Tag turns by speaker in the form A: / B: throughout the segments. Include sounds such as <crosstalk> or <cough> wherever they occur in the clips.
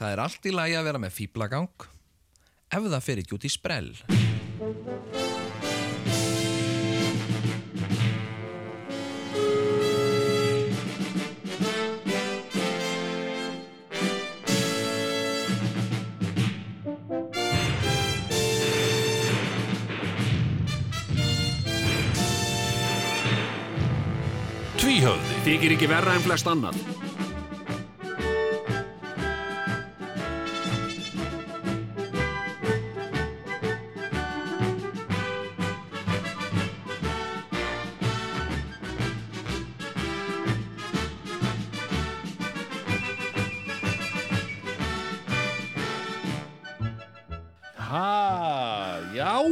A: Það er allt í lagi að vera með fýblagang ef það fer ekki út í sprell.
B: Tvíhöfði
C: Þykir ekki verra en flest annan
B: Ha, já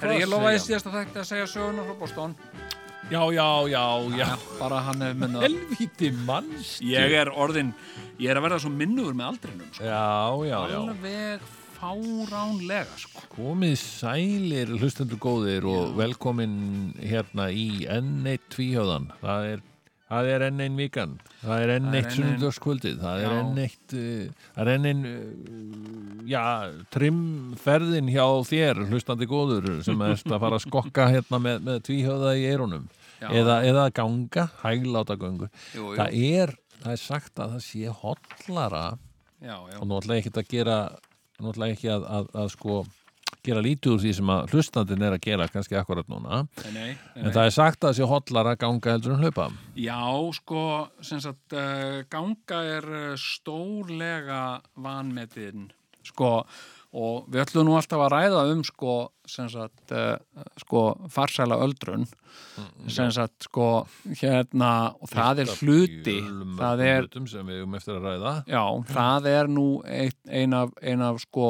D: Þegar ég lofaði síðast að þetta að segja söguna frá Boston
B: Já, já, já, já
D: Bara hann hefur munnað
B: Helvíti manns
C: Ég er orðin, ég er að verða svo minnugur með aldrinum sko.
B: Já, já, já
C: Alveg fáránlega sko.
B: Komið sælir hlustendur góðir og velkomin hérna í N1 tvíhjóðan. Það er, það er N1 vikan, það er N1
C: N1
B: sunnudagskvöldið, það er
C: Já.
B: N1, uh, það er N1, uh, já, trimferðin hjá þér hlustandi góður sem erst að fara að skokka hérna með, með tvíhjóða í eyrunum.
C: Já.
B: Eða, eða ganga, hægláta göngu.
C: Jú, jú.
B: Það er, það er sagt að það sé hotlara
C: Já, já,
B: og nú ætla ég ekkert að gera nú ætla ég ekki að, að, að sko gera lítið úr því sem að hlustandinn er að gera kannski akkurat núna
C: nei, nei,
B: en
C: nei,
B: það er sagt að þessi hotlar að ganga heldur en hlaupa
C: Já, sko, sem sagt, uh, ganga er eh, stórlega vanmetin sko, og við ætlum nú alltaf að ræða um sko, sem sagt, uh, sko, farsæla öldrun Mm, sem sagt, sko, hérna og það er hluti það er,
B: sem við um eftir að ræða
C: Já, það er nú eitt, ein, af, ein af sko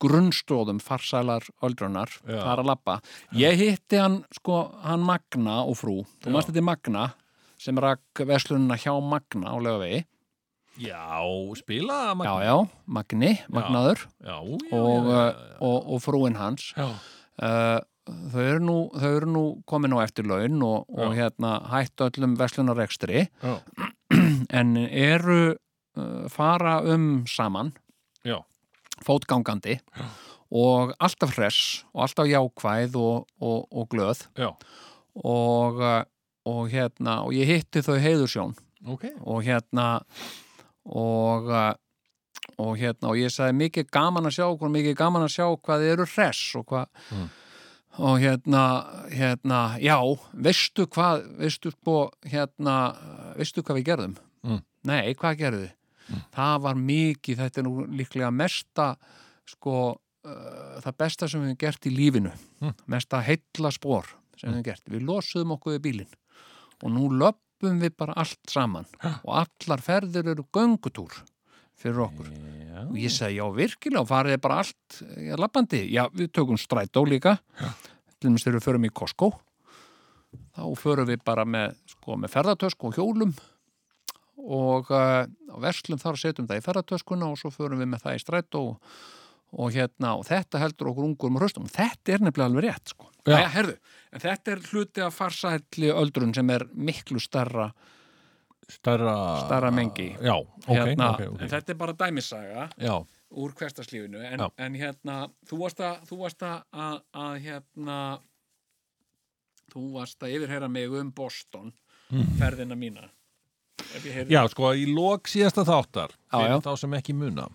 C: grunnstóðum farsælar öldrunar,
B: Já.
C: það er að labba. Ég hitti hann, sko, hann Magna og frú, þú mást þetta Magna sem rakk veslunina hjá Magna á lögavegi.
B: já, spila
C: Já, já, Magni, Magnaður
B: já, já,
C: og,
B: já,
C: uh, og, og frúin hans.
B: já.
C: Uh, þau, eru nú, þau eru nú komin á eftir laun og, og hérna hættu öllum veslunarekstri
B: já,
C: en eru uh, fara um saman
B: já,
C: fótgangandi og alltaf hress og alltaf jákvæð og, og, og glöð
B: já,
C: og, eh, og hérna og ég hitti þau heiðursjón
B: ok
C: og hérna og eh, og hérna og ég sagði mikið gaman að sjá hvað mikið gaman að sjá hvað þið eru hress og hvað
B: Mm.
C: og hérna, hérna já, veistu hvað veistu sko, hérna veistu hvað við gerðum?
B: Mm.
C: Nei, hvað gerðu? Mm. Það var mikið, þetta er nú líklega mesta sko, uh, það besta sem við hefum gert í lífinu
B: Mm.
C: mesta heilla spór sem við hefum gert við losuðum okkur við bílinn og nú löpum við bara allt saman og allar ferðir eru göngutúr fyrir okkur
B: já,
C: og ég segi já virkilega og farið er bara allt já, lappandi, já við tökum strætó líka til dæmis þegar við förum í Costco þá förum við bara með, sko, með ferðartösku og hjólum og uh, verslum þar setjum það í ferðartöskuna og svo förum við með það í strætó og, og hérna og þetta heldur okkur ungur um hraustum, þetta er nefnilega alveg rétt sko.
B: Já.
C: Æja, herðu, en þetta er hluti af farsælli öldrun sem er miklu starra,
B: starra
C: Stærra mengi.
B: já, ok,
C: hérna,
B: ok, ok
C: en þetta er bara dæmisaga
B: já,
C: úr hverstaslífinu en,
B: Já.
C: en hérna, þú varst að þú varst að, að, að hérna þú varst að yfirheyra mig um Boston ferðina mína ef ég heyrði
B: Mhm. já, sko, í lok síðasta þáttar
C: Já,
B: fyrir
C: já.
B: þá sem ekki muna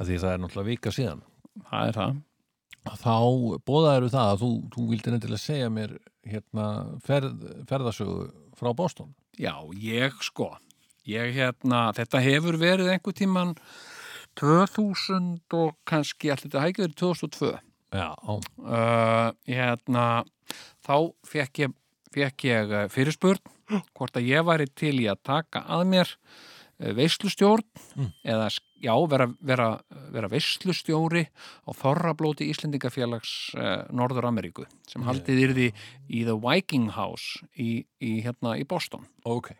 B: að því það er náttúrulega vika síðan
C: það er það
B: þá bóðaður það að þú, þú vildi nefndilega segja mér hérna ferð, ferðasögu frá Boston
C: já, ég sko ég hérna, þetta hefur verið einhver tíman 2000 og kannski, allir þetta hægir 2002
B: Já, á,
C: uh, hérna, þá fekk ég, fekk ég eh, fyrirspurn hvort að ég væri til í að taka að mér eh, veislustjórn eða s- já, vera, vera, vera veislustjóri á þorrablóti Íslendingafélags uh, Norður Ameríku sem haldið yrði í The Viking House í, í, hérna, í Boston
B: ok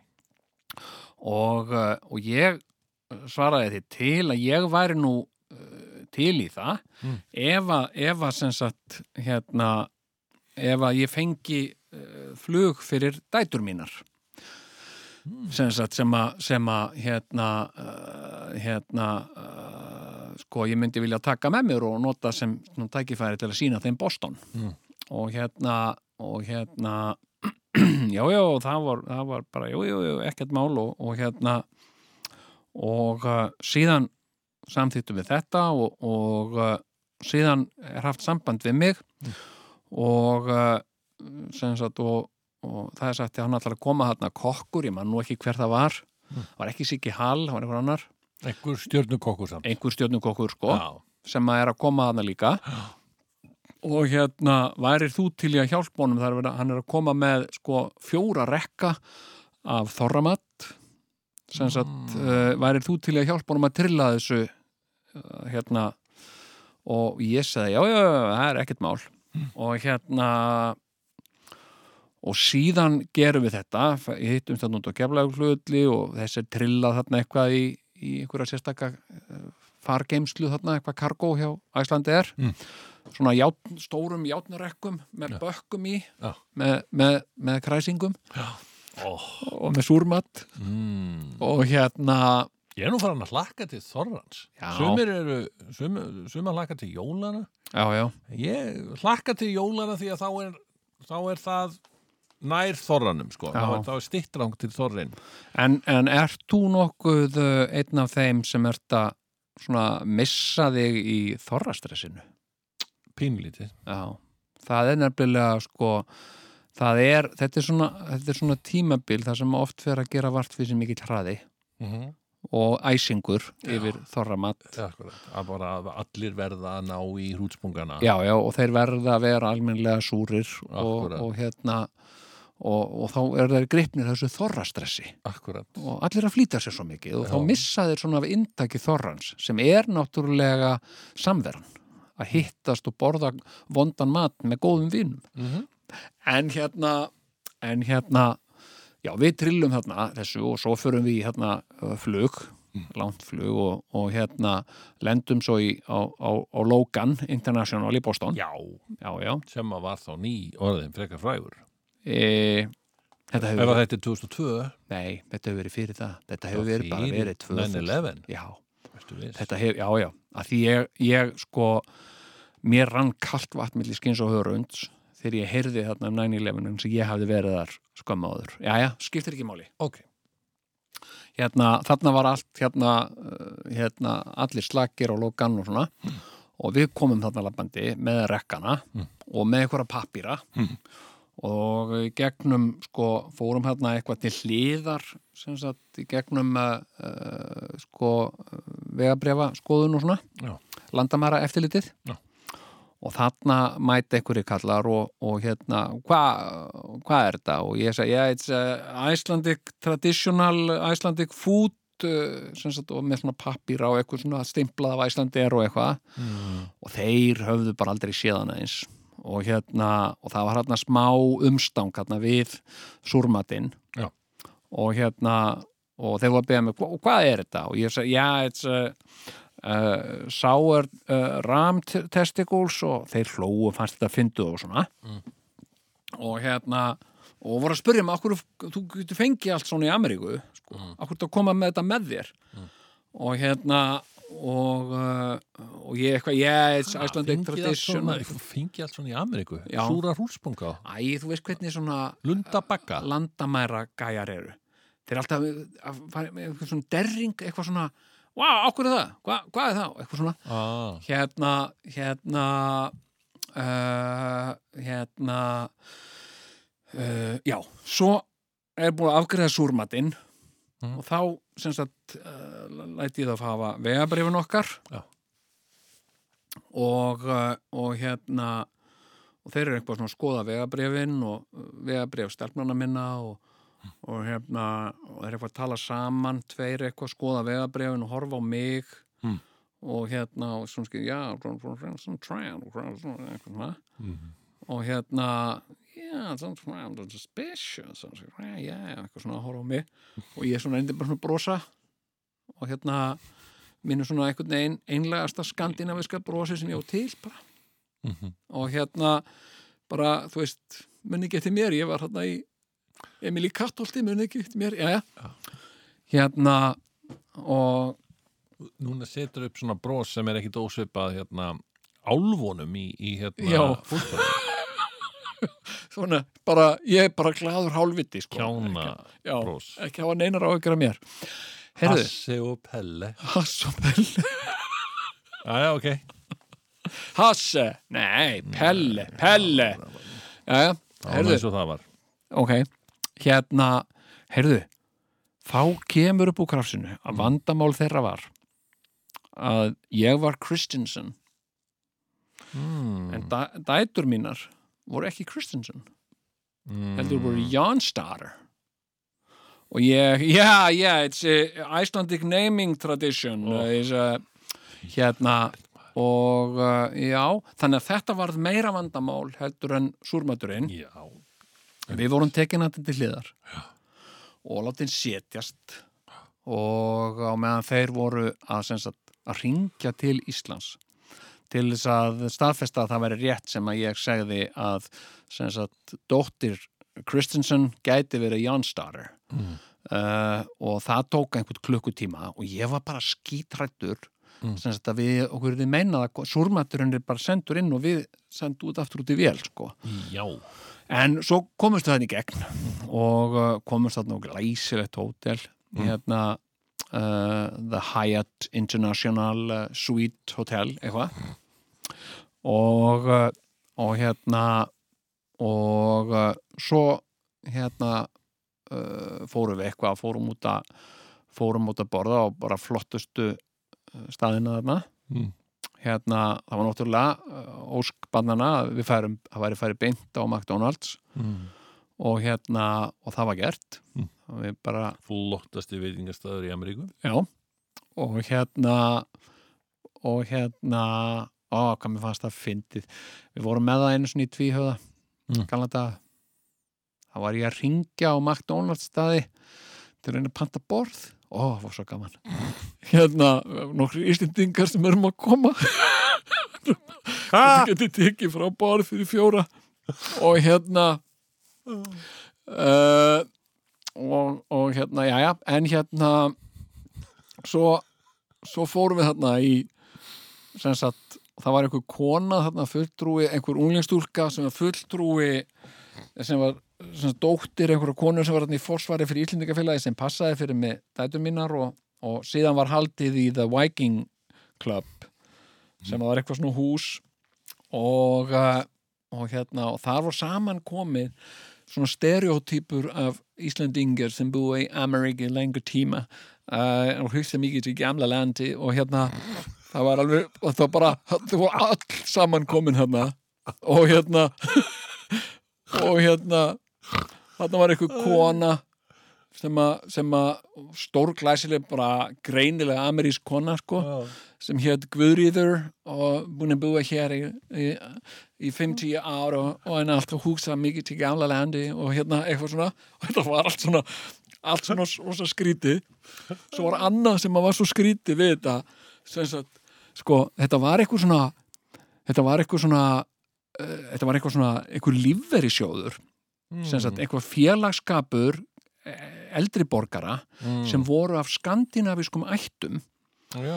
C: og, eh, og ég eh, svaraði því til að ég væri nú eh, til í það
B: Mm.
C: ef, að, ef að sem sagt hérna eh, ef að ég fengi uh, flug fyrir dætur mínar
B: Mm.
C: sem, sagt, sem að, sem að hérna, uh, hérna uh, sko ég myndi vilja taka með mér og nota sem nú, tækifæri til að sína þeim Boston
B: Mm.
C: og hérna og hérna <clears throat> já, já, það var, það var bara jú, jú, jú, ekkert mál og, og hérna og uh, síðan samþýttum við þetta og, og uh, síðan er haft samband við mig og uh, sem sagt og, og það er sagt að hann ætlar að koma þarna kokkur, ég man nú ekki hver það var það var ekki Siggi Hall, það var einhver annar
B: einhver stjörnukokkur samt
C: einhver stjórnukokkur sko,
B: Já.
C: sem að er að koma þarna líka og hérna værir þú til í að hjálpa honum þar er verið- hann er að koma með sko fjóra rekka af þorramatt sem sagt, mm. værir þú til í að hjálpa honum að trilla þessu uh, hérna og ég sagði, já, já, já, það er ekkert mál og hérna og síðan gerum við þetta, f- hittum þetta út á geflaugflöðli og þessi er trillað þarna eitthvað í, í einhverja sérstaka eh, fargeimslu þarna, eitthvað kargó hjá Æslandi er
B: Mm.
C: svona játn, stórum játnarekkum með
B: Já.
C: bökkum í
B: Já.
C: með, með, með kræsingum
B: oh.
C: og með súrmatt
B: mm.
C: og hérna
B: ég er nú farin að hlakka til Þorrans
C: Já.
B: sumir eru sumir, sumir hlakka til Jólana
C: já, já,
B: ég hlakka til Jólana því að þá er, þá er það nær Þorranum sko
C: Já.
B: þá er, þá er stittrang til Þorrin
C: En, en ert þú nokkuð uh, einn af þeim sem ert að svona missa þig í þorrastressinu?
B: pínlítið
C: Já. Það er nefnilega sko, það er, þetta er svona, þetta er svona tímabil þar sem oft fer að gera vart fyrir mikill hraði
B: mm -hmm.
C: og æsingur yfir þorramatt.
B: að bara að allir verða að ná í hrútspungana
C: Já, já, og þeir verða að vera almennlega súrir og,
B: Akkúrat.
C: og hérna, og, og þá er þeir gripnir þessu þorrastressi.
B: akkurat
C: og allir að flýta sér svo mikið og
B: Já.
C: þá missa þeir svona af inntaki þorrans sem er náttúrulega samveran að hittast og borða vondan mat með góðum vínum
B: Mhm.
C: en hérna en hérna já við trillum þarna þessu og svo förum við í hérna uh, flug
B: Mhm.
C: langt flug og, og hérna lendum svo í, á, á, á Logan International í Boston
B: já,
C: já, já.
B: sem að var þá ný orðin frekar frægur
C: E, þetta
B: ef
C: hefur
B: að
C: verið,
B: þetta er 2002
C: nei, þetta hefur verið fyrir það þetta hefur verið bara
B: fyrir
C: verið 2000
B: 9/11.
C: já,
B: veistu við
C: þetta hef, já, já, að því ég, ég sko, mér rann kalt vatn millir skins og hörunds þegar ég heyrði þarna um 9-11 eins og ég hafði verið þar skömmu áður. Já, já, skiptir ekki máli.
B: ok,
C: Hérna, þarna var allt, hérna, uh, hérna, allir slakir og lokan og svona
B: Mm.
C: og við komum þarna labbandi með rekkana og með einhverja pappýra og í gegnum sko fórum hérna eitthvað til hliðar sem sagt í gegnum uh, uh, sko vegabrefa skoðun og svona
B: Já.
C: landamæra eftirlitið
B: Já.
C: og þarna mæti einhverju kallar og, og hérna hvað hva er þetta og ég sagði yeah, it's uh, Icelandic traditional Icelandic food uh, sem sagt og með svona pappýra og eitthvað svona stimplað af Icelandir og eitthvað
B: Mm.
C: og þeir höfðu bara aldrei séðana eins og hérna, og það var hérna smá umstang hérna við súrmatinn
B: Já.
C: og hérna og þeir voru að beða mig, "Hva- og hvað er þetta? og ég sagði, já, it's uh, uh, sour uh, ram te- testicles og þeir hlóu og fannst þetta að fyndu og svona
B: Mm.
C: og hérna og voru að spyrja mig, okkur þú getur fengið allt svona í Ameríku sko, mm. okkur þú að koma með þetta með þér
B: Mm.
C: og hérna og, uh, og ég eitthvað, yeah, it's Icelandic
B: fengi allt
C: tradition
B: svona, fengi allt svona í Ameríku
C: Já.
B: súra hrútspunga,
C: Æ, þú veist hvernig svona
B: lundabakka
C: landamæra gæjar eru þeir eru alltaf að fara með eitthvað svona derring, eitthvað svona wow, ákveður það, Hva, hvað er það eitthvað svona,
B: ah.
C: hérna hérna uh, hérna uh, já, svo er búin að afgreða súrmatinn
B: Mhm.
C: og þá sem sagt uh, læti ég það að hafa vegabrifin okkar
B: Já.
C: og, uh, og hérna og þeir eru eitthvað svona að skoða vegabrifin og vegabrif stelpnana minna og, og hérna og þeir eru eitthvað að tala saman, tveir eitthvað að skoða vegabrifin og horfa á mig
B: Mm.
C: og hérna og svona skil, já, svona, svona, svona, svona, svona, svona, eitthvað svona
B: mhm,
C: og hérna yeah, sounds kind of suspicious sounds like, yeah, eitthvað svona að horfa á mig og ég svona endur bara svona að brosa og hérna minnum svona einhvern veginn einlegasta skandinaviska brosi sem ég á til bara
B: Mhm.
C: og hérna bara, þú veist, menn ekki eftir mér ég var hérna í Emil í Kattolti mun ekki eftir mér, já, Hérna, og
B: Núna setur upp svona brós sem er ekkit ósvipað hérna álvonum í, í
C: Já.
B: hérna fútbol
C: <laughs> svona, bara, ég er bara gladur hálfviti, sko.
B: kjána Ah,
C: Ekki- já,
B: brós
C: Ekki hafa neinar á ykkur að mér. Herðu,
B: Hassi og Pelle
C: Hass og Pelle.
B: Ah, Já, já, ok
C: Hasse, nei, Pelle, Pelle. Já, já,
B: Herðu
C: herðu.
B: eins og það var
C: ok, hérna heyrðu, þá kemur upp úr krafsinu
B: Mm.
C: að vandamál þeirra var að ég var Kristinsson
B: mm.
C: en dæ, dætur mínar voru ekki Kristinsson
B: mm.
C: heldur voru Jonsdóttir og ég, <laughs> já, já it's a Icelandic naming tradition
B: Oh.
C: oh. is a, hérna og uh, já, þannig að þetta varð meira vandamál heldur en súrmaturinn
B: Já,
C: Við vorum tekin að til hliðar og látin setjast og á meðan þeir voru að, sem sagt, að ringja til Íslands til þess að staðfesta að það væri rétt sem að ég segði að sem sagt, dóttir Kristinsson gæti verið Jónsdóttir
B: Mm.
C: uh, og það tók einhvern klukkutíma og ég var bara skítrættur
B: Mm.
C: sem sagt að við okkur þið meinað að súrmaturinn er bara sendur inn og við sendu út aftur út í vél sko
B: já
C: En svo komumst við þarna í gegn og uh, komumst þarna og glæsilegt hótel hérna uh, The Hyatt International uh, Suite Hotel eitthvað og, uh, og hérna og uh, svo hérna uh, fórum við eitthvað fórum út að fórum út að borða og bara flottustu uh, staðina þarna
B: Mm.
C: hérna, það var náttúrulega uh, ósk bannana að við færum að væri færi beint á McDonalds
B: mm.
C: og hérna, og það var gert
B: Mm.
C: og við bara,
B: Flottasti veitingastæður í Ameríku
C: já og hérna og hérna ó, hvað mér fannst það fyndið við vorum með það einu svona í tvíhöða
B: Mm.
C: mm. kannlega það var ég að ringja á McDonalds staði til að reyna að panta borð ó, það var svo gaman hérna, nokkri íslendingar sem erum að koma
B: Ha?
C: Þú getur tekið frá borð fyrir fjóra og hérna uh, og, og hérna, já, já, en hérna svo, svo fórum við þarna í sem sagt, það var einhver kona þarna fulltrúi, einhver unglingstúlka sem var fulltrúi sem var sem sagt, dóttir einhverja konu sem var þarna í forsvari fyrir Íslendingafélagi sem passaði fyrir með dætum mínar og, og síðan var haldið í The Viking Club sem var eitthvað svona hús og, uh, og hérna og þar var saman komið svona stereotypur af Íslandingar sem búa í Ameríki lengur tíma uh, og hugsa mikið til gamla landi og hérna það var alveg, og það var bara það var all saman komin hérna og hérna og hérna þarna var einhver kona sem að, sem að stórglæsileg bara greinilega amerísk kona sko sem hétt Guðrýður og búin að búa hér í, í, í 50 ár og, og hann alltaf hugsa mikið til gamla landi og hérna eitthvað svona <laughs> og þetta var allt svona allt svona rosa skrítið svo var annað sem að var svo skrítið við þetta sem sagt, sko, þetta var eitthvað svona þetta var eitthvað svona uh, þetta var eitthvað svona, eitthvað lífveri sjóður
B: Mm,
C: sem sagt, eitthvað félagskapur eh, eldri borgara
B: mm.
C: sem voru af skandinavískum ættum
B: Já,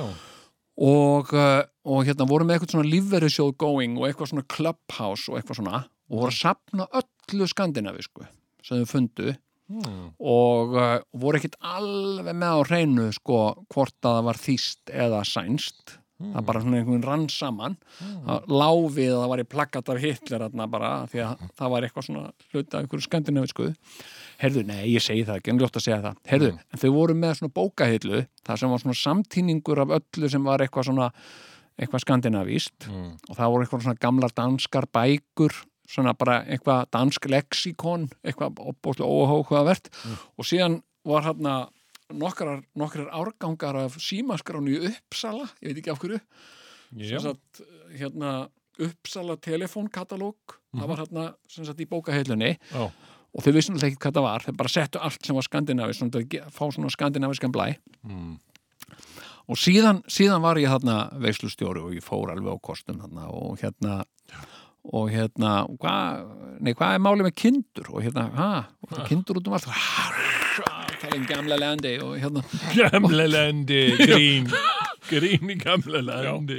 C: og, uh, og hérna voru með eitthvað svona lífverðisjóð going og eitthvað svona clubhouse og eitthvað svona og voru að sapna öllu skandinavisku sem þau fundu
B: mm.
C: og uh, voru ekkit alveg með á hreinu sko hvort að það var þýst eða sænst það bara svona einhvern veginn rann saman það lá við að það var í plakkat af Hitler þarna bara því að það var eitthvað svona hluta af einhverju skandinavisku herðu, nei, ég segi það ekki, en ljótt að segja það herðu, en þau voru með svona bókahillu það sem var svona samtíningur af öllu sem var eitthvað svona eitthvað skandinavíst
B: Mm.
C: og það voru eitthvað svona gamlar danskar bækur svona bara eitthvað dansk lexikon eitthvað opbóðslega óhókvæðavert og síðan var hérna nokkrar, nokkrar árgangar af símaskránu í Uppsala ég veit ekki af hverju
B: Já,
C: sem sagt, hérna Uppsala telefonkatalóg það var hérna sem sagt í bókaheilunni
B: Já.
C: og þau vissin alltaf ekki hvað það var þau bara settu allt sem var skandinavist svona, til að ge- fá svona skandinaviskan blæ
B: Mm.
C: og síðan, síðan var ég hérna veislustjóri og ég fór alveg á kostum hérna og hérna og hérna, hvað nei, hvað er málið með kindur og hérna, ha, og það er kindur út um allt <laughs> tala um gamla landi og hérna,
B: Gamla <laughs> landi, grín Grín í gamla landi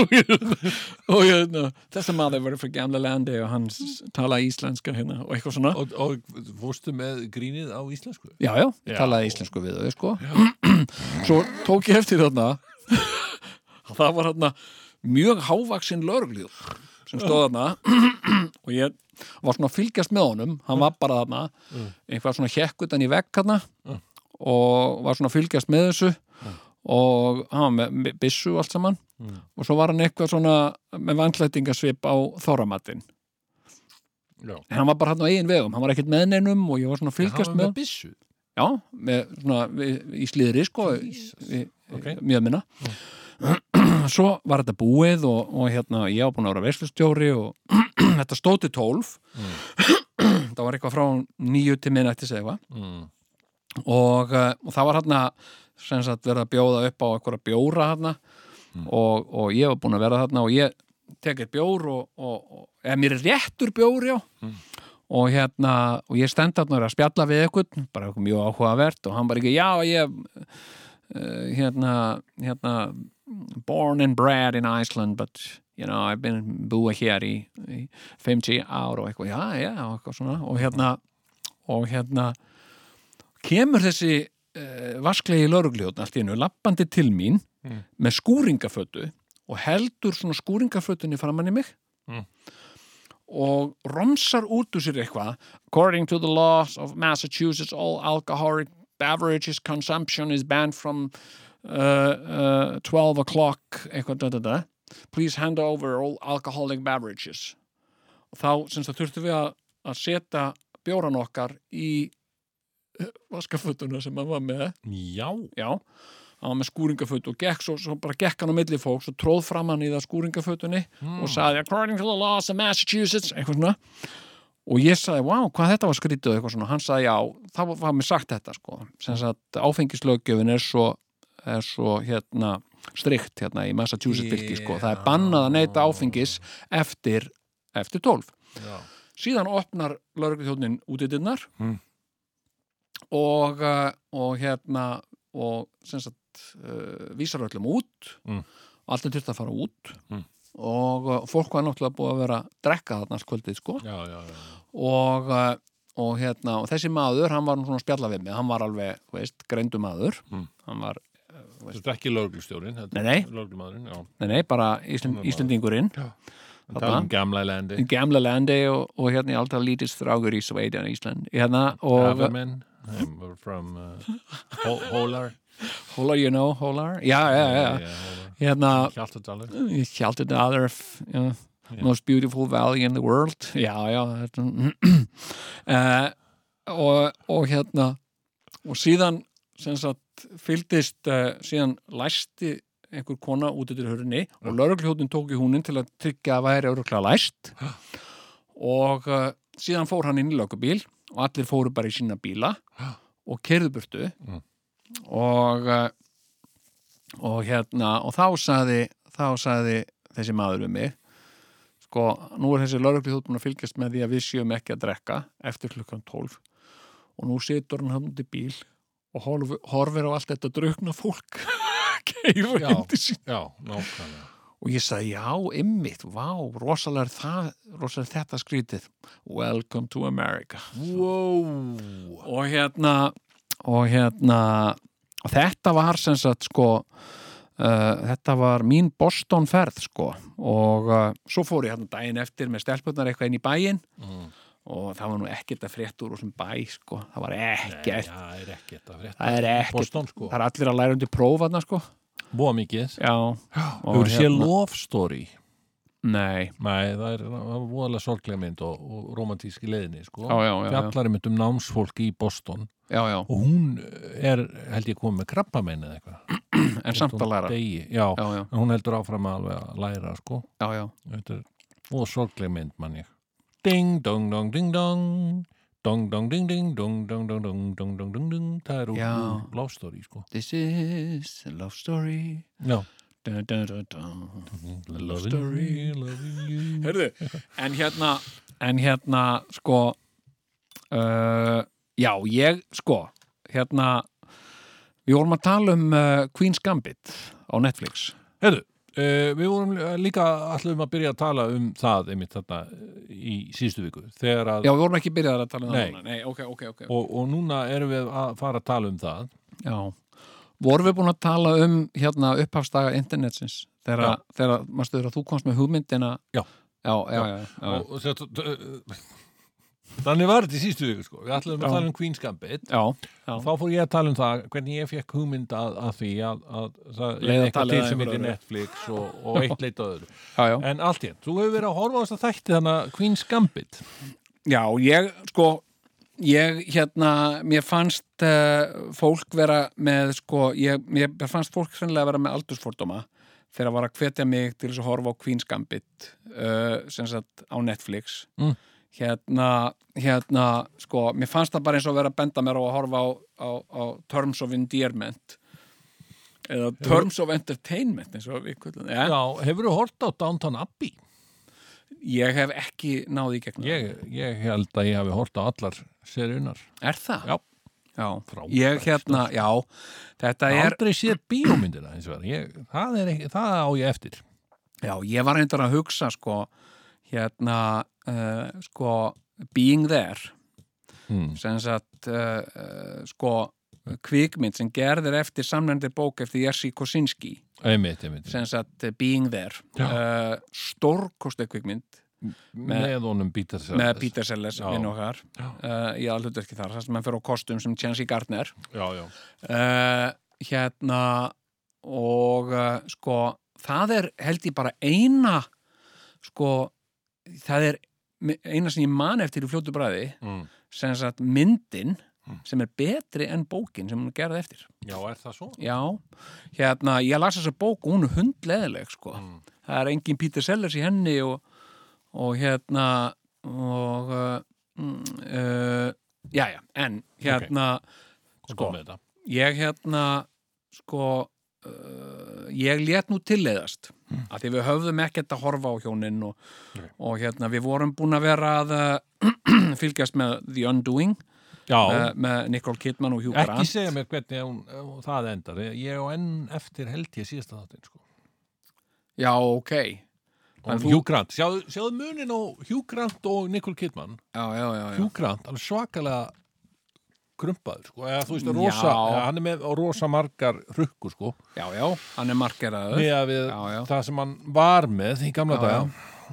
C: og hérna þessi maður verið frá gamla landi og hann s- tala íslenska hérna og eitthvað svona
B: og, og fórstu með grínið á íslensku
C: já, já,
B: Já.
C: talaði íslensku við þau, sko <clears throat> svo tók ég eftir þarna að <laughs> það var þarna mjög hávaksinn lörgljóð sem stóð þarna <clears throat> og ég var svona að fylgjast með honum hann var bara þarna eitthvað svona hekk utan í vegg þarna og var svona að fylgjast með þessu Mm. og hann var með- með byssu og allt saman og svo var hann eitthvað svona með vandlætingasvip á þorramatinn
B: Já.
C: en hann var bara hann á eigin vegum hann var ekkert með neinum og ég var svona að fylgjast
B: Hann var
C: með
B: með byssu
C: Já, með svona við, í slíðri sko við,
B: Ok.
C: mjög minna <clears throat> svo var þetta búið og, og hérna ég var búin að vera veislustjóri og <clears throat> þetta stóð til tólf <clears throat> það var eitthvað frá nýju til minnættis eða eitthvað
B: mm.
C: og, eh, og það var hérna sem sagt verið að bjóða upp á eitthvað bjóra hérna og, og ég var búin að vera þarna og ég tek eitt bjór og, og, og eða mér er réttur bjór já og hérna, og ég stend þarna og er að spjalla við eitthvað, bara eitthvað mjög áhugavert og hann bara ekki, já, ég uh, hérna, hérna born and bred in Iceland but, you know, I've been búa hér í, í 50 ár og eitthvað, já, já, og eitthvað svona og hérna, og hérna kemur þessi uh, vasklegi laurugljóðn allt í einu lappandi til mín
B: Mm.
C: með skúringafötu og heldur svona skúringafötunni framann í mig
B: Mm.
C: og romsar út úr sér eitthvað according to the laws of Massachusetts all alcoholic beverages consumption is banned from uh, uh, 12 o'clock eitthvað da da da please hand over all alcoholic beverages og þá sem það þurftum við að, að setja bjóran okkar í vaskafötuna sem hann var með
B: Já
C: já, hann var með skúringaföt og gekk svo, svo bara gekk hann á milli fólks og tróð fram hann í það skúringafötunni og sagði according to the laws of Massachusetts eitthvað svona og ég sagði, wow, hvað þetta var skrítið og eitthvað svona, hann sagði, já, það var, var mér sagt þetta sko, sem sagt áfengislöggjöfin er svo, er svo hérna, strikt hérna í Massachusetts fylki sko, það er bannað að neyta áfengis eftir, eftir 12
B: Já.
C: síðan opnar laurugluþjóðnin útidinnar
B: Mm.
C: og, uh, og hérna og sem sagt uh, vísar öllum út
B: Mm.
C: allt er þurft að fara út
B: Mm.
C: og uh, fólk var náttúrulega búið að vera að drekka þarna allt kvöldið sko
B: Já, já, já,
C: og, uh, og hérna og þessi maður, hann var nú svona að spjalla við mig hann var alveg, þú veist, greindu maður
B: Mm.
C: hann var,
B: Þetta er ekki löglustjórin
C: Nei, nei.
B: Löglumadurinn, já
C: nei nei, bara Ísland,
B: Svona maður.
C: Íslandingurinn
B: En tala um gamla
C: í
B: landi
C: gamla landi og, og hérna ég alltaf lítist strákur í Sveidjan Ísland hérna, og,
B: Avermen um, From uh, Hó- Hólar
C: Hólar, you know, Hólar Já, já, já, já.
B: Hólar.
C: hérna
B: Hjaltadalur
C: Hjaltid other f- já, most beautiful valley in the world Já, já þetta- <clears throat> uh, og, og hérna og síðan sem sagt, fylgdist uh, síðan læsti einhver kona út yfir hörunni og laurugljóðin tók í húnin til að tryggja að væri öruglega læst og uh, síðan fór hann inn í lögubíl og allir fóru bara í sína bíla og kerðu burtu
B: Mm.
C: og uh, og hérna og þá saði, þá saði þessi maður við mig sko, nú er þessi lauruglið út búin að fylgjast með því að við séum ekki að drekka eftir klukkan 12 og nú situr hann hann út í bíl og horfir, horfir á allt þetta draugna fólk <laughs> keifur
B: Já.
C: hindi sín
B: Já, nákvæmlega
C: og ég sagði, já, ymmit, vá, rosalega er það, rosalega er þetta skrítið Welcome to America
B: Wow
C: og hérna og hérna og þetta var sem sagt sko uh, þetta var mín Boston ferð sko og uh, svo fór ég hérna daginn eftir með stelpurnar eitthvað inn í bæinn
B: Mm.
C: og það var nú ekkert að frétt úr þessum bæ sko, það var ekkert
B: Það er ekkert að frétta
C: það er ekkert,
B: Boston sko
C: það er allir að læra undir prófaðna sko
B: Búa mikið
C: já, og hérna-
B: Þú eru sé love story
C: nei,
B: Nei, það er það var voðalega sorglega mynd og, og romantíski leiðinni sko
C: já, já, já, já,
B: Fjallar er mynd um námsfólk í Boston
C: já, já.
B: og hún eh, er, held ég, komið með krabbamenn eða eitthvað
C: en samt að læra já,
B: Degi, já,
C: já,
B: en hún heldur áfram að alveg að læra sko
C: já, já,
B: Þetta er og sorgleg mynd mann ég Ding dong dong ding dong Dong dong ding ding dong dong dong dong dong dong dong dong Það er úr
C: Já.
B: úr love story sko
C: this is a love story
B: Já,
C: Dun, dun, dun, dun.
B: Loving you, loving you
C: Herðu, en hérna en hérna, sko uh, já, ég sko, hérna við vorum að tala um uh, Queen's Gambit á Netflix
B: Herðu, uh, við vorum líka ætlum að byrja að tala um það einmitt þarna eh, í síðustu viku þegar að
C: Já, við vorum ekki byrjaðar að tala um
B: Nei.
C: það núna. Nei, ok, ok, ok
B: og, og núna erum við að fara að tala um það
C: Já, vorum við búin að tala um hérna upphafstaga internetsins þegar,
B: Já.
C: að- þegar að- manstu þegar að þú komst með hugmyndina
B: Já.
C: Já, já, já, já,
B: og, og þetta, uh, þannig var þetta í síðustu viku sko. við ætlum
C: Já.
B: að tala um Queen's Gambit
C: já, já.
B: þá fór ég að tala um það hvernig ég fekk hugmynd að, að því að, að það
C: Leiða
B: er eitthvað til
C: talið að
B: sem
C: einhverju
B: heitir
C: öðru.
B: Netflix og, og
C: <laughs>
B: eitt leita öðru
C: já, já.
B: en allt ég, þú hefur verið að horfa á þess að þætti þannig að Queen's Gambit
C: Já, ég sko ég hérna, mér fannst uh, fólk vera með sko, ég, mér mér fannst fólk sennilega vera með aldursfordóma þegar að var að hvetja mig til þess að horfa á Queen's Gambit uh, sem sagt á Netflix
B: Mm.
C: hérna, hérna sko, mér fannst það bara eins og vera að benda mér á að horfa á, á, á Terms of Endearment eða Terms of Entertainment eins og við kvöldum ja,
B: Já, hefur þú hort á Downton Abbey?
C: ég hef ekki náði í gegnum
B: Ég, ég held að ég hafi hort á allar seriunar
C: Er það?
B: Já.
C: Já,
B: Frábært.
C: ég hérna, já, þetta
B: Það
C: er,
B: aldrei séð bíómyndina eins og það ég, það, er ekki, það á ég eftir
C: já, ég var reyndar að hugsa, sko, hérna, uh, sko, Being There,
B: hmm.
C: sem sagt, uh, uh, sko, kvikmynd sem gerðir eftir samlendir bók eftir Jerzy Kosinski,
B: einmitt, einmitt.
C: sem sagt, uh, Being There, uh, stórkostu kvikmynd
B: með, honum Peter Sellers
C: með Peter Sellers,
B: Já.
C: minn okkar,
B: Já.
C: uh, í aðlutverki þar, þar sem hann fyrir á kostum sem Chancy Gardner,
B: já, já.
C: uh, hérna og uh, sko það er held ég bara eina sko það er mi- eina sem ég man eftir í fljótu bræði
B: Mm.
C: sem sagt myndin
B: Mm.
C: sem er betri en bókin sem hún gerði eftir
B: já, er það svo?
C: já, hérna ég las þessa bók og hún er hundleðileg sko
B: Mm.
C: það er engin Peter Sellers í henni og, og hérna og uh, mm, uh, já, já, en hérna Sko.
B: Sko. Þetta.
C: ég hérna sko uh, ég let nú tilleiðast mm. að því við höfðum ekkert að horfa á hjónin og,
B: Nei.
C: og hérna við vorum búin að vera að uh, <clears throat> fylgjast með The Undoing uh,
B: já
C: með Nicole Kidman og Hugh
B: ekki
C: Grant
B: segja mér hvernig hún, eh, það endar Ég- ég á enn eftir held ég síðasta þáttin sko.
C: já ok En
B: og
C: þú-
B: Hugh Grant, sjáðu, sjáðu munin á Hugh Grant og Nicole Kidman
C: já, já, já, já.
B: Hugh Grant, alveg svakalega krumpaður, sko, eða þú veist,
C: Mm, Já.
B: rosa eða, hann er með rosa margar rukkur, sko
C: já, já, hann er markeraður
B: með við
C: Já, já.
B: það sem hann var með í gamla
C: Já,
B: daga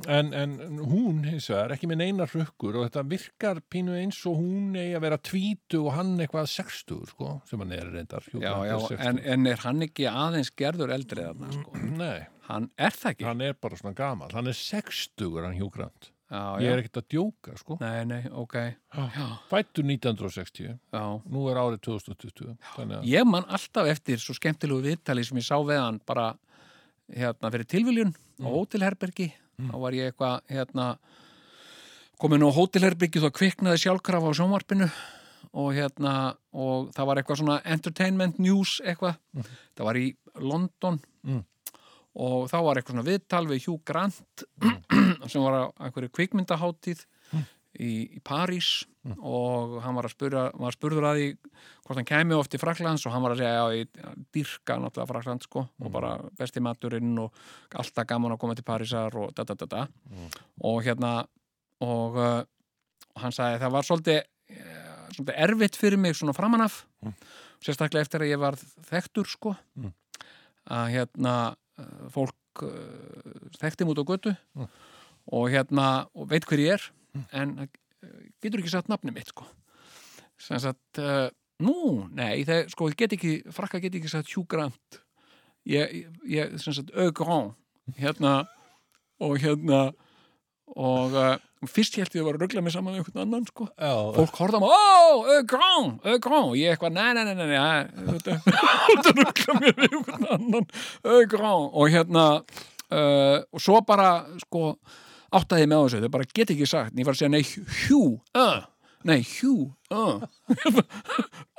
B: En, en hún, hins vegar, ekki með neinar rukkur og þetta virkar pínu eins og hún eigi að vera tvítu og hann eitthvað 60, sko, sem hann er reyndar Hugh
C: já,
B: Grant
C: já,
B: er 60.
C: en, en er hann ekki aðeins gerður eldri þarna sko
B: Nei,
C: hann er það ekki
B: hann er bara svona gamal hann er 60, hann Hugh Grant
C: já,
B: ég
C: já.
B: er ekkert að djóka, sko
C: nei, nei, ok já,
B: fættur 1960,
C: já
B: nú er árið 2020 þannig að
C: ég man alltaf eftir svo skemmtilegu viðtali sem ég sá við hann bara hérna fyrir tilviljun
B: Mm.
C: á hótelherbergi þá var ég eitthvað hérna komin á hótelherbergi þá kviknaði sjálfkrafa á sjónvarpinu og hérna og það var eitthvað svona entertainment news eitthvað það var í London
B: Mm.
C: og þá var eitthvað svona viðtal við Hugh Grant
B: Mm.
C: sem var á einhverju kvikmyndaháttíð í, í París
B: Mm.
C: og hann var að spurja, var spurður að því hvort hann kæmi oft í Fraklands og hann var að segja já, ég dyrka náttúrulega Frakland sko
B: Mm.
C: og bara besti maturinn og alltaf gaman að koma til Parísar og da da da da
B: Mm.
C: og hérna og uh, hann sagði það var svolítið, eh, svolítið erfitt fyrir mig svona framanaf
B: Mm.
C: sérstaklega eftir að ég var þekktur sko
B: Mm.
C: að hérna eh, fólk uh, þekkti mút á götu
B: Mm.
C: og hérna og veit hver ég er en eh, getur ekki satt nafni mitt sko sem sagt uh, nú, nei, það, sko, ég get ekki frakka get ekki sagt Hugh Grant ég, ég sem sagt, Ögrón hérna og hérna og uh, fyrst ég held ég að vera að ruggla mig saman með einhvern annan, sko
B: já,
C: fólk horfða á mig, ó, Ögrón, Ögrón og ég eitthvað, nei, nei, nei, nei, nei <laughs> þetta þetta ruggla mér við einhvern annan Ögrón, og hérna uh, og svo bara, sko áttaði ég með á þessu, þau bara get ekki sagt en ég var að segja, nei, hjú, <laughs> ö nei, hjú, ö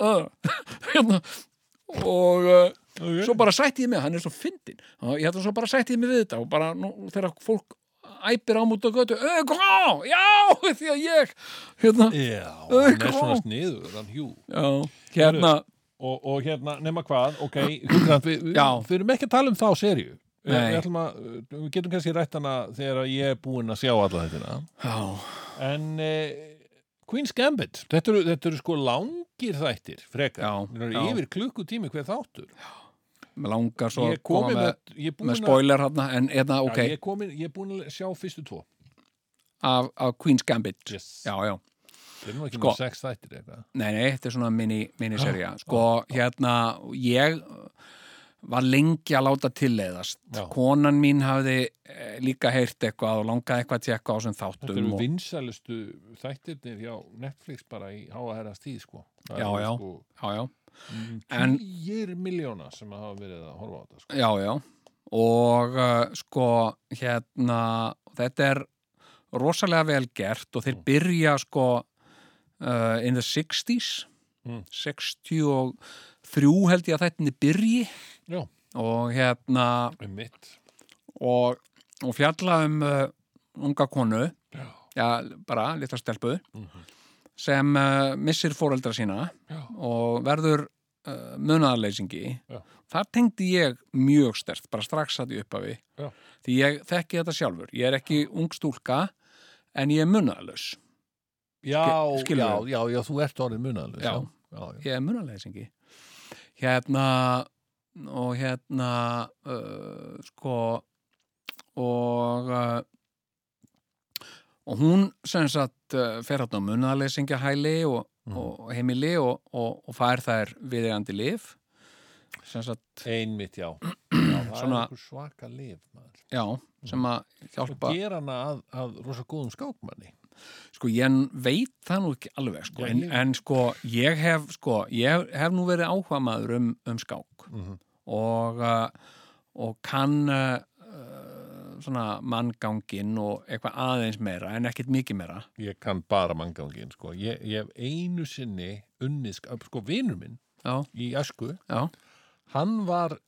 C: ö hérna og uh, svo bara sætti ég mig, hann er svo fyndin og ég ætla svo bara sætti ég mig við þetta og bara nú, þegar fólk æpir á mútu og götu ögrá, já, <laughs> því að ég hérna,
B: Já,
C: Ö,
B: hann er
C: kom.
B: svona sniður, hann hjú
C: já, hérna
B: og, og hérna, nema hvað, ok Hugran, við, við,
C: Já.
B: við erum ekki að tala um þá serju Við,
C: Nei.
B: við, ætlum að, við getum kannski rætt hana þegar ég er búinn að sjá alla þetta
C: já,
B: En eh, Queen's Gambit, þetta eru, þetta eru sko langir þættir, frekar
C: Já,
B: Þetta eru
C: já.
B: Yfir klukkutími hver þáttur
C: með langar svo
B: Ég
C: að
B: er komin
C: koma
B: með,
C: með,
B: ég er búinn
C: með
B: að-
C: spoiler hérna, en hérna, ok,
B: Já, ég, er komin, ég er búin að sjá fyrstu tvo
C: af, af Queen's Gambit
B: yes.
C: já, já,
B: Þeir eru nú ekki
C: Sko.
B: með sex þættir eitthvað
C: nei, nei, þetta er svona mini,
B: Ah,
C: miniserja, sko, hérna ég var lengi að láta tilleiðast
B: Já.
C: konan mín hafði eh, líka heyrt eitthvað og langaði eitthvað til eitthvað á þessum
B: Þetta
C: þáttum
B: eru
C: og,
B: vinsælustu þættirnir hjá Netflix bara í háa herrast tíð sko. Það
C: Já,
B: eru,
C: já.
B: Sko,
C: já, já, En-
B: en, tíðir miljóna sem hafa verið að horfa á þetta sko.
C: já, já og uh, sko hérna, þetta er rosalega vel gert og þeir
B: Mm.
C: byrja sko uh, in the 60s
B: Mm.
C: 63 held ég að þetta byrji
B: Já.
C: og hérna
B: Um mitt
C: og, og fjalla um uh, unga konu
B: Já.
C: bara litla stelpu
B: Mhm.
C: sem uh, missir fóreldra sína
B: Já.
C: og verður uh, munaðarleysingi
B: Já.
C: þar tengdi ég mjög stert bara strax að í upphafi
B: Já.
C: því ég þekki þetta sjálfur, ég er ekki ung stúlka en ég er munaðarlaus
B: Já,
C: skilur
B: já,
C: við?
B: já, já, þú ert orðin munalus
C: Já.
B: já, já.
C: ég er munaðarleysingi hérna og hérna uh, sko og uh, og hún sem sagt uh, fer hérna á munaðarleysingahæli og,
B: Mhm.
C: og heimili og, og, og fær þær viðeigandi lif sem sagt,
B: Einmitt, <clears throat> já, já Það er
C: Svona-
B: einhver svaka lif maður.
C: já, sem að
B: Og
C: hjálpa
B: gera hana að, að rosa góðum skákmanni
C: sko ég veit það nú ekki alveg sko,
B: Já,
C: en,
B: ég-
C: en sko ég hef sko, ég hef nú verið áhuga maður um, um skák
B: Mhm.
C: og, uh, og kann uh, uh, svona manngangin og eitthvað aðeins meira en ekkert mikið meira
B: Ég kann bara manngangin sko. ég, ég hef einu sinni unnið sk- sko, vinur minn
C: já,
B: í æsku
C: já,
B: hann var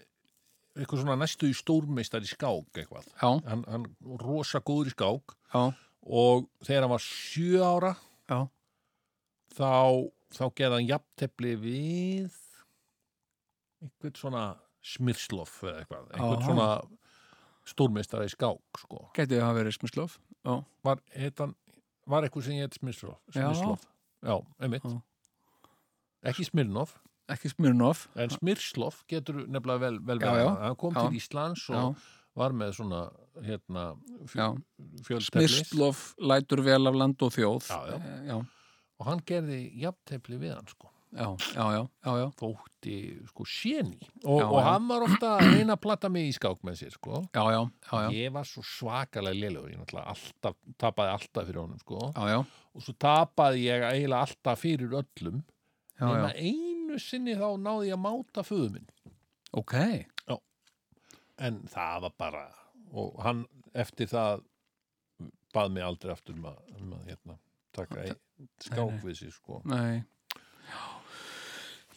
B: eitthvað svona næstu í stórmeistar í skák eitthvað
C: já,
B: hann, hann var rosa góður í skák
C: já,
B: og þegar hann var sjö ára
C: já.
B: þá, þá gerði hann jafntefli við einhvern svona smirslof eða eitthvað, einhvern
C: Aha.
B: svona stórmeistar í skák sko.
C: Gæti það verið smislóf? Já,
B: var, heitan, var eitthvað sem ég heit smirslof,
C: Já.
B: smirslof. Já, einmitt
C: Já.
B: ekki Smirnoff,
C: ekki Smirnoff.
B: en Smirslof getur nefnilega vel, vel
C: Já,
B: verið.
C: já.
B: hann kom
C: Já.
B: til Íslands og
C: Já,
B: var með svona hérna, fjö,
C: já.
B: fjöldtefli
C: Smislóf lætur vel af land og þjóð.
B: Já, já.
C: Eh, já,
B: og hann gerði jafntefli við hann sko
C: já, já, já, já, já.
B: þótti sko séni og,
C: Já,
B: og
C: já.
B: hann var ofta að reyna að platta mig í skák með sér sko
C: Já, já, já, já,
B: ég var svo svakalega lélegur ég náttúrulega alltaf, tapaði alltaf fyrir honum sko
C: já, já,
B: og svo tapaði ég eiginlega alltaf fyrir öllum
C: já, já.
B: nema einu sinni þá náði ég að máta föðu minn
C: Ok,
B: en það var bara og hann eftir það bað mig aldrei aftur um að, um að hérna, taka í skák við sér sko
C: nei.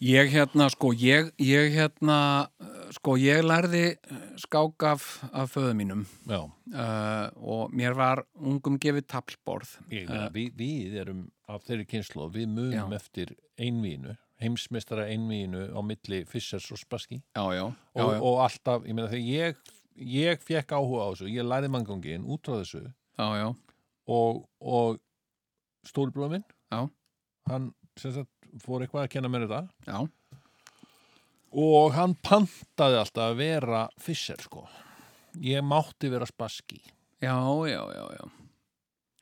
C: Ég hérna, sko, ég, ég hérna, eh, sko, ég lærði eh, skák af, af föðu mínum
B: já,
C: uh, og mér var ungum gefið taplborð.
B: ég, uh, við, við erum af þeirri kynslu við munum
C: Eh. Já.
B: eftir einvíinu heimsmeistara einvíinu á milli Fissers og Spassky
C: Já, já, já,
B: og,
C: já,
B: og alltaf, ég meina þegar ég ég fekk áhuga á þessu, ég læri manngangin út frá þessu
C: já, já,
B: og, og stólbróð minn
C: Já.
B: hann sem sagt fór eitthvað að kenna mér þetta
C: já,
B: og hann pantaði alltaf að vera Fisser sko ég mátti vera Spassky
C: já, já, já, já.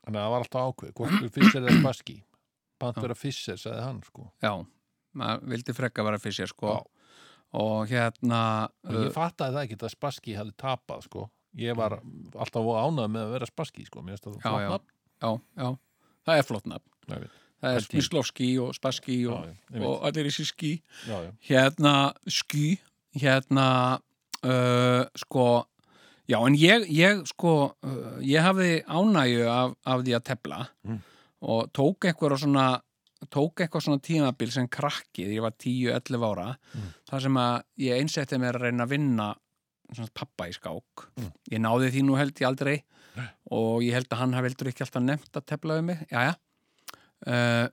B: þannig að það var alltaf ákveð, hvort
C: <clears throat>
B: er Fisser eða Spassky pant vera Fisser, sagði hann sko
C: já. Maður vildi frekka vera fyrir sér, sko.
B: Já.
C: Og hérna,
B: Og ég fattaði það ekki að Spassky hefði tapað sko. Ég var alltaf ánað með að vera Spassky sko. Mér finnst það
C: Mm. Já,
B: flott nafn.
C: já. já, já, það er flott nafn.
B: Nei, við-
C: Það er
B: Held ég.
C: Smislovski og Spassky
B: Já,
C: og,
B: já, ég veit.
C: og allir þessi ský.
B: Já, já.
C: hérna ský hérna uh, sko já en ég, ég sko uh, ég hafði ánægju af, af því að tefla
B: Mm.
C: og tók einhverja svona tók eitthvað svona tímabil sem krakki þegar ég var 10-11 ára þar sem að ég einsetti mér að reyna að vinna svona, pappa í skák ég náði því nú held ég aldrei og ég held að hann hafi heldur ekki alltaf nefnt að tefla um mig Jæja. Uh,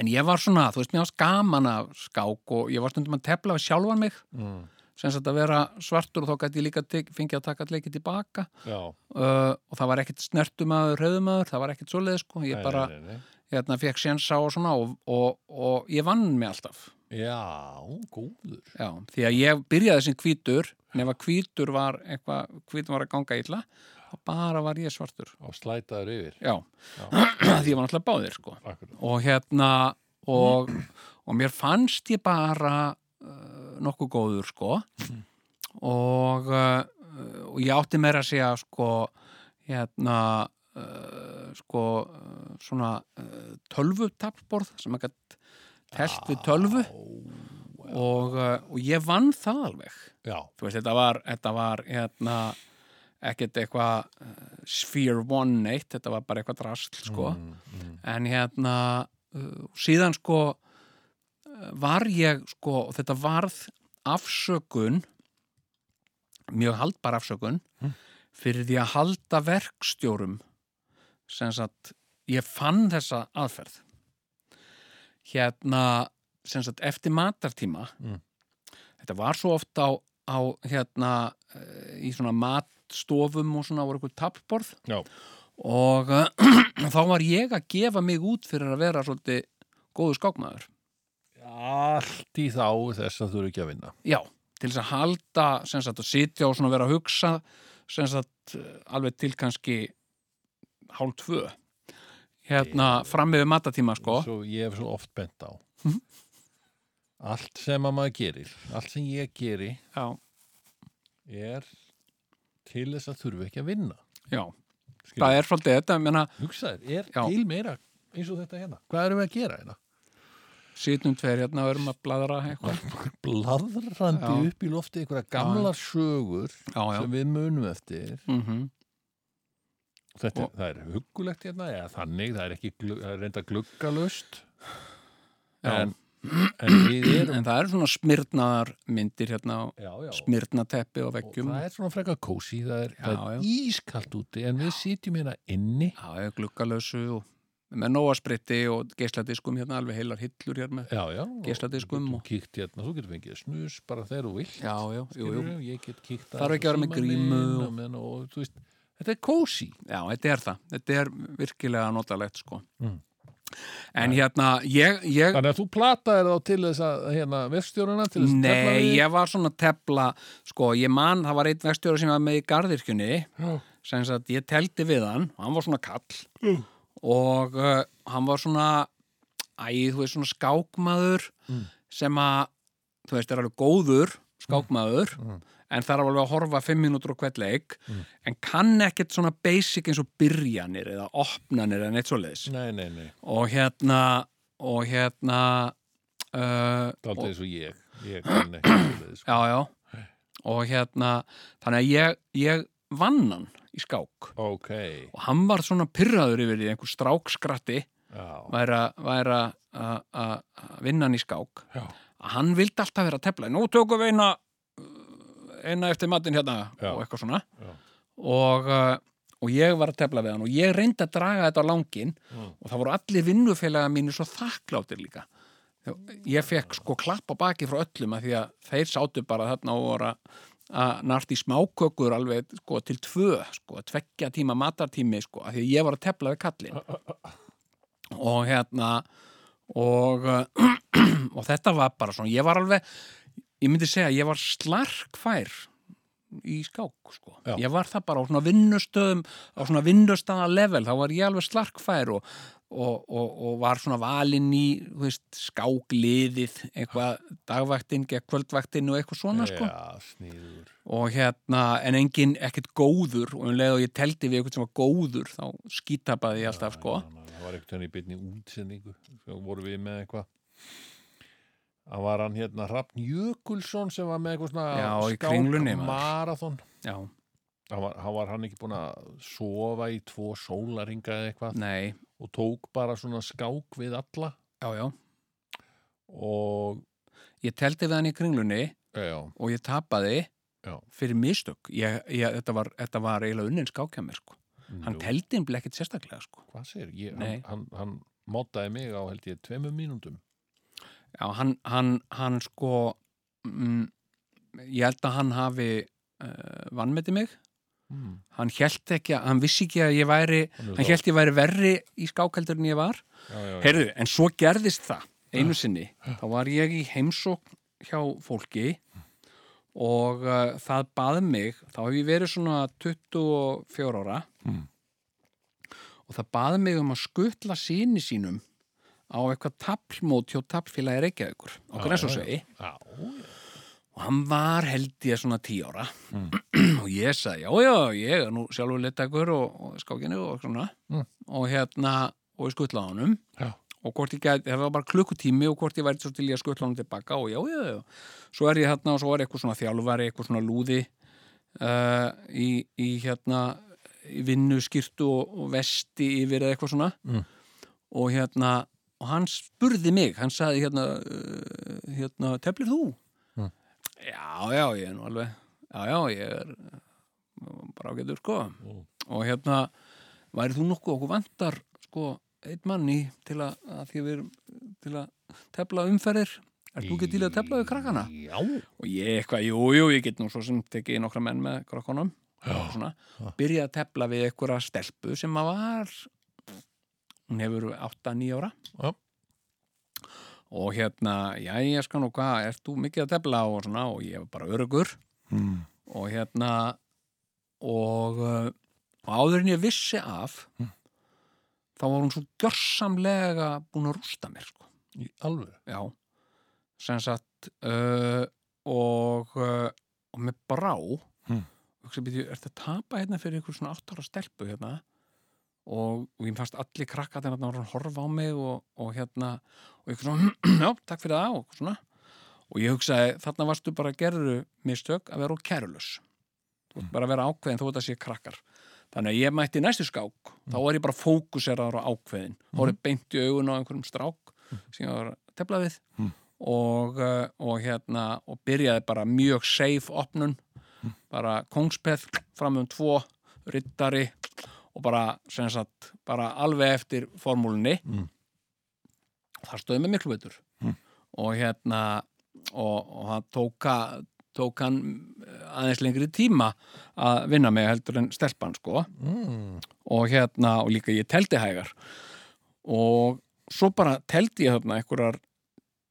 C: en ég var svona, þú veist, mér varst gaman af skák og ég var stundum að tefla við sjálfan mig
B: Mm.
C: sem sagt að vera svartur og þá gæti ég líka tek, fengið að taka leikið tilbaka
B: Já.
C: uh, og það var ekkert snertumæður, rauðumæður, það var ekkert svoleið sko, ég bara
B: Nei, nei, nei, nei.
C: hérna, fekk sénsa og svona og, og, og ég vann mig alltaf
B: Já, góður.
C: já, því að ég byrjaði sem hvítur nema hvítur var eitthvað hvítur var að ganga illa þá bara var ég svartur
B: Og slætaður yfir.
C: já,
B: Já.
C: <clears throat> því ég var náttúrulega báðir sko.
B: Akkurat.
C: og hérna og, og mér fannst ég bara uh, nokkuð góður sko og, uh, og ég átti meira að segja sko hérna uh, sko uh, svona uh, tölvutapsborð sem að gætt telt við tölvu og, uh, og ég vann það alveg
B: Já,
C: þú veist, þetta var, þetta var hérna, ekkert eitthvað uh, sphere one neitt, þetta var bara eitthvað drasl, sko en hérna, uh, síðan sko uh, var ég sko, og þetta varð afsökun mjög haldbar afsökun fyrir því að halda verkstjórum sem sagt ég fann þessa aðferð hérna sem sagt eftir matartíma
B: Mm.
C: þetta var svo oft á, á hérna eh, í svona matstofum og svona voru eitthvað tappborð
B: Já.
C: og eh, <clears throat> þá var ég að gefa mig út fyrir að vera svolítið góðu skákmaður
B: allt í þá þess að þú eru ekki að vinna.
C: já, til þess að halda sem sagt að sitja og svona vera að hugsa sem sagt eh, alveg til kannski hálf tvö hérna fram með matatíma sko
B: Svo ég hef svo oft bent á.
C: Mhm.
B: Allt sem að maður gerir, allt sem ég geri
C: já,
B: er til þess að þurfa ekki að vinna.
C: já,
B: Skilur.
C: það er svolítið þetta, ég meina
B: Hugsaður, er
C: Já.
B: til meira eins og þetta hérna? Hvað erum við að gera hérna?
C: Sýtum tveir hérna og erum að bladra eitthvað.
B: Bladrandi
C: Já.
B: upp í lofti einhverja gamlar sögur
C: Já, já.
B: sem við munum eftir.
C: Mm
B: Þetta,
C: Og-
B: það er hugulegt hérna, eða þannig, það er ekki glu- það er reynda gluggalust
C: Já.
B: en, en við erum
C: En það eru svona smyrnaðar myndir hérna á
B: já, já,
C: smyrnateppi og
B: og
C: veggjum.
B: það er svona frekar kósi, það er, það
C: Já, já.
B: er ískalt úti en við sitjum hérna inni
C: Já, ég er gluggalösu og með nóaspritti og geisladiskum hérna, alveg heilar hillur hérna með.
B: já, já,
C: Geisladiskum
B: og þú
C: og-
B: getur kíkt hérna, þú getur fengið snus bara þegar þú vilt
C: Já, já, jú, jú.
B: skilurðu, ég get kíkt
C: Þarf
B: aðeins á
C: ekki að vera með
B: símann
C: grímu
B: minn
C: og-
B: og... menn og þú veist, þetta er kósi
C: Já, þetta er það. Þetta er virkilega notalegt, sko.
B: Mm.
C: En hérna, ég, ég,
B: þannig að þú plataðir þá til þess að hérna, verstjóruna til þess að tefla
C: nei,
B: við
C: ég var svona tepla, sko, ég man, það var einn vestjóra sem var með í garðirkjunni
B: Já.
C: sem sagt, ég teldi við hann og hann var svona kall og uh, hann var svona æ, þú veist, svona skákmaður sem að, þú veist, er alveg góður skákmaður en þarf alveg að horfa fimm mínútur á hvert leik en kann ekkert svona basic eins og byrjanir eða opnanir eða neitt svoleiðis
B: nei, nei, nei,
C: og hérna og hérna uh,
B: það er
C: og-
B: aldrei eins og ég ég kann ekki svoleiðis, sko.
C: já, já og hérna, þannig að ég, ég vann hann í skák
B: ok,
C: og hann var svona pyrraður yfir því einhver strákskratti
B: já
C: væri að- væri að- að að- að vinna hann í skák
B: Já.
C: að hann vildi alltaf vera að tefla nú tökum við eina eina eftir matinn hérna
B: Já.
C: og eitthvað svona
B: Já.
C: og, uh, og ég var að tefla við hann og ég reyndi að draga þetta á langin
B: Mm.
C: og það voru allir vinnufélaga mínir svo þakkláttir líka ég fekk sko klapp á baki frá öllum að því að þeir sátu bara þarna og voru að- að nart í smákökur alveg sko til tvö sko, tveggja tíma matartími sko, að því að ég var að tefla við kallin og hérna og, <clears throat> uh, og þetta var bara svona, ég var alveg ég myndi segja, ég var slarkfær í skák sko.
B: Já.
C: ég var það bara á svona vinnustöðum á svona vinnustaða level, þá var ég alveg slarkfær og, og, og, og var svona valinn í þú veist, skákliðið, eitthvað dagvaktinn, gegn kvöldvaktinn og eitthvað svona sko.
B: Já, sníður.
C: og hérna, en enginn ekkert góður og um leið og ég teldi við eitthvað sem var góður þá skítabaði ég alltaf sko.
B: Ná, ná, Það var ekkert henni í byrni útsendingu. Svo voru við með eitthvað. Það var hann hérna Hrafn Jökulsson sem var með eitthvað svona
C: Já, í Kringlunni, maður.
B: marathon.
C: já,
B: Hann var, hann var hann ekki búin að sofa í tvo sólaringa eða eitthvað
C: nei
B: og tók bara svona skák við alla
C: já, já.
B: og
C: Ég teldi við hann í kringlunni
B: já, já,
C: og ég tapaði
B: Já.
C: fyrir mistök. Ég, ég, þetta, var, þetta var eiginlega unnins skákjamir, sko. Hann
B: Nú,
C: teldi hann ekkert sérstaklega, sko.
B: hvað sér, ég,
C: Nei.
B: hann, hann, hann mótaði mig á held ég tveimur mínúndum
C: Já, hann, hann, hann sko, mm, ég held að hann hafi uh, vannmeti mig.
B: mm.
C: Hann held ekki, að- hann vissi ekki að ég væri, hann held ég væri verri í skákældur en ég var.
B: já, já, já,
C: Heyrðu, en svo gerðist það einu sinni. Þá var ég í heimsókn hjá fólki og uh, það baði mig, þá hef ég verið svona 24 ára
B: Mm.
C: og það baði mig um að skutla síni sínum á eitthvað taplmót hjá taplfélagi Reykjavíkur á
B: Já,
C: Grensósvegi
B: já, já.
C: og hann var held ég svona 10 ára
B: Mm.
C: <clears throat> og ég sagði, já, já, ég er nú sjálfur litakur og, og skákinu og svona
B: Mm.
C: og hérna, og ég skutlaði honum
B: Já.
C: og hvort ég gæti, það var bara klukkutími og hvort ég væri svo til ég að skutla honum tilbaka og já, já, já, svo er ég hérna og svo er eitthvað svona þjálfari, eitthvað svona lúði uh, í, í hérna í vinnu skýrtu og, og vesti yfir eða eitthvað svona
B: Mm.
C: og hérna og hann spurði mig, hann sagði hérna uh, hérna, teflir þú?
B: Mm.
C: Já, já, ég er nú alveg já, já, ég er uh, bara ágætur sko
B: Mm.
C: og hérna, væri þú nokkuð okkur vantar sko, einn mann í til að, að því að við erum til að tefla umferðir Er þú ekki til í að tefla við krakkana?
B: Já,
C: og ég eitthvað, jú, jú, ég get nú svo sem tekið í nokkra menn með krakkonum og svona, byrjaði að tepla við einhverja stelpu sem að var hún hefur 8-9 ára
B: Já.
C: og hérna, já, ég skal nú hvað ert þú mikið að tepla og svona og ég var bara örugur
B: mm.
C: og hérna og, uh, og áður en ég vissi af þá var hún svo gjörsamlega búin að rústa mér, sko
B: í alveg
C: já sem sagt uh, og, uh, og með brá
B: Hmm.
C: og sem byrju, ertu að tapa hérna fyrir ykkur svona 8 ára stelpu hérna og, og ég fannst allir krakka þegar hann var að horfa á mig og, og hérna og ykkur svona, <clears throat> já, takk fyrir það og svona og ég hugsaði, þarna varstu bara að gerðu mistök að vera úr kærulus þú vart bara að vera ákveðin þú veit að sé krakkar þannig að ég mætti í næstu skák þá var ég bara fókuseraður á ákveðin þá var ég beint í augun á einhverjum strák sem ég var að tefla við
B: Mm.
C: og, eh, og hérna og byrjaði bara mjög safe opnun bara kongspeð fram um tvo, rittari og bara, sem sagt, bara alveg eftir formúlunni
B: Mm.
C: þar stöðum við miklu veitur
B: Mm.
C: og hérna og, og það tóka tók hann eh, aðeins lengri tíma að vinna með heldur en stelpan sko
B: mm.
C: og hérna og líka ég teldi hægar og svo bara teldi ég þarna einhverjar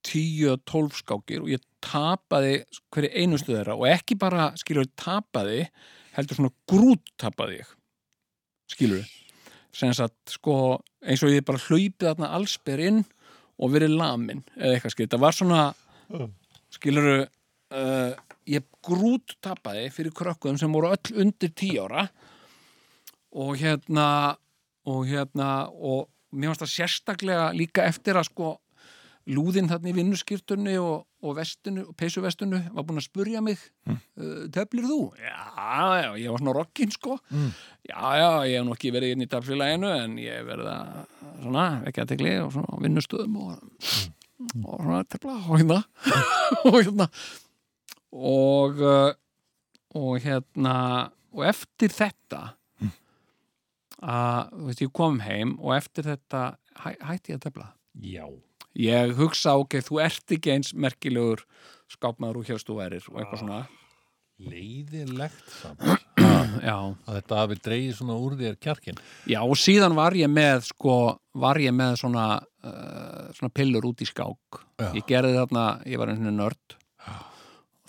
C: 10-12 skákir og ég tapaði hverju einustu þeirra og ekki bara skilur tapaði heldur svona grút tapaði ég skilur sem að sko eins og ég bara hlaupið þarna allsber inn og verið lamin eða eitthvað skilur þetta var svona skilur uh, ég grút tapaði fyrir krökkum sem voru öll undir 10 ára og hérna og hérna og mér fannst það sérstaklega líka eftir að sko lúðinn þarna í vinnuskýrtunni og, og vestinu, peysuvestinu var búin að spurja mig mm. teflir þú? Já, já, ég var svona rockin sko
B: Mm.
C: já, já, ég hef nú ekki verið inn í teflileginu en ég hef verið að svona, ekki að tegli og svona á vinnustöðum og, og svona tefla og hérna <laughs> og hérna og uh, og hérna og eftir þetta að, þú veist, ég kom heim og eftir þetta hæ, hætti ég að tefla
B: Já,
C: ég hugsa, ok, þú ert ekki eins merkilegur skápmaður og hérstu værir og eitthvað svona,
B: leiðilegt samt
C: já
B: að þetta hafi dreigið svona úr þér kjarkin
C: já, og síðan var ég með, sko var ég með svona uh, svona pillur út í skák
B: Já.
C: ég gerði þarna, ég var einhvern veginn nörd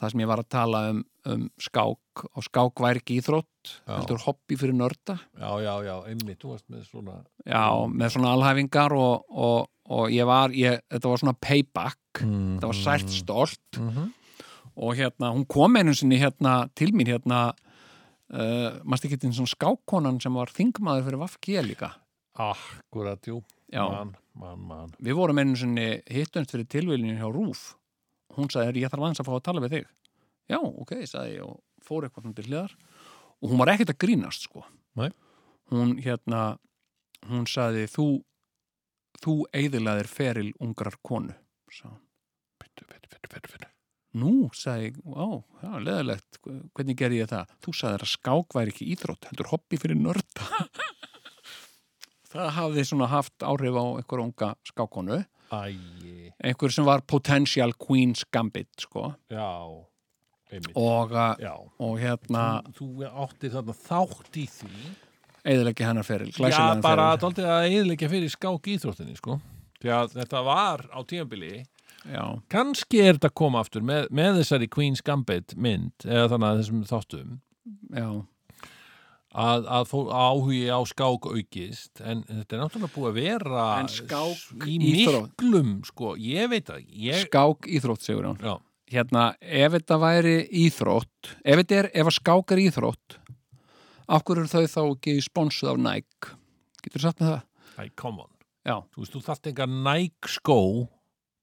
C: það sem ég var að tala um, um skák, og skák væri ekki íþrótt
B: Já.
C: heldur hobby fyrir nörda
B: Já, já, já, einmitt, þú varst með svona
C: já, með svona alhæfingar og, og, og ég var, ég, þetta var svona payback
B: mm.
C: þetta var sælt stolt
B: mm -hmm.
C: og hérna, hún kom einu sinni hérna til mín hérna uh, mannst ekki þetta svona skákonan sem var þingmaður fyrir Vafkje líka
B: Akkurat, jú,
C: já,
B: mann, mann, mann
C: við vorum einu sinni hittumst fyrir tilvílinu hjá Rúf hún sagði, "Heyrðu, ég þarf aðeins að fá að tala við þig já, ok, sagði ég og fór eitthvað svona til hliðar og hún var ekkert að grínast sko
B: Nei.
C: hún hérna hún sagði, þú þú eigðilaðir feril ungrar konu sá hann.
B: Bittu, bittu, bittu, bittu, bittu.
C: Nú, sagði ég, á, já, leðalegt, hvernig gerði ég það? Þú sagðir að skák væri ekki íþrótt, heldur hobby fyrir nörda. <laughs> það hafði svona haft áhrif á einhver unga skákonu,
B: Æi,
C: einhver sem var potential queen's gambit, sko.
B: já, einmitt.
C: Og, að-
B: já.
C: og hérna,
B: Þú, þú átti þarna þátt í því.
C: eðalegi hennar feril,
B: Já,
C: glæsilegan
B: bara
C: feril.
B: daldið að eðilegja fyrir skák íþróttinni, sko. Því að þetta var á tímabili.
C: Já,
B: Kanski er þetta að koma aftur með, með þessari Queen's Gambit mynd, eða þannig að þessum þáttum,
C: já,
B: að, að fó, áhugi á skák aukist, en þetta er náttúrulega búið að vera
C: En skák
B: í
C: íþrótt.
B: miklum, sko, ég veit að ég...
C: skák íþrótt, segur hann.
B: Já,
C: Hérna, ef þetta væri íþrótt, ef þetta er, ef að skák er íþrótt, af hverju eru þau þá ekki sponsuð af Nike? Getur þú sagt með það?
B: æ, come on.
C: Já,
B: Þú veist, þú þarft enga næk skó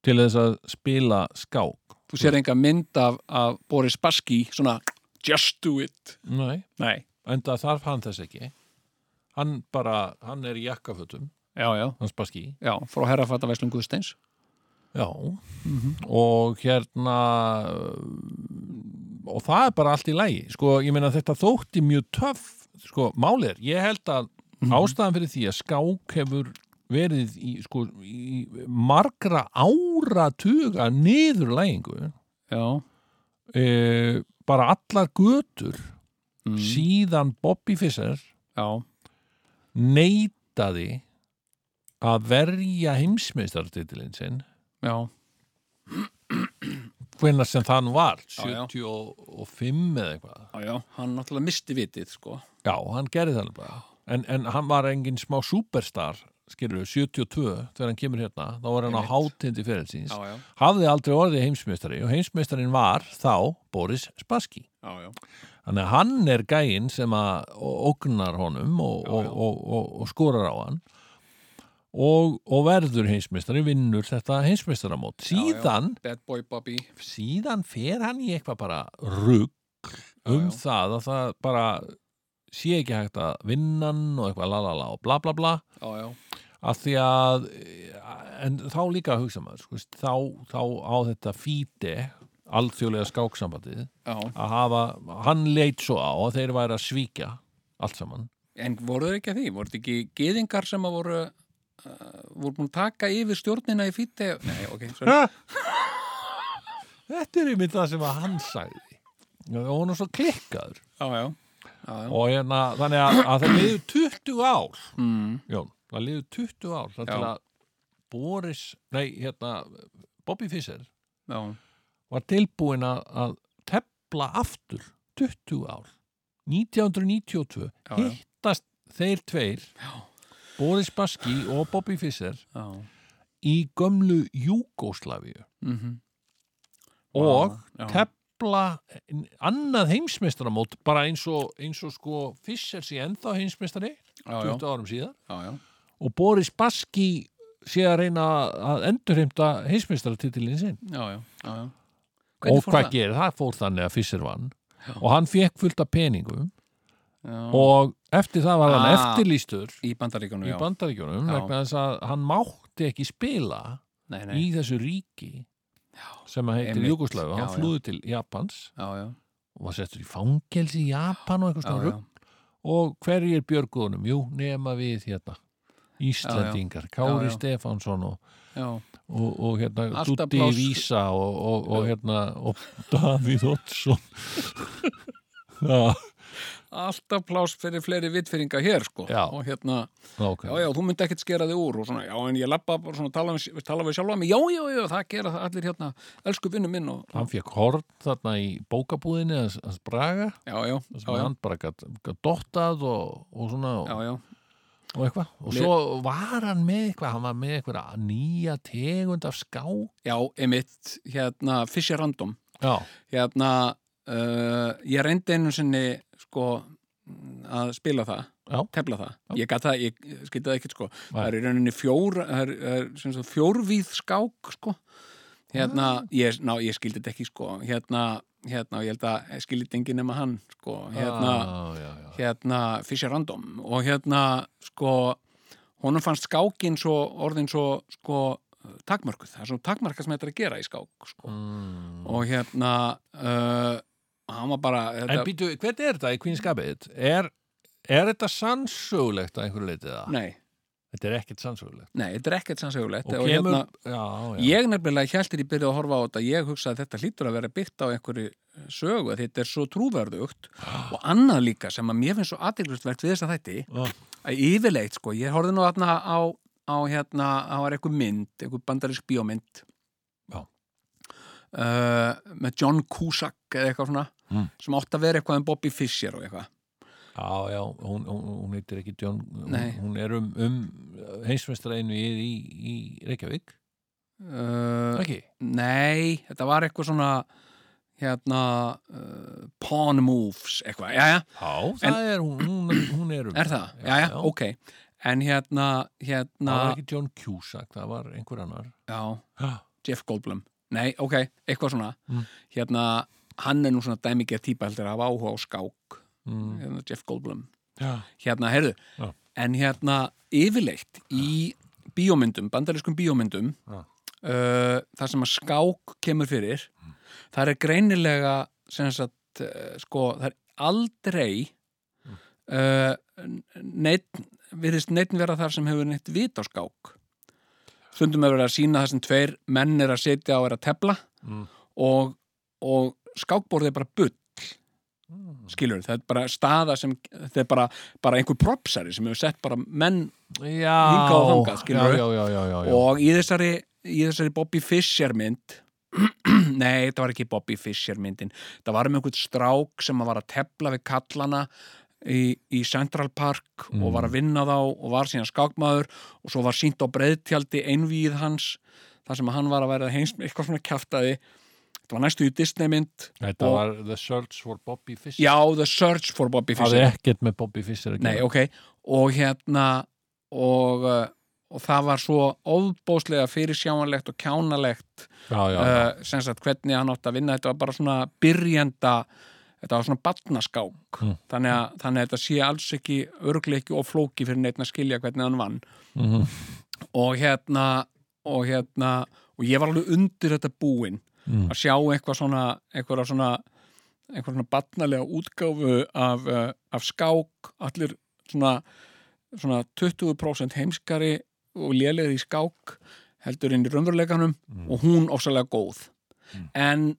B: til þess að spila skák.
C: þú sér enga mynd af, af Boris Baski, svona just do it.
B: Nei,
C: Nei,
B: enda þarf hann þess ekki. Hann bara, hann er í jakkafötum.
C: já, já,
B: hans Baski
C: já, frá herrafattavæslum Guðsteins.
B: já. og hérna uh, og það er bara allt í lægi sko, ég meina þetta þótti mjög töff sko, málið er, ég held að ástæðan fyrir því að skák hefur verið í, sko, í margra áratuga niðurlægingu
C: Já,
B: e, bara allar götur síðan Bobby Fischer
C: já,
B: neitaði að verja heimsmeistartitilin sinn
C: já,
B: hvenna sem það nú var
C: já.
B: 75 eða eitthvað
C: já, já, hann náttúrulega misti vitið, sko.
B: já, hann gerði það alveg bara en, en hann var engin smá superstar skilur 72 þegar hann kemur hérna þá var hann á hátindi fyrirlsins
C: já,
B: hafði aldrei orðið heimsmeistari og heimsmeistarin var þá Boris Spassky
C: já, já,
B: þannig að hann er gæinn sem að ógnar honum og,
C: Já, já.
B: Og, og, og, og skorar á hann og, og verður heimsmeistari vinnur þetta heimsmeistaramót síðan
C: bad boy Bobby.
B: síðan fer hann í eitthvað bara rugg um
C: já.
B: það að það bara sé ekki hægt að vinna hann og eitthvað lalala og bla bla bla
C: Já, já,
B: að því að eh, en þá líka að hugsa maður sko, veist, þá, þá á þetta fíti alþjóðlega skáksambandið
C: já.
B: að hafa, hann leit svo á að þeir væri að svíkja allt saman
C: En voru þeir ekki að því? Voru þetta ekki geðingar sem að voru, uh, voru búin að taka yfir stjórnina í fíti? Nei, ok, sorry.
B: Þetta er einmitt það sem að hann sagði og hún er svo klikkaður
C: Já, já, já, já.
B: og hérna, þannig að, að það liður 20 ár
C: Mm,
B: Jón, það liður 20 ár þar
C: Já.
B: til að Boris, nei, hérna Bobby Fischer
C: já,
B: var tilbúin að- að tepla aftur 20 ár 1992
C: Já, já.
B: hittast þeir tveir já. Boris Baski og Bobby Fischer
C: já.
B: í gömlu Júgóslavíu
C: Mm
B: og
C: já.
B: tepla annað heimsmeistaramót bara eins og, eins og sko Fischer sé ennþá heimsmeistari
C: já, já,
B: 20 árum síðar
C: já, já.
B: og Boris Baski sé að reyna að endurheimta heimsmeistaratitilin sinn
C: Já, já, já, já.
B: og hvað gerir, það fór þannig að Fischer vann
C: Já.
B: og hann fekk fullt af peningum
C: gerir?
B: og eftir það var hann
C: Ah.
B: eftirlýstur
C: Í bandaríkunum,
B: í
C: já.
B: bandaríkjunum
C: Já.
B: vegna þess að hann mátti ekki spila
C: Nei,
B: í
C: nei,
B: þessu ríki sem að heitir
C: Einmitt.
B: Júkoslavu, hann
C: Já, já.
B: flúði til Japans
C: já, já,
B: og var settur í fangelsi í Japan og eitthvað
C: já,
B: svona
C: já.
B: rugl og hverjir björguðunum, jú, nema við hérna Íslandingar,
C: Já,
B: Kári
C: já.
B: Stefánsson og
C: já.
B: og, og hérna
C: Alltaf
B: Dutti
C: pláss.
B: Vísa og, og, og hérna og Davíð Oddsson
C: <laughs>
B: Já,
C: Alltaf pláss fyrir fleiri vittfyrringa hér, sko.
B: Já.
C: Og hérna,
B: ok
C: já, já, þú myndi ekkert skera þig úr og svona, já, en ég lappa bara svona, tala við, tala við sjálfa mig, já, já, já, það gera það allir hérna, elsku vinnu minn og,
B: Hann fekk horn þarna í bókabúðinni hans, hans Braga,
C: já, já,
B: þar
C: já,
B: sem
C: já,
B: hann bara gat, gat dottað og, og svona og,
C: já, já,
B: og eitthvað og
C: Mér-
B: svo var hann með eitthvað hann var með eitthvað nýja tegund af ská
C: já, emitt, hérna, Fisher Random,
B: Já,
C: hérna, uh, ég reyndi einu sinni, sko, mm, að spila það,
B: Já.
C: tefla það, ég gat það, ég skitaði ekkert, sko,
B: Nei.
C: það er í rauninni fjór, það er, það er sem sagt, fjórvíð skák, sko, hérna, ég, ná, ég skildi þetta ekki, sko, hérna, hérna, og ég held að ég skildi þetta enginn nema hann, sko, hérna,
B: Ah, já, já, já.
C: hérna, Fisher Random og hérna, sko, honum fannst skákin svo, orðin svo sko, eh, takmörkuð, það er svo takmarkað sem þetta er að gera í skák sko.
B: Mm.
C: og hérna uh, hann var bara
B: En
C: þetta,
B: býtu, hvernig er þetta í kvinnskapið? Er, er þetta sannsögulegt að einhverju leitið það?
C: nei,
B: Þetta er ekkert sannsögulegt.
C: nei, þetta er ekkert sannsögulegt hérna,
B: Og kemur, já, já.
C: Ég nefnilega hjæltir í byrju að horfa á þetta ég hugsa að þetta hlýtur að vera byggt á einhverju sögu að þetta er svo trúverðugt
B: <gasps>
C: og annað líka sem að mér finnst svo aðeinsvægt við þess að þætti
B: Já.
C: að yfirleitt sko, ég horfði nú þarna á, á hérna, það var einhver mynd, einhver bandarisk bíómynd
B: Já.
C: Eh, með John Cusack eða eitthvað svona
B: Mm.
C: sem átti að vera eitthvað en Bobby Fischer og eitthvað
B: já, já, hún, hún, hún heitir ekki John, hún,
C: Nei.
B: hún er um, um heimsmestræðinu í, í, í Reykjavík.
C: uh,
B: Ekki?
C: Nei, þetta var eitthvað svona hérna uh, pawn moves eitthvað, jæja,
B: Já, það er, hún, hún, hún er um.
C: er það?
B: Já,
C: Jæja,
B: já.
C: ok En hérna, hérna
B: Það var ekki John Cusack, það var einhver annar.
C: já,
B: Já,
C: Jeff Goldblum Nei, ok, eitthvað svona
B: Mm.
C: Hérna, hann er nú svona dæmikið típa heldur að hafa áhuga á skák
B: mm.
C: hérna, Jeff Goldblum
B: já.
C: Hérna, heyrðu,
B: Já.
C: en hérna yfirleitt í bíómyndum bandarískum bíómyndum
B: Já.
C: uh, þar sem að skák kemur fyrir
B: Mm.
C: þar er greinilega sem sagt, uh, sko, það er aldrei
B: Mm.
C: uh, neitt virðist neitt vera þar sem hefur neitt vit á skák stundum hefur verið að sína það sem tveir menn er að setja og er að tepla
B: Mm.
C: og, og skákborðið er bara bull
B: Mm.
C: skilur, það er bara staða sem það er bara, bara einhver propsari sem hefur sett bara menn
B: Já,
C: Hingað og þangað,
B: já,
C: skilurðu?
B: já, já, já, já, já.
C: og í þessari, í þessari Bobby Fischer mynd <clears throat> nei, þetta var ekki Bobby Fischer myndin það var um einhvern strák sem var að tepla við kallana í, í Central Park og var að vinna þá og var síðan skákmaður og svo var sínt á breyðtjaldi einvíð hans þar sem hann var að vera heimst eitthvað svona kjaftaði þetta var næstu í Disney mynd
B: Þetta
C: og-
B: var The Search for Bobby Fischer.
C: já, The Search for Bobby
B: Það
C: Fischer
B: er ekkert með Bobby Fischer að
C: Nei,
B: gera.
C: ok, og hérna og, uh, og það var svo ofbóðslega fyrirsjáanlegt og kjánalegt
B: já, já, já.
C: uh, sem sagt hvernig hann átti að vinna þetta var bara svona byrjenda þetta var svona batnaskák
B: Mm.
C: þannig, að, þannig að þetta sé alls ekki örgleiki og flóki fyrir neitt að skilja hvernig hann vann
B: Mhm.
C: og hérna og hérna og ég var alveg undir þetta búinn
B: Mm.
C: að sjá eitthvað svona eitthvað svona, eitthvað svona batnalega útgáfu af, uh, af skák allir svona, svona 20% heimskari og lélegri í skák heldur inn í raunveruleikanum
B: Mm.
C: og hún ofsalega góð
B: Mm.
C: en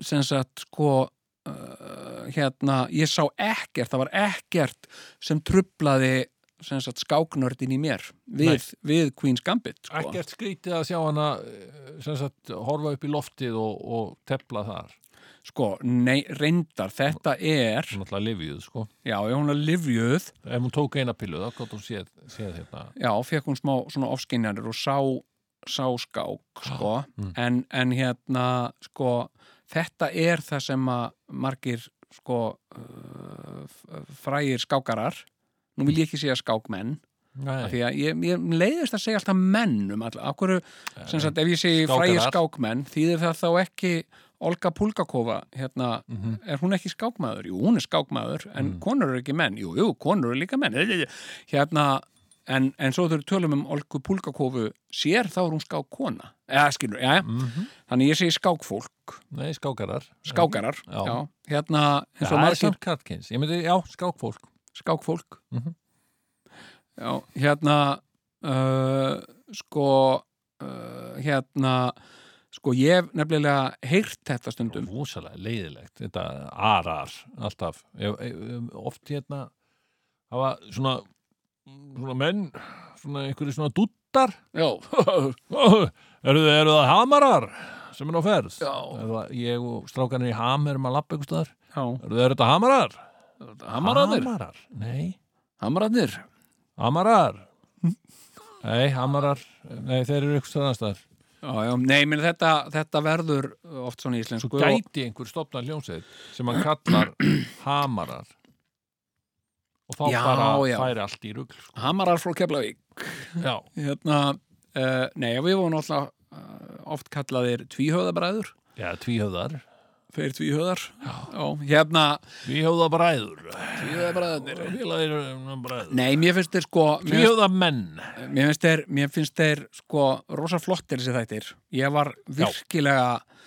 C: sem sagt sko uh, hérna, ég sá ekkert það var ekkert sem trublaði sem sagt skáknördin í mér við, við Queen's Gambit sko.
B: ekkert skrítið að sjá hana eh, sem sagt, horfa upp í loftið og, og tepla þar
C: sko, nei, reyndar, þetta er
B: náttúrulega livjuð sko
C: já, ég hún er livjuð
B: ef hún tók eina pillu þá gott hún séð, séð hérna
C: já, fekk hún smá svona ofskinjanir og sá, sá skák sko.
B: mm.
C: en, en hérna sko, þetta er það sem að margir sko uh, f- frægir skákarar nú vil ég ekki segja skákmenn af
B: Nei,
C: því að ég, ég leiðist að segja alltaf menn um alltaf, af hverju, sem sagt ef ég segi
B: Skákarar.
C: frægir skákmenn, þýðir það þá ekki Olga Pulgakova hérna,
B: Mhm.
C: er hún ekki skákmaður? Jú, hún er skákmaður en
B: Mm.
C: konur eru ekki menn, jú, jú, konur eru líka menn <laughs> hérna, en, en svo þau tölum um Olgu Pulgakofu sér þá er hún skákkona eða skilur, já,
B: Mhm.
C: þannig ég segi skákfólk
B: Nei skákarar
C: skákarar,
B: Mhm, Já.
C: já, hérna eins
B: það
C: og
B: er
C: margir
B: samt Katkins, ég myndi, já, skákfólk
C: skákfólk
B: Mhm.
C: já, hérna uh, sko uh, hérna sko ég hef nefnilega heyrt þetta stundum
B: rosalega leiðilegt þetta arar alltaf ef, ef, ef- oft hérna hafa svona, svona menn svona einhverju svona dúttar
C: já,
B: eru, þið- eru það hamarar sem er á ferð
C: Já.
B: Er það, ég og strákanir í ham erum að lappa einhvers staðar
C: já,
B: eru það þetta hamarar?
C: hamararnir
B: hamarar? nei,
C: hamararnir,
B: hamarar nei, hamarar nei, þeir eru einhvers staðar annars staðar
C: já, já, nei, menn þetta þetta verður oft svona í
B: svo
C: íslensku og,
B: gæti einhver stopna hljómsveit sem hann kallar <clears throat> hamarar og þá
C: Já,
B: bara
C: já.
B: færi allt í rugl sko.
C: hamarar frá Keflavík
B: já,
C: hérna, uh, nei, við vorum alltaf uh, oft kallaðir tvíhöðabræður
B: já tvíhöðar
C: Þeir tví höðar. Já. hérna,
B: Við höfða bræður.
C: tví höðar bræðanir.
B: Félagir um bræður.
C: Nei, mér finnst þeir sko,
B: Við
C: mér
B: höfða menn.
C: finnst, mér finnst þeir, mér finnst þeir sko rosa flottir þessi þættir. Ég var virkilega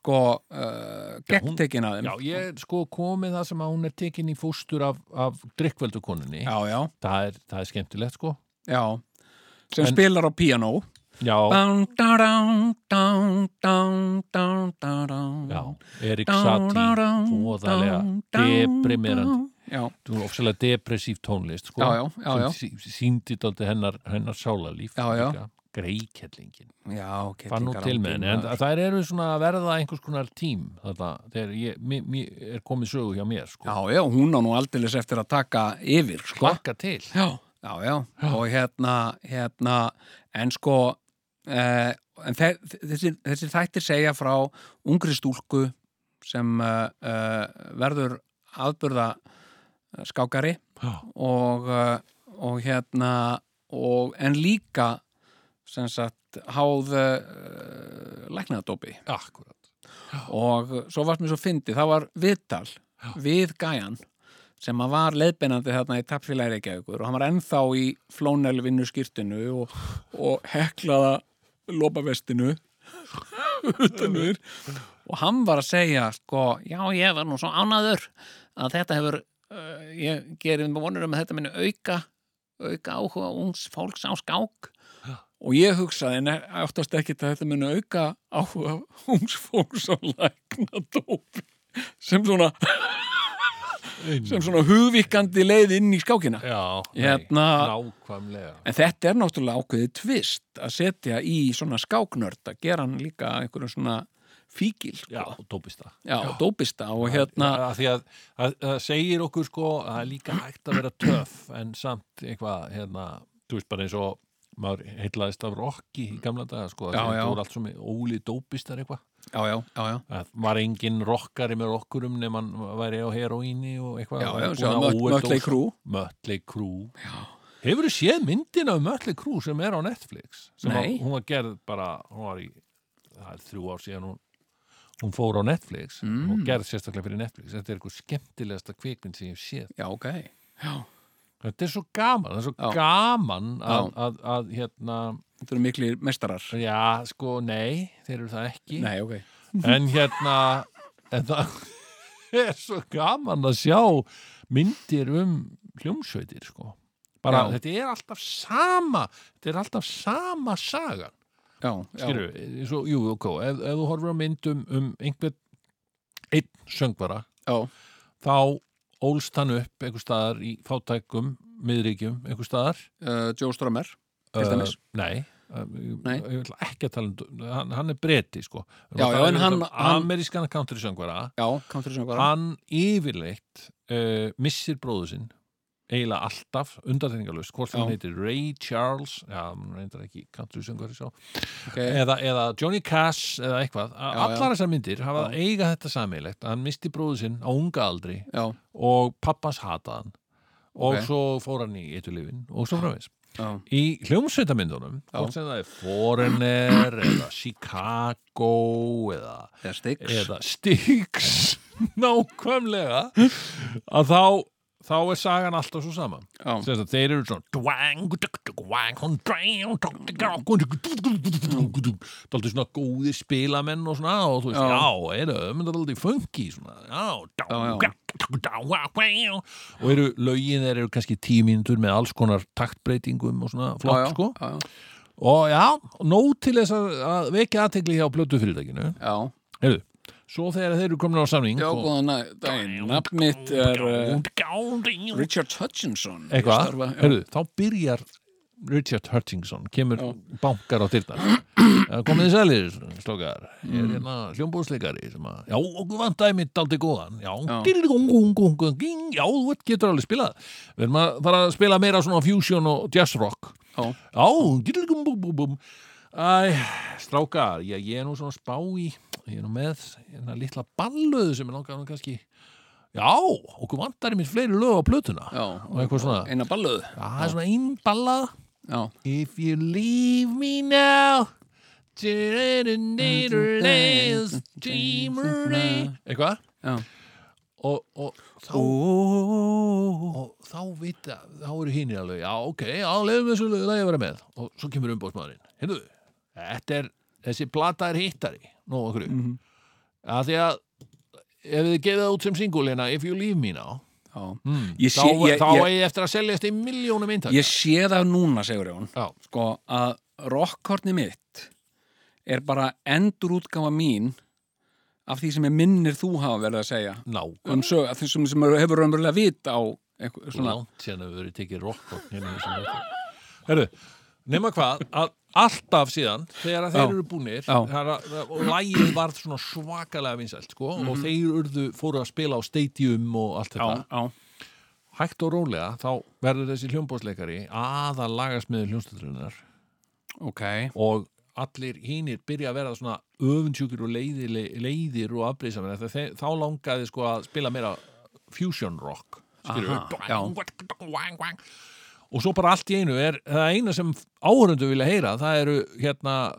C: sko uh, gegntekin að þeim.
B: Já, ég sko komið það sem að hún er tekin í fóstur af, af drikkveldukoninni.
C: já, já.
B: Það er, það er skemmtilegt sko.
C: já. Sem
B: En-
C: spilar á píanó.
B: Já,
C: Dán, dán, dán, dán, dán, dán, dán.
B: já. Erik
C: Dán,
B: Satie,
C: dán, dán,
B: fóðalega
C: dán, dán,
B: deprimerandi.
C: dán. Já,
B: Þú er ofsalega depressív tónlist sko.
C: Já, já, já, já.
B: Sem sí- sýndi dálítið hennar, hennar sálarlíf.
C: Já, já.
B: líka. Greikellingin.
C: já, ok.
B: fann nú til með henni, en þa- þær eru svona að verða einhvers konar tím þetta, þegar ég, mér, mér er komið sögu hjá mér
C: Já,
B: sko,
C: já, hún á nú aldeilis eftir að taka yfir, sko.
B: klakka til
C: Já, já, já. Og hérna, hérna, en sko, eh, en þe þessi, þessi þættir segja frá ungri stúlku sem eh, eh, verður aðburða skákari
B: Já.
C: og, eh, og hérna, og, en líka, sem sagt, háð eh, læknaðadópi.
B: akkurat,
C: og svo varst mér svo fyndi, það var viðtal við gæjan sem að var leiðbeinandi þarna í tapfélagi Reykjavíkur og hann var ennþá í flónelvinnu skýrtinu og, og heklaða lopavestinu utanur og hann var að segja sko, já ég var nú svo ánaður að þetta hefur uh, ég gerir með vonur um að þetta minni auka auka áhuga ungs fólks á skák og ég hugsaði en áttast ekki að þetta muni auka áhuga ungs fólks á lækna dópi sem svona, sem svona hugvíkandi leið inn í skákina
B: já, nei,
C: Hérna-
B: nákvæmlega
C: en þetta er náttúrulega ákveðið tvist að setja í svona skáknörd að gera hann líka einhverjum svona fíkil sko.
B: já, tópist það
C: Já, og dópista og hérna
B: að því að að- það segir okkur sko að það er líka hægt að vera töff en samt eitthvað, hérna, þú veist bara eins og maður heitlaðist af rocki í gamla daga sko,
C: Já, já.
B: það voru allt svo með óli dópistar eitthvað
C: já, já, já, já,
B: að var engin rockari með rockurum nema hann væri á heroíni og eitthvað
C: já, já,
B: Búin
C: já
B: að overdose.
C: mötla í krú
B: Mötley Crüe Hefur þú séð myndina um Mötley Crüe sem er á Netflix? Sem að-
C: Nei.
B: Hún var gerð bara, hún var í, það er þrjú ár síðan hún, hún fór á Netflix mm. og gerð sérstaklega fyrir Netflix. Þetta er eitthvað skemmtilegasta kvikmynd sem ég hef séð.
C: Já, ok, já,
B: Þetta er svo gaman, það er svo
C: Já.
B: gaman að,
C: Já.
B: að, að, hérna,
C: þetta eru miklir mestarar
B: já, sko, nei, þeir eru það ekki.
C: Nei, ok,
B: En hérna, en það <laughs> er svo gaman að sjá myndir um hljómsveitir, sko. Bara,
C: Já.
B: þetta er alltaf sama, þetta er alltaf sama sagan.
C: já, já,
B: Skilur við, svo, jú, ok, ef, ef þú horfir á mynd um, um einhvern, einn söngvara,
C: já,
B: þá ólst hann upp einhver staðar í fátækum, miðríkjum, einhver staðar.
C: uh, Joe Strömer Til dæmis?
B: Uh, nei, uh, ég-
C: Nei.
B: ég ætla ekki að tala um, hann, hann er breti, sko.
C: Já, já, en hann- hann-
B: Amerískan country söngvara.
C: Já, country söngvara
B: hann yfirleitt uh, missir bróðu sinn eiginlega alltaf, undartegningalust hvort
C: Já.
B: hann heitir Ray Charles já, hann reyndar ekki country söngari sá
C: okay.
B: eða, eða Johnny Cash eða eitthvað, já,
C: Já, já.
B: allar þessar myndir hafa eiga þetta sameiglegt, að hann misti bróðu sinn á unga aldri
C: Já,
B: og pappas hataði hann og
C: Ok.
B: svo fór hann í eitulifin og svo frávegs
C: já
B: í hljómsveitamyndunum
C: Já.
B: hvort sem það er Foreigner eða Chicago eða
C: eða Styx
B: eða Styx nákvæmlega að þá, þá er sagan alltaf svo saman
C: já,
B: Sérst að þeir eru svona dwang, duk, duk, wang, hon, drang, duk, duk, duk, duk, duk, duk, duk, duk, duk, duk. dálítið svona góði spilamenn og svona og þú veist,
C: Já.
B: já, eru ömynda dálítið funky svona, já, dá,
C: Já, já.
B: dá, dá, dá, wá, wá. og eru lögin þeir eru kannski tíu mínútur með alls konar taktbreytingum og svona
C: já,
B: flott, sko
C: já,
B: og já, nóg til þess að, að vekja aðtegli hjá blötu fyrirtækinu
C: já,
B: Heyrðu, svo þegar þeir eru komin á samning
C: já,
B: og-
C: góðan daginn nafn mitt er uh,
B: Eitthvað,
C: Richard Hutchinson
B: heyrðu, þá byrjar Richard Hutchinson, kemur bankar á
C: <clears throat>
B: dyrnar Eh, komið þið sælir, slókar ég
C: Mm.
B: er hérna hljómbúðsleikari sem að, já, okkur vantaði mitt aldrei góðan já,
C: Já.
B: dýrlíkungungungunging, já, þú veit, getur alveg spilað við erum að fara að spila meira svona fusion og jazz rock
C: já,
B: Já, gilgum búm búm búm Æ, strákar, ég, ég er nú svona að spá í ég er nú með hérna litla ballöðu sem er langar nú kannski Já, okkur vantar í mér fleiri lög á plötuna
C: já,
B: og eitthvað svona,
C: eina balluð
B: það er svona einn ballað
C: já,
B: If you leave me now eitthvað
C: Já.
B: og, og þá og þá vita, þá eru hínir alveg já, ok, já, leiðum þessu lagi að vera með og svo kemur umbóðsmaðurinn heyrðu, þetta er, þessi plata er hittari nú okkur mm
C: Mhm.
B: -hmm. að því að ef þið gefið það út sem singulina If You Leave Me Now
C: Já.
B: mm,
C: Ég sé-
B: þá,
C: ég-
B: þá
C: ég-
B: eigi eftir að seljast í miljónum intak
C: Ég sé það núna, segur Jón
B: já,
C: sko að rockhorni mitt er bara endurútgáfa mín af því sem ég minnir þú hafa verið að segja
B: ná
C: um sög, af því sem, sem maður hefur raunverulega vit á einhver, svona,
B: langt síðan að við verið tekið rokkort hérna í þessum þetta Herru, nema hvað að alltaf síðan, þegar að þeir
C: Já.
B: eru búnir
C: Já.
B: þegar að, og lægið varð svona svakalega vinsælt, sko, og þeir urðu fóru að spila á stadium og allt þetta
C: já, já,
B: hægt og rólega, þá verður þessi hljómbóðsleikari aða lagasmiður hljómstöldrunar
C: ok
B: og allir hinnir byrja að vera svona öfundsjúkir og leiðir, leiðir og afbrýðsamir, þegar þá langaði sko að spila meira fusion rock skilur
C: Aha, já.
B: við og svo bara allt í einu er það eina sem áhörundu vilja heyra það eru hérna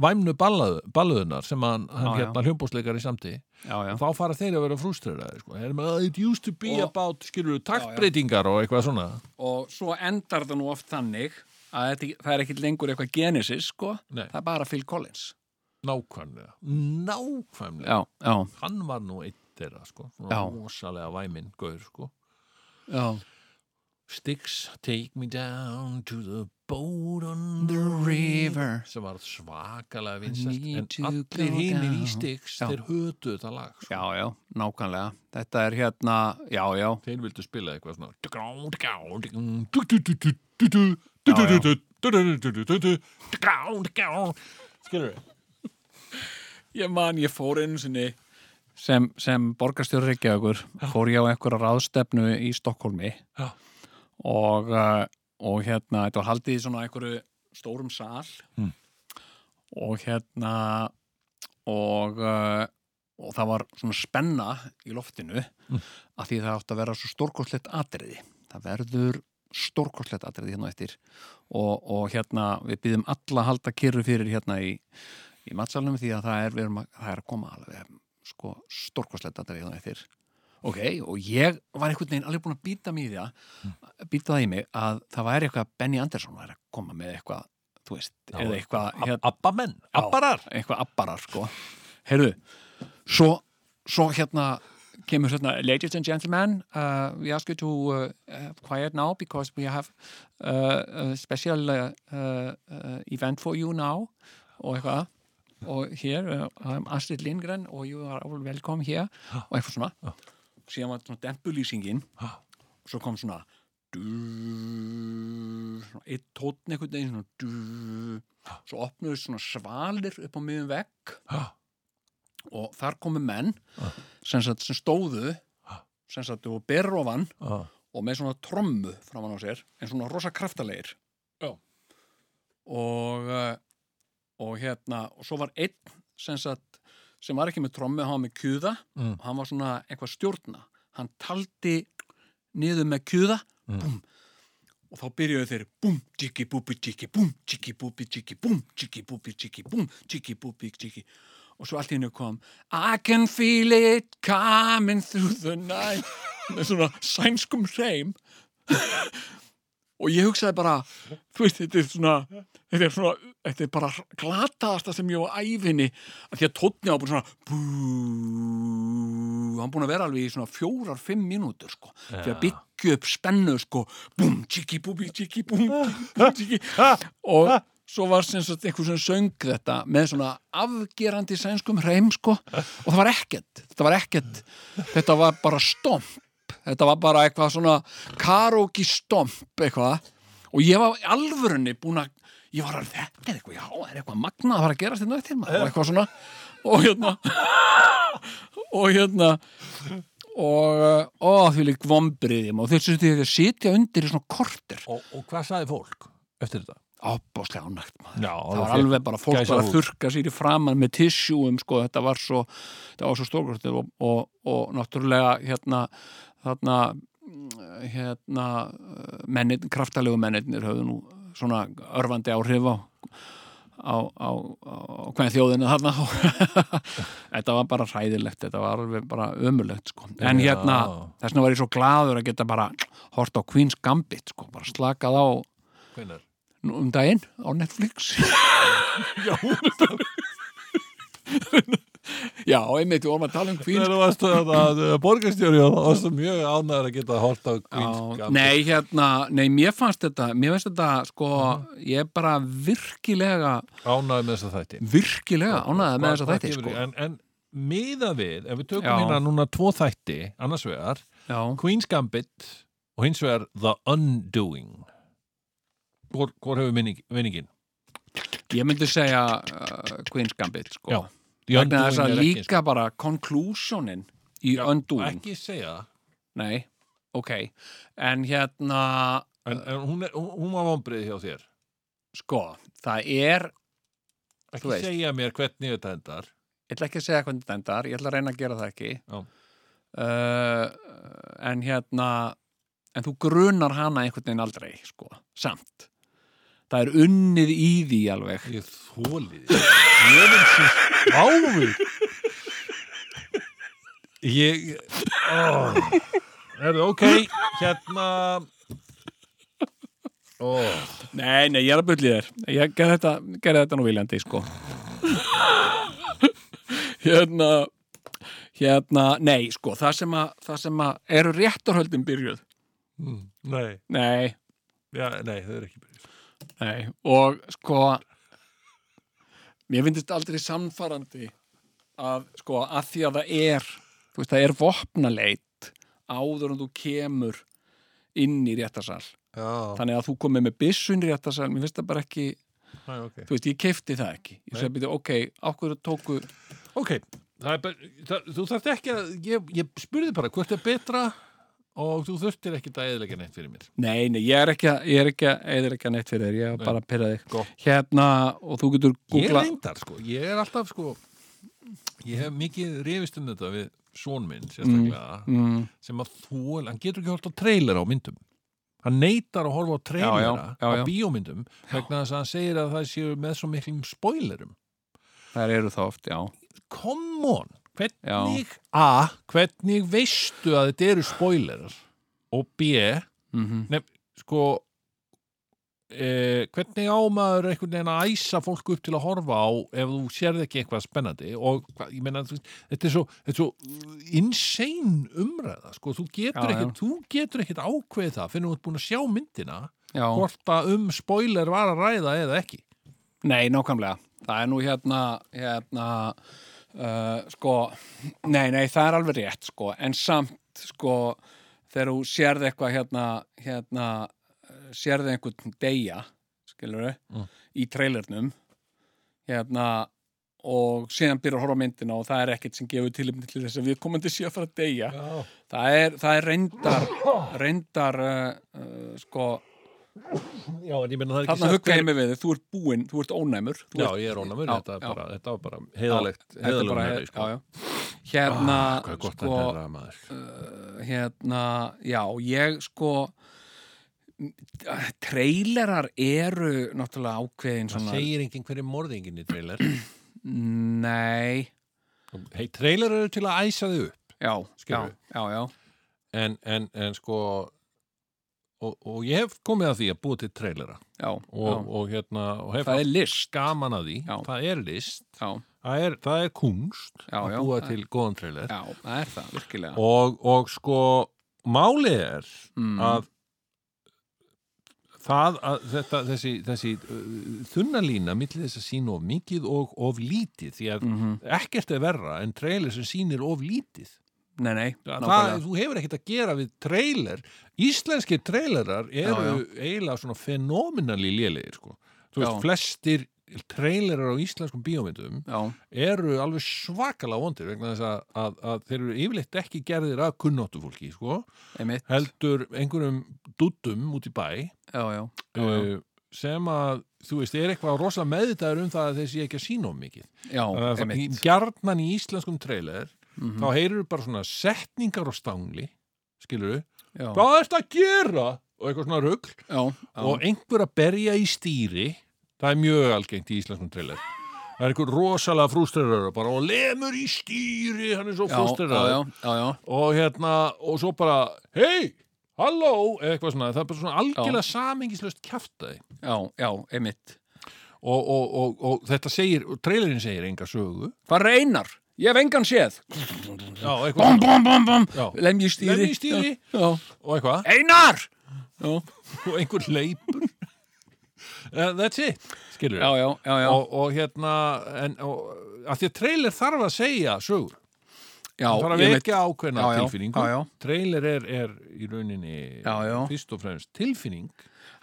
B: væmnu ballað, ballaðunar sem hann, hann
C: Ah, Já, já.
B: hérna hljómbóðsleikari samti
C: já, já,
B: þá fara þeir að vera frústreraði sko. Þeir eru með, it used to be
C: Og-
B: about skilur við taktbreytingar og eitthvað svona
C: og svo endar það nú oft þannig að þetta, það er ekki lengur eitthvað genesis sko,
B: Nei.
C: það er bara Phil Collins
B: nákvæmlega nákvæmlega
C: já, já,
B: hann var nú einn þeirra sko, svona
C: Já.
B: rosalega væminn gaur sko.
C: já
B: Sticks take me down to the boat on the river sem var svakalega vinsælt
C: need
B: en
C: to
B: allir
C: go
B: hinir í
C: down.
B: Sticks
C: Já.
B: þeir hötu þetta lag sko.
C: já, já, nákvæmlega þetta er hérna, já, já
B: þeir vildu spila eitthvað svona skilur við
C: Ég man, ég fór einu sinni sem, sem borgarstjóri Reykjavíkur fór ég á einhverja ráðstefnu í Stokkólmi
B: Já.
C: og, uh, og hérna, þetta var haldið í svona einhverju stórum sal
B: Mm.
C: og hérna og, uh, og það var svona spenna í loftinu mm. að því það átti að vera svo stórkostlegt atriði það verður stórkostlegt atriði hérna á eftir og, og hérna við býðum alla að halda kyrru fyrir hérna í, í matsalunum því að það er, við erum að, það er að koma alveg sko stórkoslegt að það er eftir ok, og ég var einhvern veginn alveg búin að býta mig í það býta það í mig að það væri eitthvað að Benny Andersson væri að koma með eitthvað þú veist,
B: Já,
C: eða eitthvað hérna,
B: Abba menn,
C: Já,
B: abbarar
C: eitthvað abbarar sko heyrðu, svo, svo hérna kemur hérna ladies and gentlemen uh, we ask you to uh, uh, quiet now because we have uh, a special uh, uh, uh, event for you now og eitthvað og hér, uh, I'm Astrid Lindgren og you are all welcome here og eitthvað svona síðan var svona dempulýsingin
B: Ha.
C: og svo kom svona dú, svona eitt tótn einhvern veginn svona dú, svo opnuðist svona svalir upp á miðum vekk
B: Ha.
C: og þar komu menn sem, sagt, sem stóðu sem sagt og berrofan
B: Ah.
C: og með svona trommu framan á sér en svona rosa kraftalegir
B: Já.
C: og eh, og hérna og svo var einn sem, sagt, sem var ekki með trommu, hann var með kjúða
B: Mm.
C: og hann var svona eitthvað stjórna hann taldi niður með kjúða
B: Mm.
C: búm, og þá byrjuðu þeir búm, tjiki, búbi, tjiki, búm, tjiki, búbi, tjiki, búm, tjiki, búbi, tjiki, búm, tjiki, búbi, tjiki og svo allt í hennu kom I can feel it coming through the night með svona sænskum hreim og ég hugsaði bara þú veist, þetta er svona þetta er svona, þetta er bara glataðasta sem ég á æfinni að því að tónni á búin svona bú, hann búin að vera alveg í svona fjórar, fimm mínútur sko, því að byggja upp spennu sko, búm, tjiki, búbi, tjiki, búm tjiki, og svo var sem sagt einhver sem söng þetta með svona afgerandi sænskum hreim sko, og það var ekkert þetta var ekkert, þetta var bara stomp þetta var bara eitthvað svona karaoke stomp eitthvað og ég var í alvörunni búin að ég var að þetta er eitthvað, já, það er eitthvað magnað að fara að gerast þetta eftir maður og eitthvað svona og hérna <laughs> og hérna og, og því lík vombriðum og þeir sem því að sitja undir í svona korter
B: og, og hvað sagði fólk eftir þetta?
C: ábáslega ánægt maður
B: Já,
C: það var alveg bara fólk
B: Gæsa
C: bara
B: húð.
C: að þurka sér í framann með tissjúum sko, þetta var svo, þetta var svo stórkvort og, og, og náttúrulega hérna, þarna mm, hérna, mennin, kraftalegu menninir höfðu nú svona örfandi áhrif á á, á, á, á hvernig þjóðinu þarna <laughs> þetta var bara hræðilegt þetta var alveg bara ömulegt sko. en
B: Já.
C: hérna, þess vegna var ég svo gladur að geta bara hort á Queen's Gambit sko, bara slakað á
B: Hvenær?
C: nú um daginn á
B: <laughs>
C: Netflix Já, einmitt, við vorum að tala um Queen's
B: Þegar þú varst að, að, að borgarstjóri og það varst mjög ánæður að geta hort á
C: Já,
B: kvínskampi.
C: Nei, hérna, nei, mér fannst þetta mér finnst þetta, sko,
B: Mhm.
C: ég er bara virkilega,
B: Ánæður með þess að þætti.
C: virkilega ánæðið með
B: Hvað-
C: þess að
B: hvað
C: þætti,
B: gefur-
C: sko
B: En, en miða við, ef við tökum
C: Já.
B: hérna núna tvo þætti, annars vegar,
C: Já,
B: Queen's Gambit og hins vegar The Undoing. Hvor, hvor hefur minning, minningin?
C: ég myndi segja uh, Queen's Gambit, sko
B: Já, The
C: vegna þess
B: er
C: að
B: ekki eins
C: líka bara conclusionin í
B: Já, og-
C: Undoing,
B: Ekki segja það.
C: nei ok, en hérna
B: En, en hún, er, hún hún var vombrið hjá þér.
C: sko, það er
B: Ekki
C: Þú veist.
B: segja mér hvernig þetta endar.
C: ég ætla ekki að segja hvernig þetta endar, ég ætla að reyna að gera það ekki
B: Já.
C: uh, en hérna en þú grunar hana einhvern veginn aldrei sko, samt það er unnið í því alveg
B: Ég þólið Ég vil svo smáður Ég oh. Er það ok Hérna oh.
C: nei, nei, ég er að byrja þér ég gerði þetta, gerði þetta nú viljandi sko hérna hérna, nei, sko, það sem að, það sem að eru réttarhöldin byrjuð
B: Hmm, Nei,
C: nei,
B: já, nei, það er ekki byrjus
C: Nei, og sko mér finnst aldrei samfarandi að sko að því að það er þú veist, það er vopnaleit áður en þú kemur inn í réttarsal
B: Já,
C: þannig að þú komið með byssun í réttarsal mér finnst það bara ekki,
B: Æ, ok
C: þú veist, ég keifti það ekki ég
B: Nei.
C: sagði, "Bíddu, ok, ákveður tóku
B: Ok, það er bara, það, þú þarft ekki að ég, ég spurði bara hvort er betra og þú þurftir ekki að eðilega neitt fyrir mér
C: nei, nei, ég er ekki að, ég er ekki að eður ekki að neitt fyrir þér, ég er
B: Nei.
C: bara að pyrra þig
B: Gott.
C: hérna, og þú getur
B: Ég
C: googla
B: reyndar sko, ég er alltaf sko Ég hef mikið reyfist um þetta við són minn sérstaklega
C: mm,
B: sem að þól, hann getur ekki hort á trailer á myndum hann neytar að horfa á trailera
C: Já, já, já,
B: á
C: já.
B: bíómyndum vegna þess að hann segir að það séu með svo miklum spoilerum
C: þær eru það oft, já
B: come on, hvernig a, hvernig veistu að þetta eru spoilerar og b,
C: mm
B: sko e, hvernig ámaður einhvern veginn að æsa fólk upp til að horfa á ef þú sérð ekki eitthvað spennandi og hva- ég meina, þú veist, þetta er svo, þetta er svo insane umræða, sko þú
C: Já,
B: getur
C: já.
B: ekkert, þú getur ekkert ákveð það fyrir þú ert búin að sjá myndina
C: já
B: hvort að um spoiler var að ræða eða ekki
C: Nei, nákvæmlega. Það er nú hérna, hérna, uh, sko, nei, nei, það er alveg rétt, sko, en samt, sko, þegar þú sérð eitthvað hérna, hérna, eh, sérð einhvern deyja, skilur
B: Mm.
C: í trailernum, hérna, og síðan byrjar að horfa á myndina og það er ekkert sem gefur tilumni til þess að við komandi sé að fara að deyja.
B: Já,
C: Það er, það er reyndar, reyndar, uh, uh, sko,
B: já en ég meina það er
C: þarna hugga ég mig við, þig, þú ert búinn, þú ert ónæmur, þú
B: Já, ég er ónæmur,
C: Já,
B: þetta, er
C: já.
B: bara, þetta var bara heiðalegt,
C: Þetta er
B: heiðalegt
C: bara-
B: umræði, sko.
C: já, já. hérna
B: Ah, Hvað er gott
C: sko,
B: þetta er að maður
C: hérna, já, ég sko m- trailerar eru náttúrulega ákveðin
B: Það
C: svona,
B: segir enginn hverju morðingin í trailer
C: nei
B: Hei, trailer eru til að æsa þau upp
C: já, já,
B: Skilurðu?
C: já, já
B: en, en, en sko og, og ég hef komið að því að búa til trailera
C: já,
B: og,
C: já.
B: og hérna og hef
C: það er
B: haft
C: list
B: gaman að því
C: Já.
B: það er list,
C: já,
B: það er, það er kunst
C: Já,
B: að
C: já,
B: búa
C: það-
B: til góðan trailer
C: já, það er það, virkilega
B: og, og sko málið er
C: Mm.
B: að það að þetta, þessi, þessi uh, þunnalína millir þess að sína of mikið og of lítið því að
C: Mhm.
B: ekkert er verra en trailer sem sýnir of lítið
C: nei, nei,
B: það,
C: nákvæmlega.
B: þú hefur ekkert að gera við trailer íslenski trailerar eru
C: Já,
B: eiginlega svona fenóminali lélegir sko. þú veist,
C: Já.
B: flestir trailerar á íslenskum bíómyndum
C: já,
B: eru alveg svakalega vondir vegna þess að, að, að þeir eru yfirleitt ekki gerðir að kunnáttu fólki sko.
C: einmitt
B: heldur einhverjum duttum út í bæ
C: já, já, já, já,
B: uh, sem að þú veist, er eitthvað rosa meðvitaður um það að þeir sé ekki að sína um mikið
C: já,
B: Þannig að það- í-
C: einmitt
B: gjarnan í íslenskum trailer
C: Mhm.
B: þá heyrur bara svona setningar á stangli skilur
C: já,
B: hvað er þetta að gera og eitthvað svona rugl
C: já, já,
B: og einhver að berja í stýri það það er mjög algengt í íslenskum trailer það er einhver rosalega frústrerar bara og lemur í stýri hann er svo
C: já, já,
B: frústrerar
C: já, já, já.
B: og hérna, og svo bara hei, halló, eða eitthvað svona það er bara svona algjörlega samingislaust kjaftaði
C: já, já, emitt
B: og, og, og, og þetta segir, og trailerin segir enga sögu
C: Það reynar, ég hef engan séð
B: já,
C: Bum,
B: eitthvað,
C: bum, bum, bum
B: Já.
C: Lemji stýri
B: Lemji stýri.
C: Mhm. Já, já.
B: og eitthvað
C: Einar! Já,
B: og einhver leipur uh, that's it, skilur
C: já, já, já, já.
B: Og, og hérna en, og, að því að trailer þarf að segja sögur
C: já
B: Það þarf að
C: ég veit.
B: vekja ákveðna
C: Já, já,
B: tilfinningu.
C: já, já.
B: Trailer er, er í rauninni
C: Já, já.
B: fyrst og fremst tilfinning.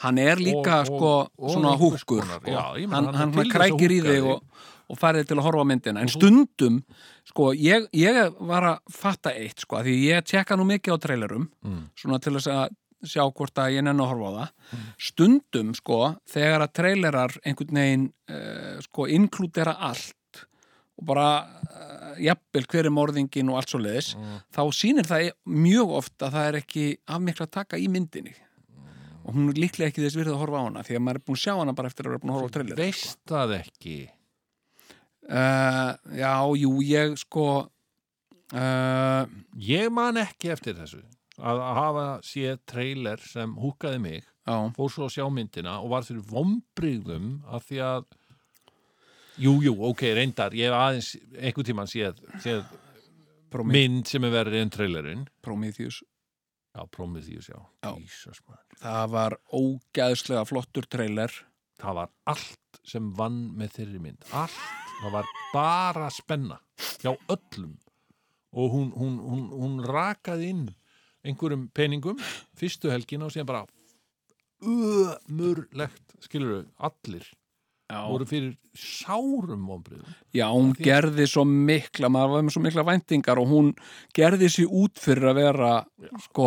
C: Hann er líka
B: og-
C: sko
B: og
C: svona
B: einhvers
C: húkur
B: konar,
C: sko.
B: já, ég meina,
C: Hann,
B: hann er
C: hann,
B: til
C: hann
B: þess að
C: krækir í
B: húkka
C: þig
B: þig.
C: og, og farið til að horfa á myndina En stundum, sko, ég, ég var að fatta eitt sko af Því ég tjekka nú mikið á trailerum
B: Mm.
C: Svona til þess að sjá hvort að ég nenni að horfa á það Stundum, sko, þegar að trailerar einhvern veginn uh, sko inkludera allt og bara uh, jafnvel hver er morðingin og allt svo leiðis þá sýnir það mjög oft að það er ekki af miklu að taka í myndinni og hún er líklega ekki þess virðið að horfa á hana því að maður er búin að sjá hana bara eftir að vera búin að horfa á trailer sko.
B: Veist það ekki.
C: uh, Já, jú, ég sko uh,
B: Ég man ekki eftir þessu. Að að hafa séð trailer sem húkaði mig,
C: Já,
B: fór svo að sjá myndina og var fyrir vombriðum að því að Jú, jú, ok, reyndar, ég hef aðeins einhvern tímann séð, séð
C: Promi
B: mynd sem er verið en trailerinn.
C: Prometheus
B: Já, Prometheus, já.
C: Já.
B: Jesus, man.
C: Það var ógæðslega flottur trailer
B: það var allt sem vann með þeirri mynd allt, það var bara spenna hjá öllum og hún, hún, hún, hún rakaði inn einhverjum peningum fyrstu helgina og síðan bara ömurlegt skilur allir
C: Já,
B: voru fyrir sárum vonbriðum
C: já hún gerði svo mikla maður var með svo mikla væntingar og hún gerði sér út fyrir að vera sko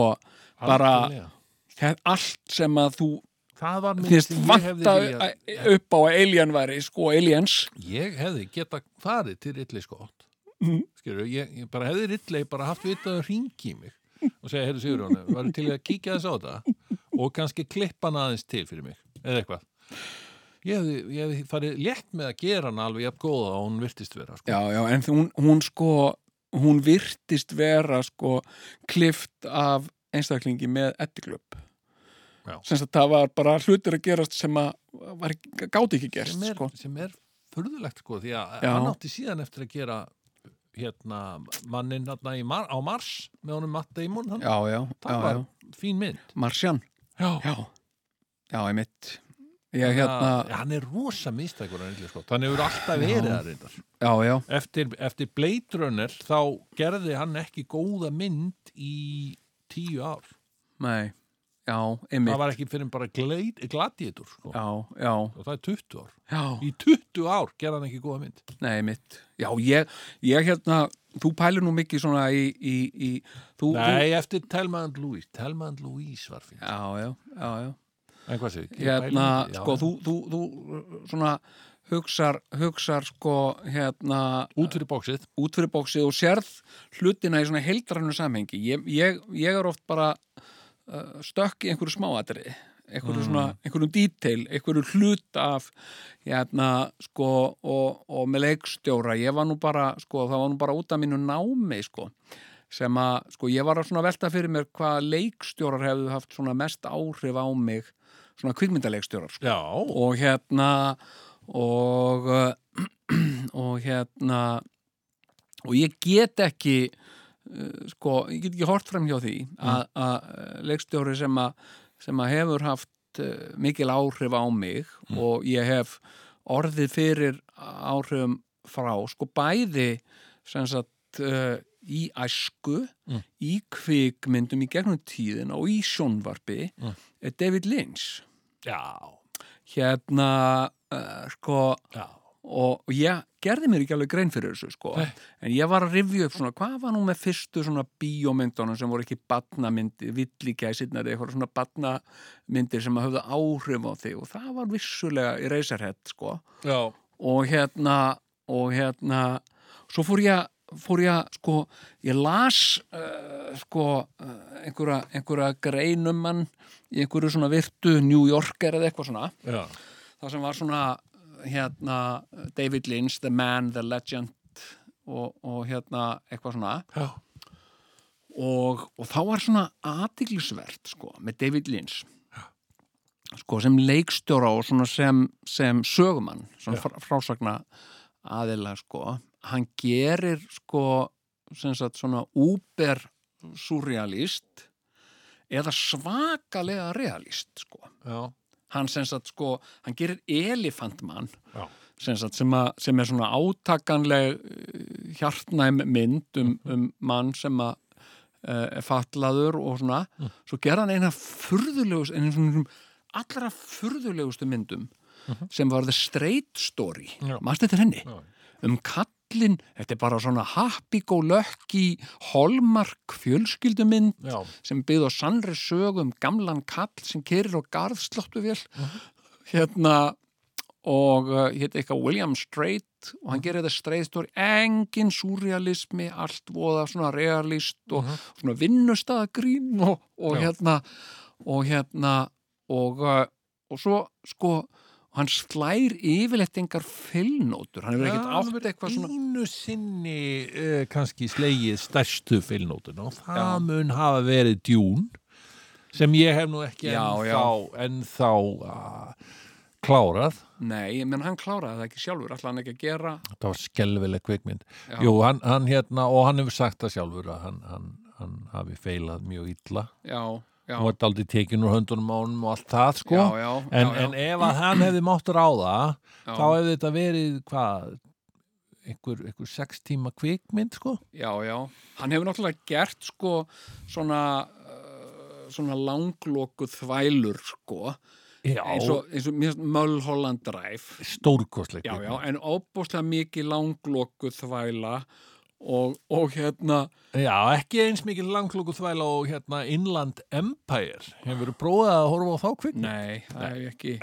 C: bara
B: Algjörlega.
C: það- allt sem að þú
B: það var mynd
C: finnst
B: sem ég hefði
C: vanta
B: viljað-
C: að- upp á að alien væri sko aliens
B: ég hefði geta farið til Ridley Scott skilur, ég, ég bara hefði Ridley bara haft vitað að ringi mig og segja, heyrðu Sigurjón, varu til í að kíkja þess á þetta og kannski klippa hann aðeins til fyrir mig, eða eitthvað ég hefði, ég hefði farið létt með að gera hann alveg jafn góða og hún virtist vera sko.
C: Já, já, en því hún, hún sko hún virtist vera sko klift af einstaklingi með ettiklöp
B: Já.
C: sem að það var bara hlutir að gerast sem að var, ekki- gáti ekki gerst
B: sem, er,
C: sko.
B: sem er furðulegt sko, því að
C: Já.
B: hann átti síðan eftir að gera hérna mannin hérna, í mar, á Mars með honum Matt Damon hann,
C: Já, já, já,
B: það var
C: já
B: fín mynd
C: Marsjan,
B: já,
C: já Já, ég mitt Ég
B: Að-
C: hérna,
B: hann er rosa mistækur hann Ridley Scott. hann sko, hefur alltaf verið það reyndar
C: já, já
B: eftir, eftir Blade Runner þá gerði hann ekki góða mynd í tíu ár
C: Nei, já,
B: það
C: einmitt
B: var ekki fyrir bara glade, gladiator sko.
C: Já, já,
B: og það er 20 ár
C: já
B: í 20 ár gerði hann ekki góða mynd
C: Nei, mitt. Já, ég, ég hérna, þú pælir nú mikið svona í, í, í þú,
B: nei, eftir Telma and Louise Telma and Louise var
C: þú,
B: fyrir
C: já, já, já, já.
B: en hvað segir,
C: Hérna, sko, þú, þú, þú, svona, hugsar, hugsar, sko, hérna,
B: út fyrir bóksið
C: út fyrir bóksið og sérð hlutina í svona heildrannu samhengi. Ég, ég, ég er oft bara uh, stökk í einhverju smáatriði, einhverju svona, einhverju detail, einhverju hlut af, hérna, sko, og, og með leikstjóra. Ég var nú bara, sko, það var nú bara út af mínu námi, sko, sem að, sko, ég var að svona velta fyrir mér hvað leikstjórar hefðu haft svona mest áhrif á mig, svona kvikmyndaleikstjórar, sko
B: já,
C: og hérna og <clears throat> uh, og hérna og ég get ekki uh, sko, ég get ekki hort fram hjá því að mm. leikstjóri sem að sem að hefur haft uh, mikil áhrif á mig
B: Mm.
C: og ég hef orðið fyrir áhrifum frá, sko bæði sem sagt uh, í æsku,
B: Mm.
C: í kvikmyndum í gegnum tíðina og í sjónvarpi
B: Mm.
C: er David Lynch
B: já,
C: hérna uh, sko
B: já
C: og og ég gerði mér ekki alveg grein fyrir þessu sko
B: Nei.
C: en ég var að rifja upp svona hvað var nú með fyrstu svona bíómyndunum sem voru ekki batnamyndir, villigæsirnar eða eitthvað svona batnamyndir sem að höfðu áhrif á þig og það var vissulega í reysarhett sko
B: já,
C: og hérna og hérna svo fór ég, fór ég sko ég las uh, sko uh, einhverja, einhverja um greinum mann í einhverju svona virtu New Yorker eða eitthvað svona
B: já,
C: það sem var svona hérna David Lynch, The Man, The Legend og, og hérna eitthvað svona
B: Já.
C: og, og þá var svona aðtiklisvert sko, með David Lynch sko, sem leikstjóra og svona sem, sem sögumann svona frá, frásagna aðila sko. hann gerir sko, sem sagt, svona úber surrealist eða svakalega realist sko.
B: Já.
C: hann sem sagt sko hann gerir elefantmann
B: Já.
C: sem, sagt, sem, að, sem er svona átakanleg eh, hjartnæm mynd um,
B: Mhm.
C: um mann sem að eh, er fatlaður og svona
B: Mm.
C: svo gera hann eina furðulegust eina svona allra furðulegustu myndum sem var The Straight Story
B: Mhm. Já.
C: maður þetta henni
B: Já.
C: um kallinn, þetta er bara svona happy-go-lucky holmark fjölskyldumynd
B: Já.
C: sem byggði á sannri sögu um gamlan kall sem kerir á garðsláttuvél hérna og uh, hérna eitthvað William Strait og hann gerir þetta Strait story engin surrealismi, allt voða svona realist og svona vinnustæðagrín og, og
B: Mhm. Já.
C: hérna og hérna og, uh, og svo sko hann slær yfirleitt engar fylnótur, hann hefur ekkert átt eitthvað svona
B: Einu sinni uh, kannski slegið stærstu fylnótun og það
C: Já.
B: mun hafa verið djún sem ég hef nú ekki
C: Já,
B: ennþá, ennþá uh, klárað.
C: Nei, menn hann kláraði það ekki sjálfur, alltaf hann ekki að gera
B: Þetta var skelvileg kvikmynd.
C: Já.
B: Jú, hann, hann hérna, og hann hefur sagt það sjálfur að hann, hann, hann hafi feilað mjög illa.
C: Já, já,
B: Hann var aldrei tekin úr höndunum á honum og allt það, sko.
C: já, já,
B: En,
C: já, já,
B: en ef að hann hefði mátt ráða,
C: já,
B: þá hefði þetta verið, hvað, einhver, einhver sex tíma kvikmynd, sko?
C: já, já, hann hefur náttúrulega gert sko svona uh, svona langlokuð þvælur sko,
B: Já,
C: eins og, eins og mér finnst Mulholland Drive
B: stórkostleik.
C: já, já,
B: kvikmynd.
C: en óbúslega mikið langlokuð þvæla og, og hérna
B: já, ekki eins mikið langklokku þvæla og hérna Inland Empire. Hefur verið prófað að horfa á þá kvikmynd?
C: nei, það hef ég ekki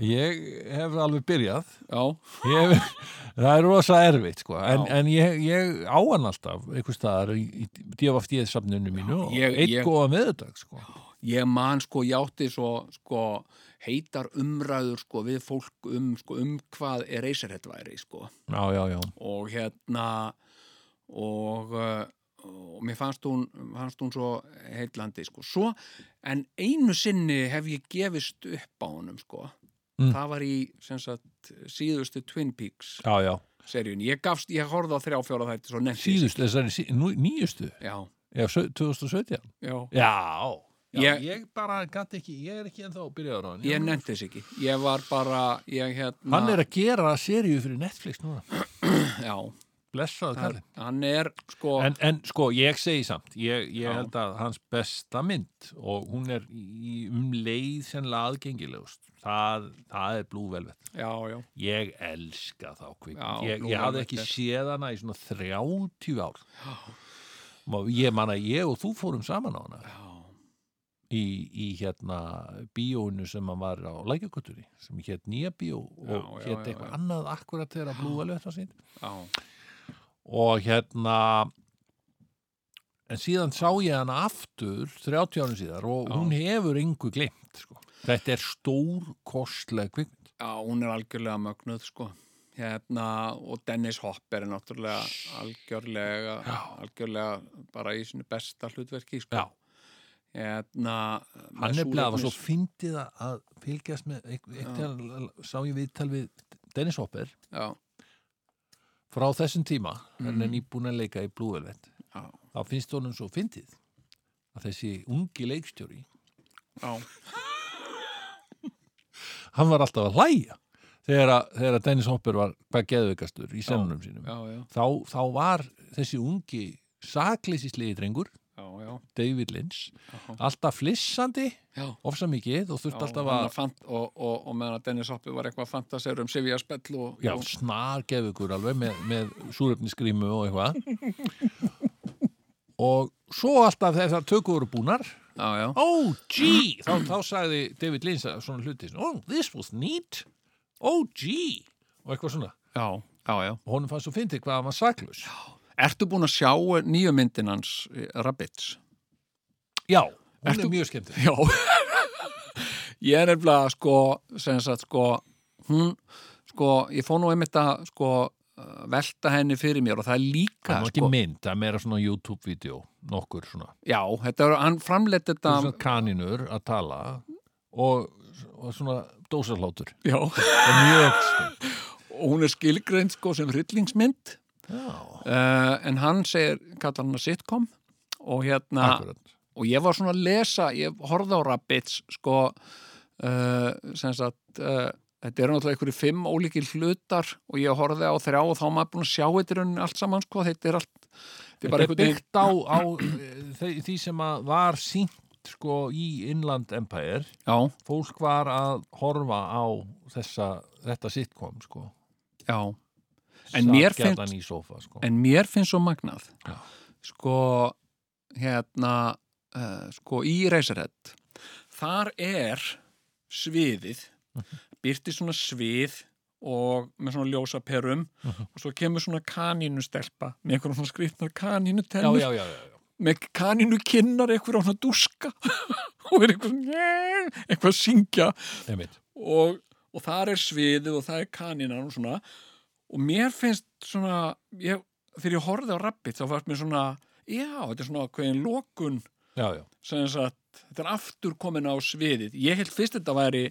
B: Ég hef alveg byrjað.
C: já,
B: Ég Hef, það er rosa erfitt, sko. En,
C: Já.
B: en ég, ég á hann alltaf, einhver staðar, í djöfaftíðsafninu mínu og
C: ég-
B: einn
C: ég-
B: góða meðudag, sko.
C: ég man sko játti svo sko heitar umræður sko við fólk um sko um hvað er reysarhett væri sko
B: Já, já, já.
C: og hérna og, uh, og mér fannst hún, fannst hún svo heitlandi sko. Svo, en einu sinni hef ég gefist upp á honum sko.
B: Mm.
C: Það var í sem sagt, síðustu Twin Peaks
B: Já, já.
C: seríun. Ég gafst, ég horfði á þrjá fjóra þætti svo nefnt.
B: Síðust, þessari sí- nú- nýjustu,
C: Já,
B: já, sau- 2017. Já,
C: já.
B: já
C: Ég-
B: ég, bara gæti ekki, ég er ekki ennþá byrjaður á hann
C: Ég nefndi þess ekki. Ég var bara, ég hérna...
B: Hann er að gera seríu fyrir Netflix núna
C: Já,
B: Blessað
C: hann,
B: kallinn
C: hann er sko...
B: en, en sko, ég segi samt ég, ég
C: Já.
B: held að hans besta mynd og hún er í, um leið sem laðgengilegust það, það er Blue Velvet
C: Já, já,
B: Ég elska þá
C: Já,
B: kvikmynd Ég,
C: Blue
B: ég hafði
C: Velvet
B: ekki
C: er-
B: séð hana í svona 30 ár Má- Ég man að ég og þú fórum saman á hana
C: já.
B: í, í hérna bíóinu sem hann var á lækjakutunni sem hétt nýja bíó og
C: Já, já,
B: hétt
C: já,
B: eitthvað
C: já.
B: annað akkurat þegar að blúa lötta sín
C: já.
B: og hérna en síðan sá ég hana aftur 30 árum síðar og
C: Já.
B: hún hefur engu glimt sko. þetta er stór kostleg kvikmynd
C: Já, hún er algjörlega mögnuð sko hérna og Dennis Hopper er náttúrulega algjörlega
B: Já.
C: algjörlega bara í sinu besta hlutverki sko
B: Já.
C: hérna
B: hann er bleið að svo fyndið að- að fylgjast með e- eitthvað e- sá ég viðtal við Dennis Hopper
C: já,
B: frá þessum tíma hann er
C: Mhm.
B: nýbúin að leika í Blue Velvet
C: já,
B: þá finnst honum svo fyndið að þessi ungi leikstjóri
C: já,
B: hann var alltaf að hlæja þegar, að, þegar að Dennis Hopper var hvað geðveikastur í sennunum sínum
C: já, já,
B: þá, þá var þessi ungi sakleysislegi drengur
C: já, já,
B: David Lynch
C: já,
B: alltaf flissandi
C: já.
B: ofsa mikið og þurft alltaf
C: hann
B: að
C: er fant, og, og, og meðan að Dennis Hopper var eitthvað að fantasera um Sivja Spell og,
B: já,
C: og
B: snar geðveikur alveg með, með súrefnisgrímu og eitthvað
C: <laughs>
B: og svo alltaf þegar það tökur voru búnar
C: já, já,
B: oh gee þá, þá sagði David Lynch að svona hluti svona, oh this was neat oh gee og eitthvað svona
C: já, já, já.
B: og honum fannst þú fyndið hvað hann var saklaus já,
C: Ertu búin að sjá nýju myndin hans eh, Rabbits?
B: hún
C: Ertu-
B: er mjög skemmtileg
C: Já Ég er nefnilega sko sem sagt sko hún sko, ég fór nú einmitt að sko, eh, velta henni fyrir mér og það er líka
B: það er nú ekki
C: sko,
B: mynd, það er meira svona YouTube-vídeó nokkur svona,
C: já, þetta er, hann framleitt þetta
B: svona kaninur að tala og, og svona dósarlátur
C: já,
B: og mjög stund
C: <laughs> og hún er skilgreind sko sem hryllingsmynd
B: já,
C: uh, en hann segir, kallar hann að sitcom og hérna
B: akkurat
C: og ég var svona að lesa, ég horfði á Rabbits sko uh, sem sagt uh, þetta eru náttúrulega einhverju fimm ólíkir hlutar og ég horfði á þrjá og þá er maður búin að sjá þetta í rauninni allt saman sko, þetta er allt þetta er
B: Þetta
C: bara
B: er
C: einhvern veginn
B: byggt á, á eh, þe- því sem að var sínt sko í Inland Empire
C: já,
B: fólk var að horfa á þessa, þetta sitcom sko
C: já. En mér
B: Sat
C: finnst-
B: gjarnan í sófa sko
C: en mér finnst svo magnað
B: Já.
C: sko hérna uh, sko í Reiserhead þar er sviðið
B: Mhm.
C: byrti svona svið og með svona ljósa perum
B: Mhm.
C: og svo kemur svona kanínu stelpa með einhverjum svona skrifnar kanínu
B: já,
C: tennur
B: já, já, já, já.
C: með kanínu kinnar einhverjum svona dúska <laughs> og er einhver svona eitthvað að syngja
B: Einmitt.
C: og, og þar er sviðið og það er kaninan og svona og mér finnst svona ég, þegar ég horfði á Rabbit þá fannst mér svona já, þetta er svona hverjum lokun
B: já, já.
C: sem sagt, þetta er aftur komin á sviðið ég held fyrst þetta væri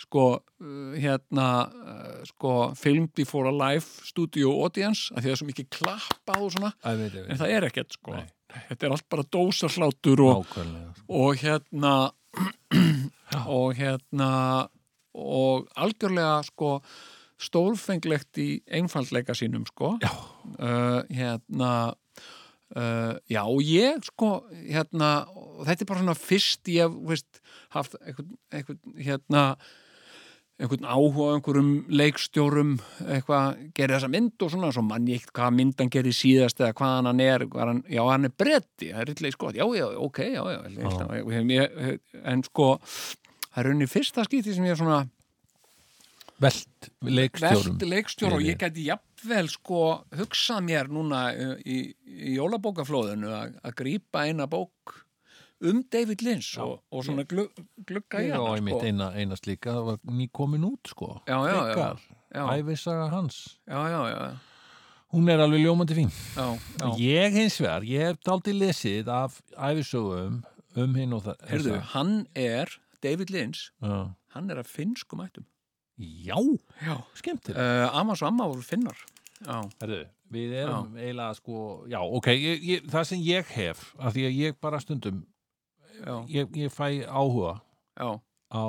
C: sko, uh, hérna uh, sko, Film Before Alive Studio Audience, af því það er svo mikið klappað og svona,
B: Einmitt,
C: en
B: einmitt.
C: það er ekkert sko
B: Nei.
C: Þetta er allt bara dósarhlátur og,
B: Nákvæmlega, sko.
C: og hérna <clears throat> og hérna og algjörlega sko stólfenglegt í einfaldleika sínum sko
B: Já.
C: uh, hérna uh, já og ég sko hérna og þetta er bara svona fyrst ég hef, veist, haft einhvern, einhvern hérna einhvern áhuga á einhverjum leikstjórum eitthvað, gerir þessa mynd og svona svo mann ég ekkert hvað myndan gerir síðast eða hvað hann er, hvað hann, já hann er bretti það er rillig sko, já já, ok, já já, já. Ég, ég, en sko það er rauninni fyrsta skýti sem ég er svona
B: Velt leikstjórum
C: velt leikstjóra og
B: Fyrir.
C: ég gæti jafnvel sko hugsað mér núna uh, í, í jólabókaflóðinu að að grípa eina bók um David Lynch og, og svona glugg, glugga í
B: Já,
C: hana
B: einmitt
C: sko.
B: eina, eina slíka, það var nýkomin út sko
C: Já, já, já.
B: Byggar,
C: Já,
B: æfisaga hans
C: já, já, já,
B: Hún er alveg ljómandi fín
C: já, já.
B: Ég hins vegar, ég hef daldið lesið af æfisögum um hinn og það
C: Heyrðu, hann er, David Lynch,
B: Já,
C: hann er af finnskum ættum.
B: já
C: Já.
B: skemmtileg
C: Uh, Amas og Amma voru finnar. Já,
B: Herðu, við erum eiginlega sko, já, ok, ég, ég, það sem ég hef, af því að ég bara stundum,
C: já,
B: ég, ég fæ áhuga
C: já,
B: á,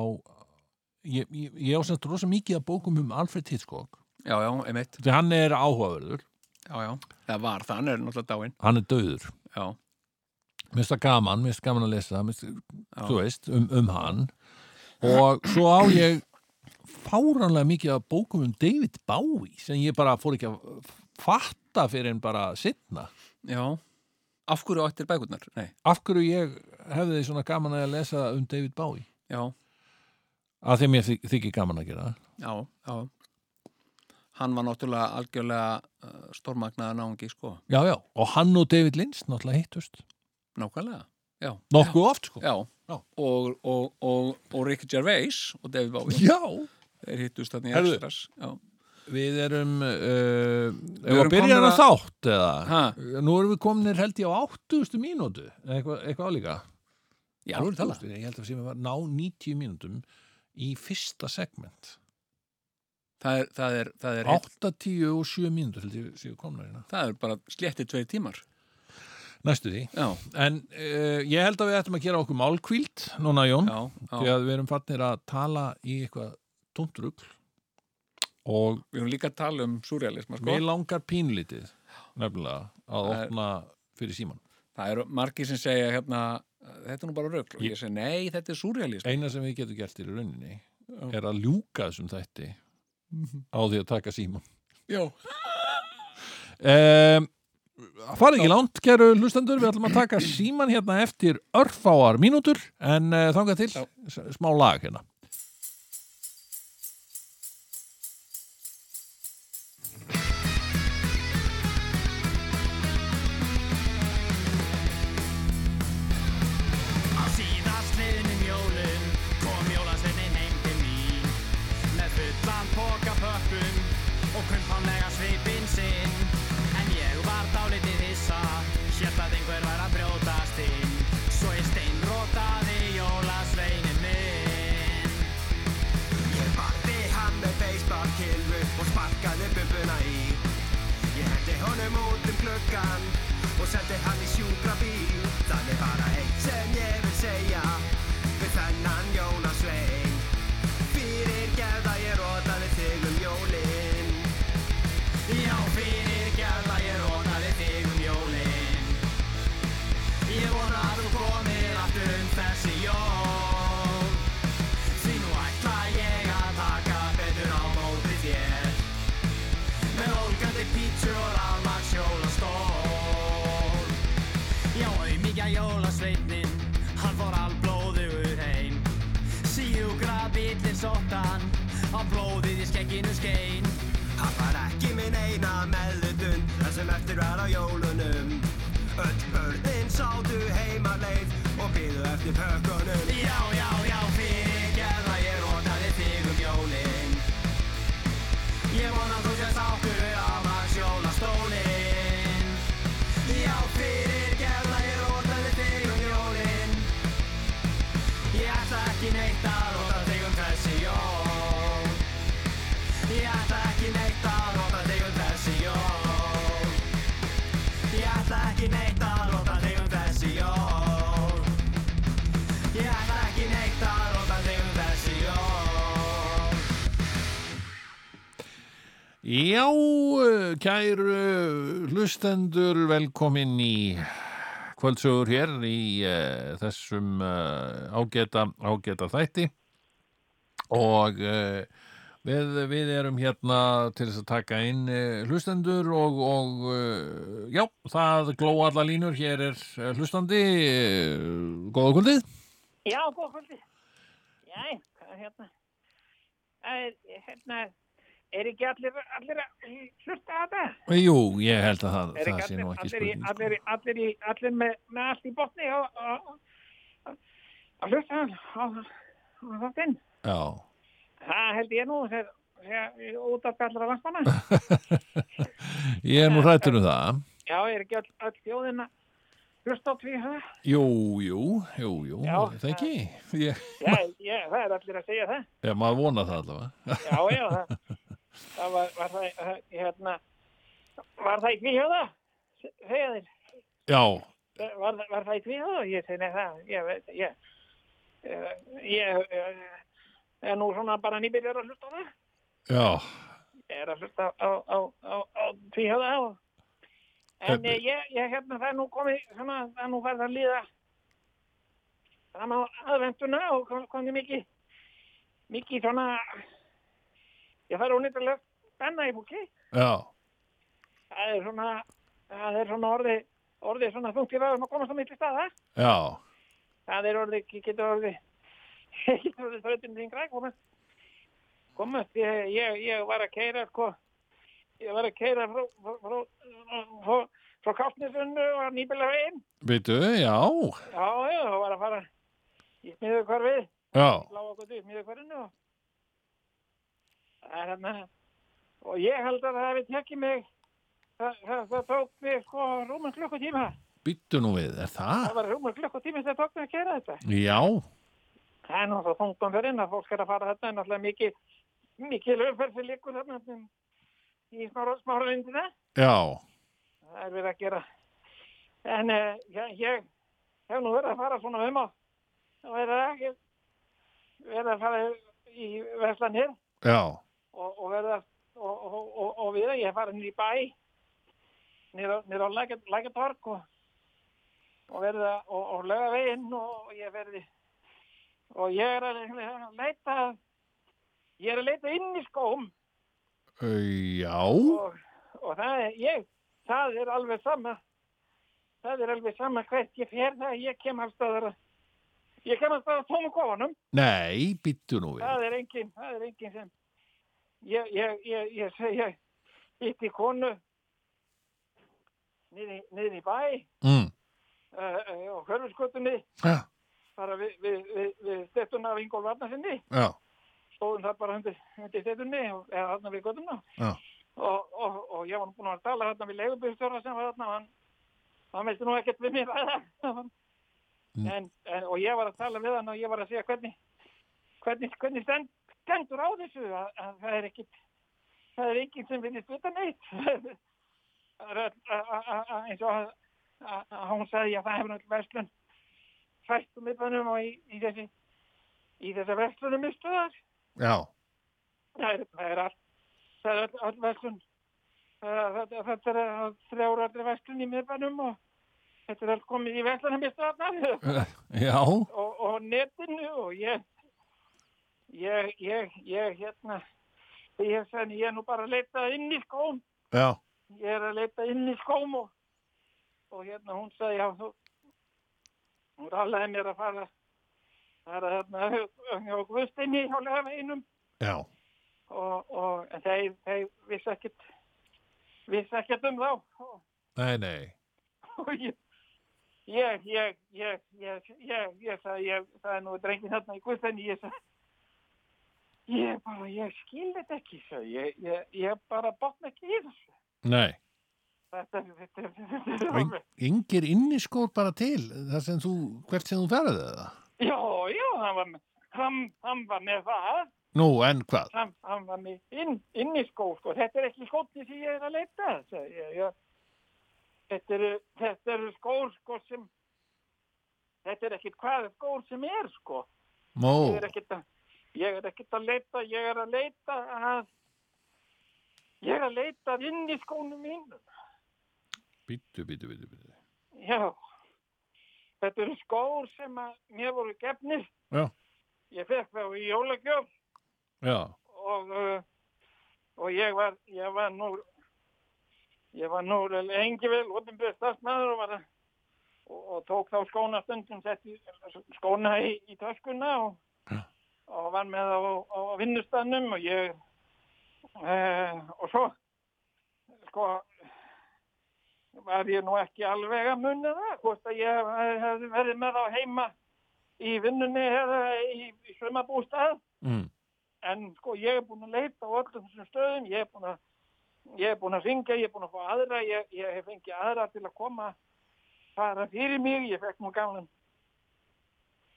B: ég, ég, ég á semst rosa mikið að bókum um Alfred Hitchcock,
C: já, já, einmitt.
B: því hann er áhugaverður,
C: Já, já. Það var, það hann er náttúrulega dáinn.
B: hann er döður,
C: Já,
B: mér finnst það gaman, mér finnst gaman að lesa, mér finnst,
C: Já.
B: þú veist, um, um hann, og svo á ég fáránlega mikið að bókum um David Bowie, sem ég bara fór ekki að fatta fyrir en bara sittna.
C: já. Af hverju áttir bækurnar? Nei,
B: Af hverju ég hefði svona gaman að lesa um David Bowie?
C: já,
B: að þeim ég þykir gaman að gera
C: já, já. Hann var náttúrulega algjörlega uh, stórmagnaða náungi, sko.
B: já, já. og hann og David Lynch náttúrulega hittust
C: Nákvæmlega. Já,
B: nokkuð oft sko
C: já.
B: Já.
C: Og, og, og, og Rick Gervais og David Bowie.
B: Já.
C: Þeir hittust þarna í
B: Heyrðu.
C: Extras. Já.
B: við erum uh,
C: Við
B: við
C: erum
B: erum byrjar
C: komnir
B: að þátt eða
C: Ha,
B: nú erum við kominir held ég á 80. mínútu eða eitthvað, eitthvað álíka
C: já, þú eru talað.
B: 80., ég held að sem við var ná 90 mínútum í fyrsta segment
C: Það er, það er, það er,
B: 87 og 7 mínútur held ég séu komnar hérna
C: það er bara slétti tveir tímar.
B: næstu því
C: Já,
B: en uh, ég held að við ættum að gera okkur málkvíld núna Jón
C: já,
B: því
C: já.
B: að við erum fannir að tala í eitthvað tóndrugl og
C: Við erum líka að tala um surrealism, sko.
B: mér langar pínlítið nefnilega að
C: Það er-
B: opna fyrir síman
C: Það eru margir sem segja hérna, þetta er nú bara rögl. Og ég segi, nei, þetta er surrealism.
B: eina sem við getum gert í rauninni er að ljúka þessum þætti
C: Mhm.
B: á því að taka síman
C: Já,
B: um, fara ekki langt, kæru hlustendur við ætlum að
C: <clears throat>
B: taka síman hérna eftir örfáar mínútur en uh, þangað til
C: Já.
B: s- smá lag hérna
E: Á síðastliðnum jólum kom jólasveitin heim til mín Með fullan póka pöppum og sparkaði bubbuna í Ég hendi honum út um gluggan og sendi hann í sjúkra bíl Það er bara eitt sem ég vil segja við þennan Jónas Svein Fyrir gerða ég rótaði þig um jólin Já, fyrir gerða ég rótaði þig um jólin Ég vona að þú komir aftur um þessi jól Því nú ætla ég að taka betur á móti þér Með ólgandi pítsur og rafmaks jólastól Já, auðmíkja jólasveitnin, hann fór alblóðugur heim Síugra bíllinn sóttan, á blóðið í skekkinu skein Hann var ekki minn eina meðlutund, það sem eftir var á jólunum Öll börnin sátu heimaleið og byðu eftir pökkunum Já, já, já, fyrir gerða ég rótaði þig um jólin Ég vona þú sést áttur við af að sjóla stólin Já, fyrir gerða ég rótaði þig um jólin Ég ætla ekki neitt að róta þig um þessi jól Ég ætla ekki neitt að nota þig um þessi jól Ég ætla ekki neitt að nota þig um þessi jól Ég ætla ekki neitt að nota þig um þessi jól
B: Já, eh, kæru hlustendur, velkomin í kvöldsögur hér í uh, þessum uh, ágæta, ágæta þætti og uh, við, við erum hérna til þess að taka inn uh, hlustendur og, og uh, já, það glóa alla línur, hér er eh, hlustandi, uh, góða kvöldið.
F: Já, góð kvöldi. Jæ, hvað er hérna? Það Er, hérna, er ekki allir, allir að hlusta að það?
B: Jú, ég held að það, það
F: Er
B: sé
F: ekki
B: nú
F: allir,
B: ekki
F: allir, í,
B: spurning. sko.
F: allir, í- allir, í- allir með, með allt í botni og, og, og, og hlusta hann á, á þáttinn?
B: Já.
F: Það held ég nú þegar þegar- út af
B: <laughs>
F: allra landsmanna.
B: Ég er nú hrættur um það.
F: Já, er ekki all, all þjóðin að hlusta á því það?
B: Jú, jú, jú, jú,
F: Já,
B: það ekki. Ég,
F: Já, ég, það er allir að segja það.
B: ég maður vona það allavega.
F: Já, já, það, það var, var það, það- hérna, var það í kvíhjóða? Þegar þér,
B: Já,
F: var, það- var það í kvíhjóða? Ég segi, nei, það, ég veit, ég, eh, ég, eh, er nú svona bara nýbyrjar að hlusta á það.
B: já,
F: Ég er að hlusta á, á, á, á, á kvíhjóða og, en
B: Eh,
F: eh, ég, ég, hérna, það er nú komið, svona, það er nú farið að líða fram á aðventuna og kom, komið mikið, mikið svona, ég fær ónýttilega spenna í búki.
B: já,
F: það er svona, það er svona orði, orði svona þungt í ræðum að komast á milli staða.
B: já,
F: Það er orði, getur <laughs> orði, getur orði þrautin þingra, komast, komast, ég, ég, ég var að keira, sko, ég var að keira frá, frá, frá, frá, frá Kastnesunnu og nýbilega veginn.
B: veitu, já,
F: Já, já, það var að fara í smiðu hvarfið,
B: já,
F: lága gott í smiðu hvarfinu og það er hérna, og ég held að það við tekið mig, það, það, það tók mig, sko, rúmum klukkutíma.
B: býttu nú við, er það?
F: Það var rúmur klukkutími sem tók mig að gera þetta.
B: Já,
F: Það er náttúrulega þungum fyrir inn að fólk er að fara þetta en náttúrulega mikið, mikið lögferð sem líkur þarna sem í smára, smára vindina.
B: já,
F: Það er verið að gera. En uh, ég, ég hef nú verið að fara svona um og og verið að, ég- verið að fara í verslanir
B: já,
F: og, og verið að og, og, og, og við að ég hef farið niður í bæ niður á- niður á Lækja- Lækjatorg og, og verið að og, og löga veginn og ég verið og ég er að leita ég er að leita inn í skóm
B: Ö, já,
F: og, og það er ég það er alveg sama það er alveg sama hvert ég fer það ég kem af staðar ég kem af staðar tómu kofanum
B: nei, býttu nú við.
F: það er enginn, það er enginn sem ég, ég, ég, ég segja hitt í konu niður, niður í bæ
B: Mm.
F: uh, uh, og hörfuskötunni
B: Já,
F: bara við, við, við, við stettuna af Ingólf Arnarsinni
B: já,
F: stóðum það bara undir, undir stedtunni eða þarna við göttuna
B: Já.
F: og, og, og ég var búin að vera að tala þarna við leigubyrstjóra sem var þarna og hann, hann vildi nú ekkert við mér ræða en, en, og ég var að tala við hann og ég var að segja hvernig hvernig, hvernig stend, stendur á þessu að, að það er ekkit það er enginn sem finnist vita neitt <laughs> Það er öll- a- a- a- a- eins og að- að- að hún sagði að það hefur öll verslun fært um miðbænum og í, í þessi í þessa verslunum mistuðar
B: já,
F: það er, það er allt það er öll, öll verslun það- það- þetta er að þrjára öll verslun í miðbænum og þetta er öll komið í verslunum mistuðarnar
B: já,
F: <laughs> og, og netinu og ég ég, ég, ég hérna ég, sen, ég er nú bara að leita inn í skóm
B: já,
F: ég er að leita inn í skóm og, og hérna hún sagði já þú hún rallæði mér að fara það er að hérna á Guðstinni hjá legaveginum
B: já,
F: og, og en þeir, þeir vissi ekkert vissi ekkert um þá og,
B: nei, nei,
F: og ég ég, ég, ég, ég, ég, ég, sagði, ég það er nú drengin þarna í guðstæni, ég sagði, ég bara, ég skil þetta ekki, sagði, ég, ég, ég bara botna ekki í þessu.
B: nei.
F: Þetta, þetta, þetta, þetta,
B: Og
F: þetta,
B: en- engir inniskór bara til, það sem þú, hvert sem þú ferðið eða?
F: já, já, hann var með, hann, hann var með það,
B: Nú, en hvað?
F: hann, hann var með inn, inn í skó, sko, þetta er ekki skóti sem ég er að leita, sagði, ég, ég, þetta eru, þetta eru skór, sko, sem, þetta er ekkit hvað skór sem er, sko.
B: Mó,
F: ég er ekkert að ég er ekkert að leita, ég er að leita að ég er að leita að inn í skónum mínum
B: býttu, býttu, býttu, býttu.
F: já þetta eru skór sem að mér voru gefnir
B: Já.
F: ég fekk þá í jólagjöf
B: Já,
F: og uh, og ég var ég var nú ég var nú engi vel opinbjörn starfsmæður og var að og, og tók þá skóna stundum setti skóna í, í töskuna og,
B: Já.
F: og var með á, á vinnustannum og ég e, og svo sko var ég nú ekki alveg að munna það hvort að ég hef- hefði verið með þá heima í vinnunni eða í, í sumabústað
B: mm.
F: en sko ég er búin að leita á öllum þessum stöðum, ég er búin að ég er búin að ringja, ég er búin að fá aðra ég, ég hef fengið aðra til að koma fara fyrir mig, ég fekk nú gamlan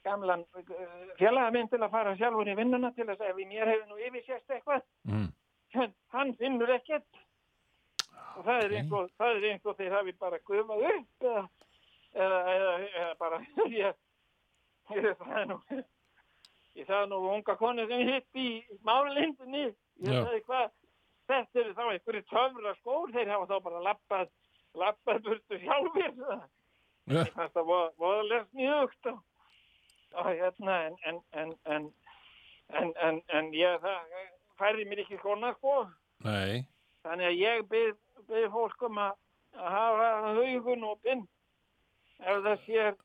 F: gamlan uh, félaga minn til að fara sjálfur í vinnuna til að segja, ef mér hefur nú yfir sérst eitthvað,
B: Mm.
F: en hann finnur ekkert og það er
B: Ókei.
F: eins og það er eins og þeir hafi bara gufað upp eða, eða, eða, eða bara <laughs> ég, ég, það er nú Ég sagði nú unga konu sem ég hitt í málindinni, ég
B: Já.
F: sagði hvað, þetta eru þá einhverju töfra skór, þeir hafa þá bara lappað, lappað burtu sjálfir.
B: Já.
F: Þetta var, var les mjögt og, og hérna, en, en, en, en, en, en, en ég, það færði mér ekki skona sko,
B: Nei,
F: þannig að ég byrð byr fólk um að, að hafa haugun og pinn ef það sér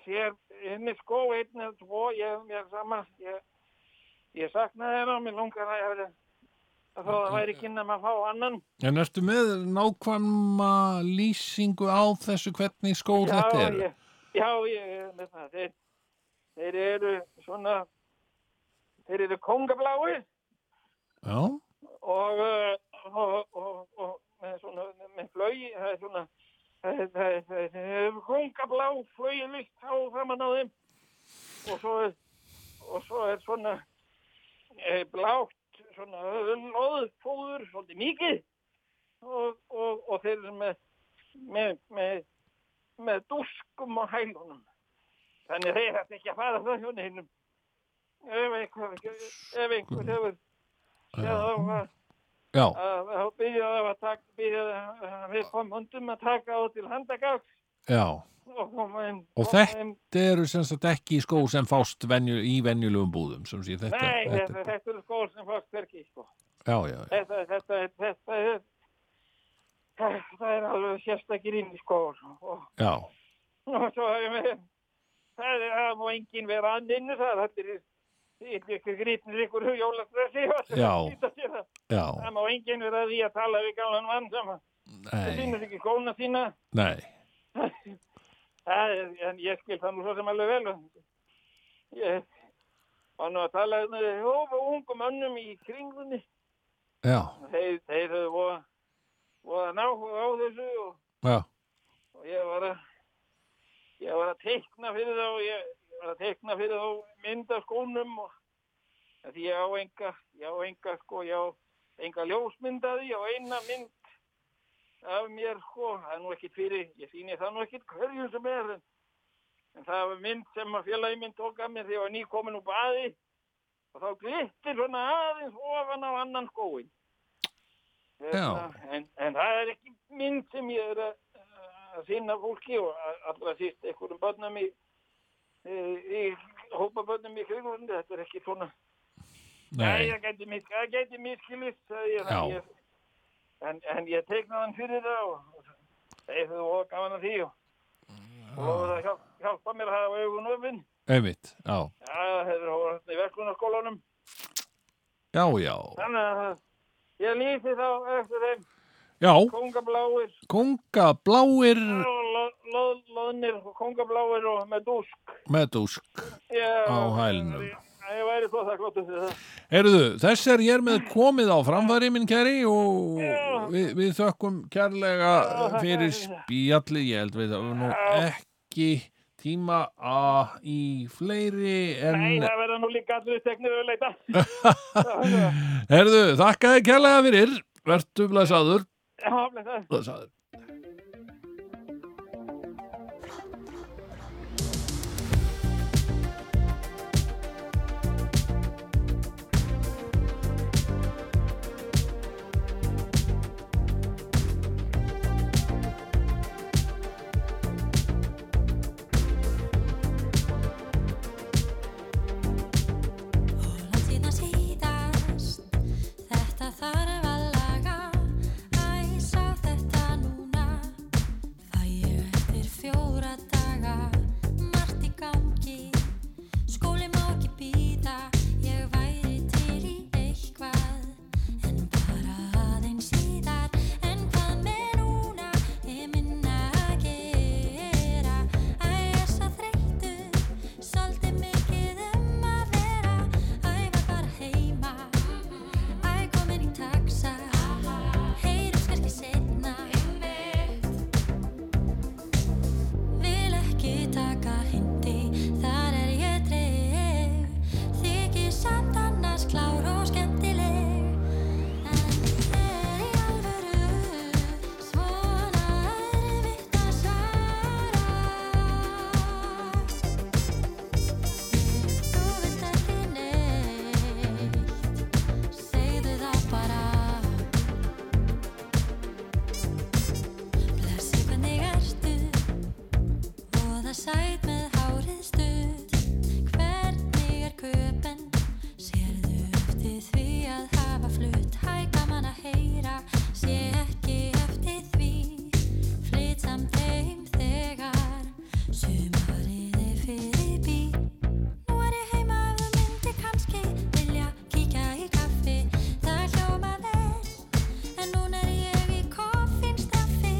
F: sér henni skó einn eða tvo, ég mér sama ég, ég saknaði þeirra og mér langar að ég hefði að þó það væri kynna um að fá annan
B: en ertu með nákvæma lýsingu á þessu hvernig skór þetta eru?
F: ég, já, ég er með það þeir, þeir eru svona þeir eru kongabláir
B: Já,
F: og, eh, og, og, og með svona, með flögi, það er svona, það er- það er- það er hungablá flögilist á framann á þeim og svo er, og svo er svona e, blátt, svona loðfóður, svolítið mikið og, og, og þeir eru með, með, með, með dúskum og hælunum. Þannig þeir ætti ekki að fara það hjónu hinnum. Ef einhver, ef einhver hefur, já, þá var
B: já,
F: að að biðja þá að taka, biðja eh, við komum hundum að taka á til handagáks
B: já.
F: og koma inn.
B: Og
F: koma
B: þetta-
F: inn.
B: Þetta eru sem sagt ekki skór sem fást venju, í venjulegum búðum, sem sé þetta.
F: Nei,
B: þetta,
F: þetta, þetta er skór sem fórst hverki, sko.
B: Já, já, já.
F: Þetta, þetta, er- þetta er, þetta er alveg sérstakir inn í skór sko. og,
B: Já,
F: og svo hefum við, það er það má enginn vera anninn, það er allir ykkur ykkur grýtnir ykkur hugjólaströssi og það
B: Já.
F: skýta sér það.
B: já,
F: Það má enginn vera að því að tala við gálan mann sem að það
B: nei,
F: finnur ekki skóna sína.
B: nei,
F: Það er, en ég skil það nú svo sem alveg vel. Ég var nú að tala með hófa ungum önnum í kringunni.
B: já,
F: Þeir, þeir höfðu voða, voða náhuga á þessu og,
B: já,
F: og ég var að ég var að teikna fyrir þá ég, ég var að teikna fyrir þá mynda skónum og af því ég á enga, ég á enga sko, ég á enga ljósmyndaði og eina mynd af mér, sko, það er nú ekkit fyrir, ég sýni það nú ekkit hverjum sem er, en, en það var mynd sem að félagi minn tók af mér þegar ég var nýkomin úr baði og þá glittir svona aðeins ofan á annan skóin.
A: Já.
F: En, en það er ekki mynd sem ég er að, að sinna fólki og a- allra síst einhverjum börnum í, í, í hópa börnum í kringundi, þetta er ekki svona Nei,
B: Nei,
F: það gæti, mis, það gæti miskilist, sagði ég,
B: Já.
F: en ég, en, en ég teiknaði hann fyrir það og þeir þau og gaman að því og, og það hjálp, hjálpa mér að hafa augun öfinn.
B: einmitt, já,
F: Já, það hefur hóra hérna í verkunarskólanum,
B: já, já,
F: þannig að það- ég lýsi þá eftir þeim
B: já,
F: kongabláir
B: kongabláir
F: og lo- lo- loðnir og kongabláir og með dúsk.
B: með dúsk.
F: Ég,
B: Á hælnum.
F: Ég, ég væri svo þakkláttur fyrir það.
B: Heyrðu, þess er ég er með
F: Ah.
B: komið á framfæri minn kæri og við, við þökkum kærlega fyrir spjallið, ég held við að nú ekki tíma að í fleiri
F: Nei,
B: en
F: það verða nú líka allir tegnir að leita.
B: heyrðu, þakkaði kærlega fyrir, vertu blæsaður,
F: <laughs> Já, blessaður.
B: blæsaður.
G: Hólan síðan síðast, þetta þarf að laga, æsa þetta núna. Fæ ég eftir fjóra daga, margt í gangi, skóli má ekki býta, ég væri til í eitthvað. En bara aðeins síðar, en hvað með núna, ég minna að gera. Æ, ég er svo þreyttur, svolítið mikið um að vera. Æ, var bara heima, æ, komin í taxa, heyrum kannski setna. Vil ekki taka hindi, þar er ég treg. Þykir samt annars klár og skemmtileg. En er í alvöru svona erfitt að svara? Þú vilt ekki neitt, segðu það bara. Blessi hvernig ertu Voða sæt með hárið stutt Hvernig er köpen Sérðu eftir því að hafa flutt Hæ gaman að heyra Sé ekki eftir því Flyt samt heim þegar Sumarið er fyrir bí Nú er ég heima ef þú myndir kannski Vilja kíkja í kaffi Það hljóma vel En núna er ég í koffínstaffi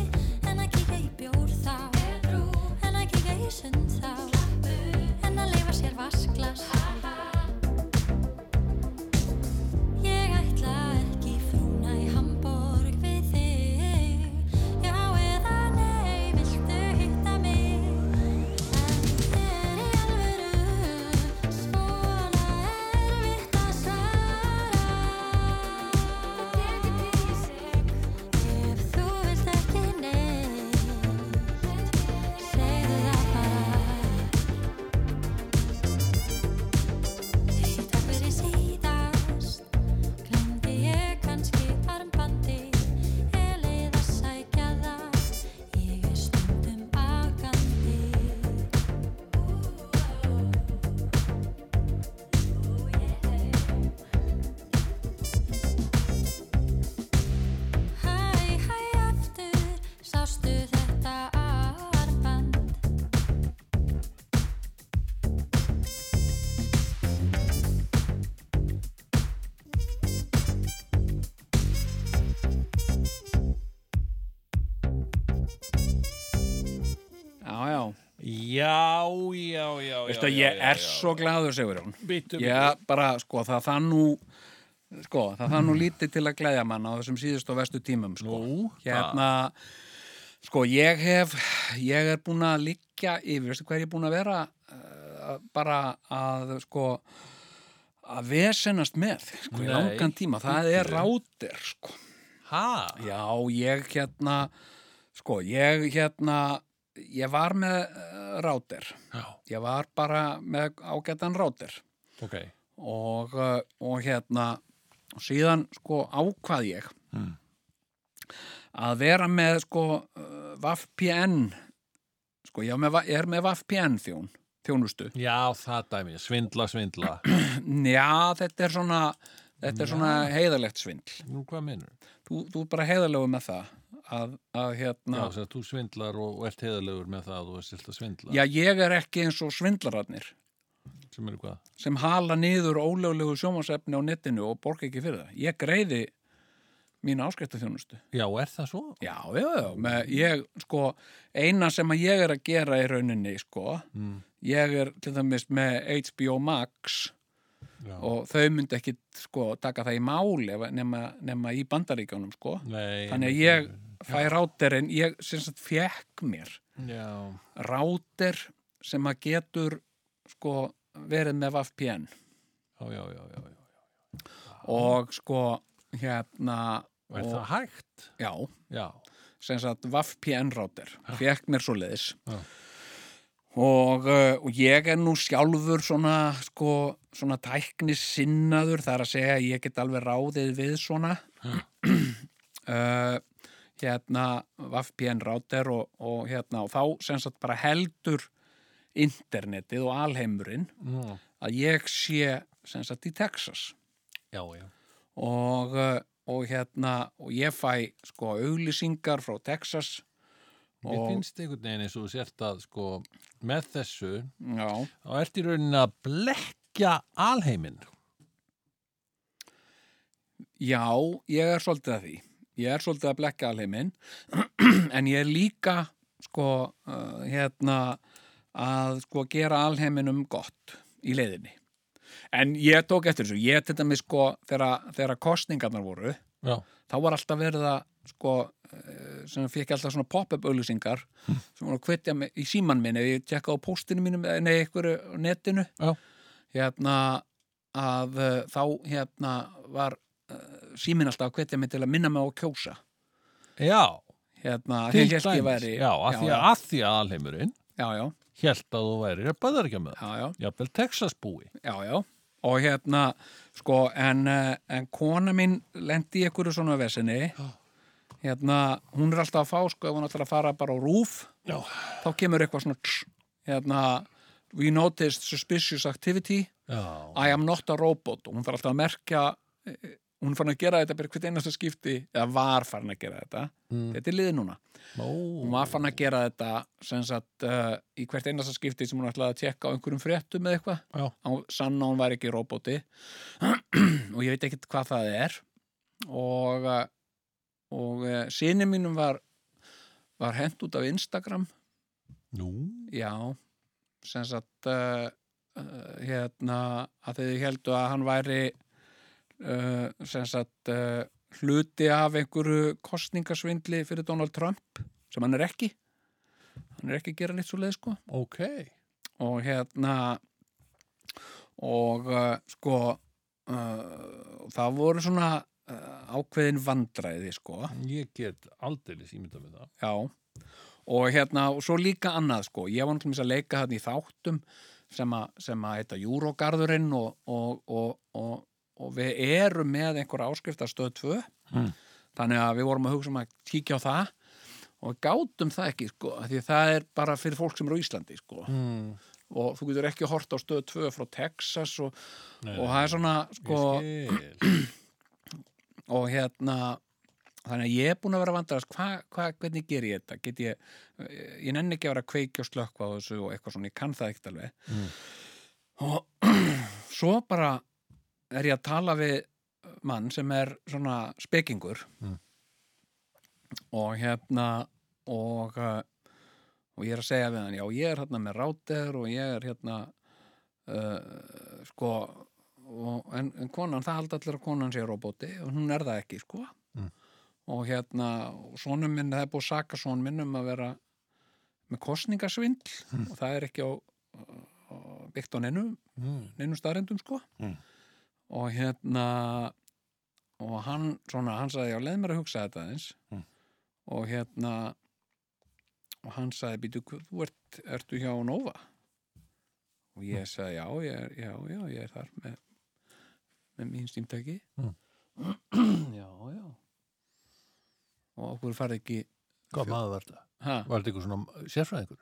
G: En að kíkja í bjór þá Edru En að kíkja í sund þá Slappu En að leifa sér vasklas Ég ætla ekki frúna í Hamborg við þig Já eða nei, viltu hitta mig? En er í alvöru svona erfitt að svara? Ef þú vilt ekki neitt, segðu það bara. Því takk fyrir síðast, glemdi ég kannski armbandi. Ég leið að sækja það, ég er stundum bakandi. Hæ, hæ, aftur, sástu þetta armband
C: Já, já.
B: Já, já, já, já.
C: Veistu að ég er svo gladur, segur hún.
B: Býtum.
C: Já, bara, sko, það það nú, sko, það það nú lítið til að gleðja mann á þessum síðust og vestu tímum, sko.
B: Nú,
C: Hérna, sko, ég hef, ég er búin að eh, liggja yfir, veistu hvað er ég búin að vera? Uh, bara að, sko, að vesenast með sko, í
B: Nei.
C: langan tíma, það er rátir sko.
B: Hæ?
C: já, ég hérna sko, ég hérna ég var með eh, rátir
B: Já,
C: ég var bara með ágætan rátir
B: ok.
C: og, eh, og hérna og síðan sko ákvað ég að vera með sko eh, VAFPN sko ég var með, ég er með VAFPN þjón, þjónustu
B: <laughs> Já, það dæmi, svindla, svindla.
C: já þetta er svona þetta er svona heiðalegt svindl
B: Nú, hvað minnur?
C: þú, þú er bara heiðalegu með það að, að
B: Já,
C: hérna
B: þess að þú svindlar og, og ert heiðalegur með það að þú er silt að svindla.
C: já ég er ekki eins og svindlararnir
B: Sem eru hvað?
C: sem hala niður ólöglegu sjómasefni á netinu og borga ekki fyrir það ég greiði mína áskættu þjónustu
B: Já, er það svo?
C: Já, já, já, með, ég, sko, eina sem að ég er að gera í rauninni, sko,
B: Mm.
C: ég er til dæmis með HBO Max
B: Já.
C: og þau myndi ekki, sko, taka það í máli ef- nema, nema í bandaríkjónum, sko.
B: Nei.
C: Þannig að ég fæ ráterinn, ég sem sagt fekk mér
B: Já,
C: ráter sem að getur, sko, verið með VPN
B: já, já, já, já. já.
C: og, sko, hérna,
B: Er
C: og,
B: það hægt?
C: já,
B: Já.
C: sem sagt VPN router fekk mér svo leiðis
B: Já.
C: og, uh, og ég er nú sjálfur svona, sko, svona tæknis sinnaður þar að segja að ég get alveg ráðið við svona <clears throat> uh, hérna VPN router og, og hérna og þá sem sagt bara heldur internetið og alheimurinn
B: Já,
C: að ég sé sem sagt í Texas
B: já. já.
C: og, uh, og hérna og ég fæ sko auglýsingar frá Texas
B: Mér
C: Og-
B: finnst einhvern veginn eins og þú sért að sko, með þessu
C: já,
B: þá ert í rauninni að blekja alheiminn.
C: já, ég er svolítið að því ég er svolítið að blekka alheiminn <clears throat> en ég er líka sko uh, hérna að sko gera alheiminum gott í leiðinni en ég tók eftir þessu, ég til dæmis sko þegar, þegar kostningarnar voru
B: Já.
C: þá var alltaf verið að sko, eh, sem fikk alltaf svona pop-up auðlýsingar
B: Hmm.
C: sem voru að hvetja mig, í síman minn eða ég tjekka á póstinu mínum eh, nei, einhverju á netinu
B: Já.
C: hérna að eh, þá hérna var uh, símin alltaf að hvetja mig til að minna mig á að kjósa
B: Já.
C: hérna, að
B: til
C: ég hélt ég
B: dæmis.
C: væri
B: Já, að því
C: já,
B: að, að, því að alheimurinn
C: já, já,
B: held að þú væri að bæðarkja með.
C: já, já,
B: Jafnvel Texas búi.
C: já, já og hérna, sko en, eh, en kona mín lendi í einhverju svona vesinni hérna, hún er alltaf að fá sko ef hún ætlar að fara bara á rúf
B: Já.
C: þá kemur eitthvað svona tss, hérna, we noticed suspicious activity
B: Já.
C: I am not a robot og hún þarf alltaf að merkja eh, hún er farin að gera þetta bara hvert einasta skipti eða var farin að gera þetta þetta er liðið núna hún
B: Ó.
C: var farin að gera þetta sem sagt uh, í hvert einasta skipti sem hún ætlaði að tjekka á einhverjum fréttum eða eitthvað
B: Já.
C: Á- sann að hún var ekki roboti <clears throat> og ég veit ekkert hvað það er og eh, og uh, sinni mínum var var hent út af Instagram
B: Nú.
C: Já, sem sagt uh, uh, hérna að þau heldu að hann væri uh, sem sagt uh, hluti af einhverju kostningasvindli fyrir Donald Trump sem hann er ekki hann er ekki að gera neitt svo leið sko
B: Ok.
C: og hérna og uh, sko uh, það voru svona uh, ákveðin vandræði sko
B: Ég get aldeilis ímyndað með það.
C: Já, og hérna, og svo líka annað sko, ég var náttúrulega að leika þarna í þáttum sem að, sem að heita Júrógarðurinn og, og, og, og, og við erum með einhverja áskrift að stöð 2
B: Mm.
C: þannig að við vorum að hugsa um að kíkja á það og við gátum það ekki sko, af því að það er bara fyrir fólk sem eru á Íslandi sko
B: Mm.
C: og þú getur ekki hort á stöð 2 frá Texas og,
B: Nei,
C: og það er svona sko,
B: Ég skil.
C: og hérna þannig að ég er búin að vera að vandrast hva, hva, hvernig ger ég þetta get ég, ég nenni ekki að vera að kveikja og slökkva á þessu og eitthvað svona, ég kann það ekkert alveg og <clears throat> svo bara er ég að tala við mann sem er svona spekingur
B: Mm.
C: og hérna og, uh, og ég er að segja við hann já, ég er hérna með rátir og ég er hérna uh, sko og, en, en konan, það haldi allir að konan sé roboti og hún er það ekki, sko
B: Mm.
C: og hérna sonum minn, það er búið að saka son minn um að vera með kostningasvindl og það er ekki á, á byggt á neinum,
B: Mm.
C: neinum starrendum, sko
B: Mm.
C: og hérna og hann, svona, hann sagði, já, leið mér að hugsa þetta eins
B: Mm.
C: og hérna og hann sagði, býtu, hva- þú ert ertu hjá Nova og
B: Mm.
C: ég sagði, já, ég er, já, já, ég er þar með, með mín stímtæki
B: Mm.
C: <clears throat> já, já og okkur farið ekki
B: Hvað maður var þetta?
C: ha,
B: Var þetta eitthvað svona sérfræðingur?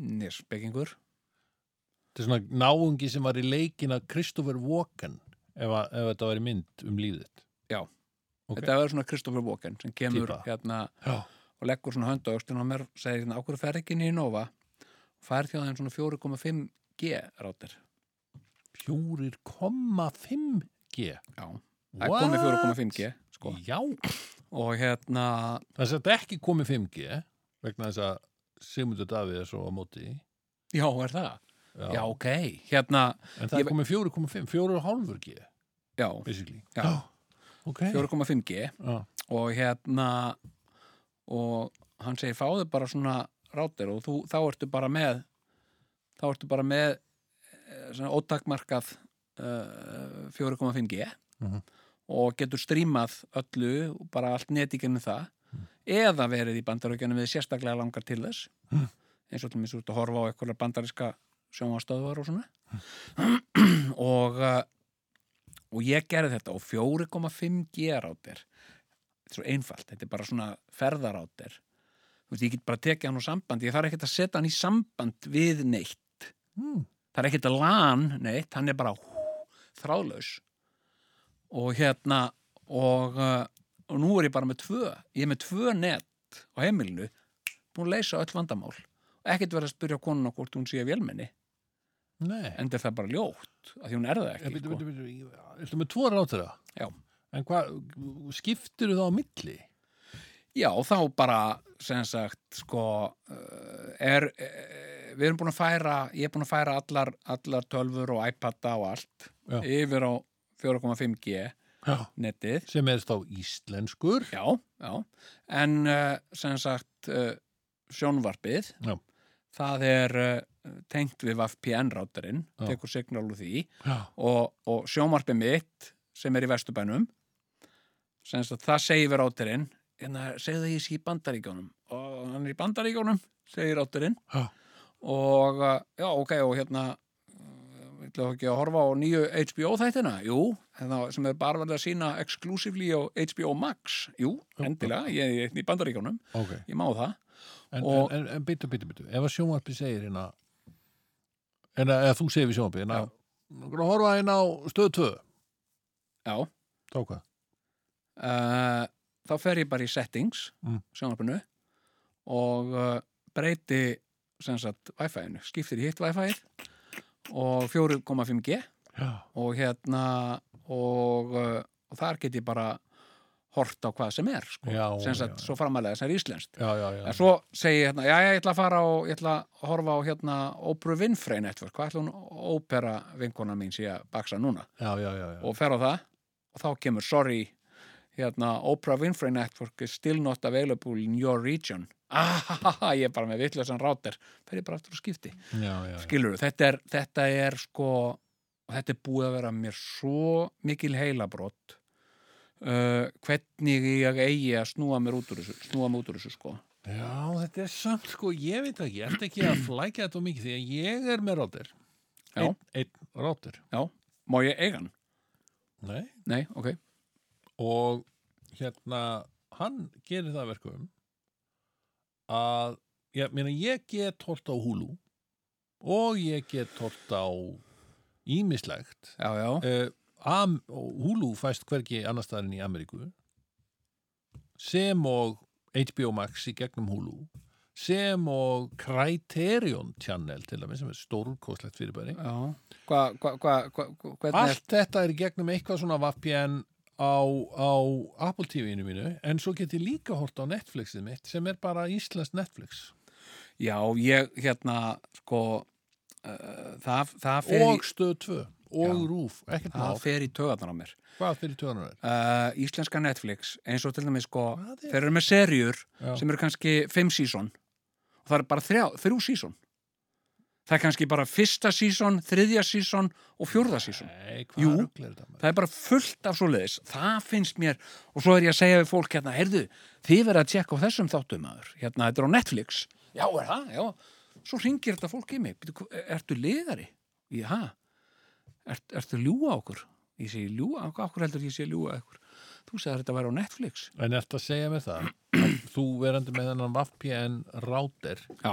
C: nýrspekingur
B: Þetta er svona náungi sem var í leikin að Kristoffer Walken ef, að, ef þetta var í mynd um lífið Ok.
C: þetta er svona Kristoffer Walken sem kemur
B: Týpa.
C: hérna
B: Já,
C: og leggur svona hönda aukstun á mér og segir hérna, ákveður ferð ekki niður í Nova og fær þjóð þeim svona 4,5G ráttir.
B: pjúrir 5G
C: Já, það er komið 4,5G sko.
B: Já,
C: og hérna,
B: það er þetta ekki komið 5G vegna þess að Sigmundur Davíð er svo á móti því.
C: já, er það? Já, ok, hérna,
B: En það
C: Ég-
B: er komið 4,5, 4,5G
C: já,
B: basically
C: Já.
B: ok
C: 4,5G
B: Já.
C: og hérna og hann segir fáðu bara svona ráttir og þú, þá ertu bara með þá ertu bara með eh, svona ótakmarkað uh, 4,5G
B: Mhm.
C: og getur strímað öllu og bara allt netíkinu það eða verið í bandarökjunum við sérstaklega langar til þess
B: Mhm.
C: eins og til mér svo ert að horfa á eitthvað bandariska sjónvastöðvar og svona
B: Mhm.
C: og uh, og ég gerði þetta og 4,5G ráttir þetta er svo einfalt, þetta er bara svona ferðaráttir þú veist, ég get bara tekið hann úr sambandi ég þarf ekkert að setja hann í samband við neitt
B: Mm.
C: það er ekkert að lan neitt hann er bara hú, þráðlaus og hérna og, uh, og nú er ég bara með tvö ég er með tvö net á heimilinu búin að leysa öll vandamál og ekkert verið að spyrja konuna hvort hún sé vélmenni
B: Nei, Eh, en,
C: en er það bara ljótt, af því hún er það ekki
B: byrju,
C: sko.
B: byrju, byrju, ég- Ertu með tvo ráttara?
C: Já.
B: En hvað, skiptir þú það á milli?
C: Já, þá bara, sem sagt, sko, eh, er, eh, við erum búin að færa, ég er búin að færa allar, allar tölfur og iPada og allt
B: Já.
C: yfir á 4,5G
B: Já.
C: netið.
B: Sem er þá íslenskur
C: Já, já, en eh, sem sagt, eh, sjónvarpið,
B: Já.
C: það er eh, tengt við VPN-rátturinn,
B: Já.
C: tekur signal úr því
B: Já.
C: og, og sjónvarpið mitt sem er í vesturbænum sem sagt, það segir við rátturinn en það segir það ég sé í bandaríkjónum og hann er í bandaríkjónum, segir rátturinn
B: Já.
C: og uh, já, ok, og hérna villu ekki að horfa á nýju HBO þættina jú, hérna, sem er bara verið að sína exclusively á HBO Max jú, endilega, ég er í bandaríkjónum
B: Ok,
C: ég má það
B: en,
C: Og-
B: en, en, en byttu, byttu, byttu Ef að sjónvarpi segir hérna en að, eða þú segir við sjónvarpi hérna,
C: Já.
B: nú erum að horfa hérna á stöð 2
C: já,
B: Þá hvað?
C: uh, þá fer ég bara í settings
B: Mm.
C: sjónvarpinu og uh, breyti sem sagt Wi-Fi-inu, skiptir í hitt Wi-Fi-ið og 4,5G
B: Já.
C: og hérna og, uh, og þar get ég bara hort á hvað sem er sko.
B: Já,
C: sem sagt
B: já,
C: svo framalega sem er íslenskt
B: Já, já, já
C: en svo segi ég hérna, já, já, ég ætla að fara og ég ætla að horfa á hérna Oprah Winfrey Network, hvað ætla hún ópera vinkona mín sé að baksa núna
B: Já, já, já, já.
C: og fer á það og þá kemur, sorry hérna, Oprah Winfrey Network is still not available in your region ahaha, ég er bara með vitlausan rátir fer ég bara aftur og skipti
B: já, já, já.
C: skilur, þetta er, þetta er sko og þetta er búið að vera mér svo mikil heilabrott uh, hvernig ég eigi að snúa mér út úr þessu, snúa mér út úr þessu sko
B: já, þetta er samt sko, ég veit það ekki, ég ert ekki að flækja þetta of mikið því að ég er með ráttir
C: Já.
B: Einn ein, ráttir
C: má ég eiga hann?
B: Nei.
C: Nei, ok
B: og hérna hann gerir það að verkum að ég, meina, ég get hort á húlu og ég get hort á ímislegt
C: já, já,
B: uh, am, húlu fæst hvergi annar staðarinn í Ameríku sem og HBO Max í gegnum húlu sem og Criterion Channel til að minn sem er stórkostlegt fyrirbæri
C: já hva, hva, hva, hva, hvernig er
B: Allt þetta er í gegnum eitthvað svona VPN á, á Apple TV-inu mínu en svo get ég líka hort á Netflixið mitt sem er bara Íslands Netflix
C: já, ég hérna sko uh, það, það fer í-
B: og Stöð 2 og
C: Já.
B: Rúf, ekkert
C: það
B: mál,
C: fer í tögarnar á mér
B: hvað fyrir töðanar er
C: uh, íslenska Netflix eins og til dæmis sko
B: Hvað er-
C: þeir eru með serjur
B: Já.
C: sem eru kannski 5 sísón og það er bara þrjá, þrjú sísón það er kannski bara fyrsta sísón, þriðja sísón og fjórða sísón
B: Nei,
C: Jú.
B: hvað rugl er þetta? maður?
C: það er bara fullt af svo leiðis það finnst mér, og svo er ég að segja við fólk hérna, heyrðu, þið verða að tjekka á þessum þáttum aður, hérna, þetta er á Netflix já, er það, já, svo ringir þetta fólk í mig, "Bíddu, hva- ertu liðari? já, er, ertu að ljúga að okkur? ég segi ljúga, okkur heldur ég sé að ljúga að okkur þú segir þetta væri á Netflix
B: En eftir að segja mér það að þú verandi með þennan VPN router
C: já,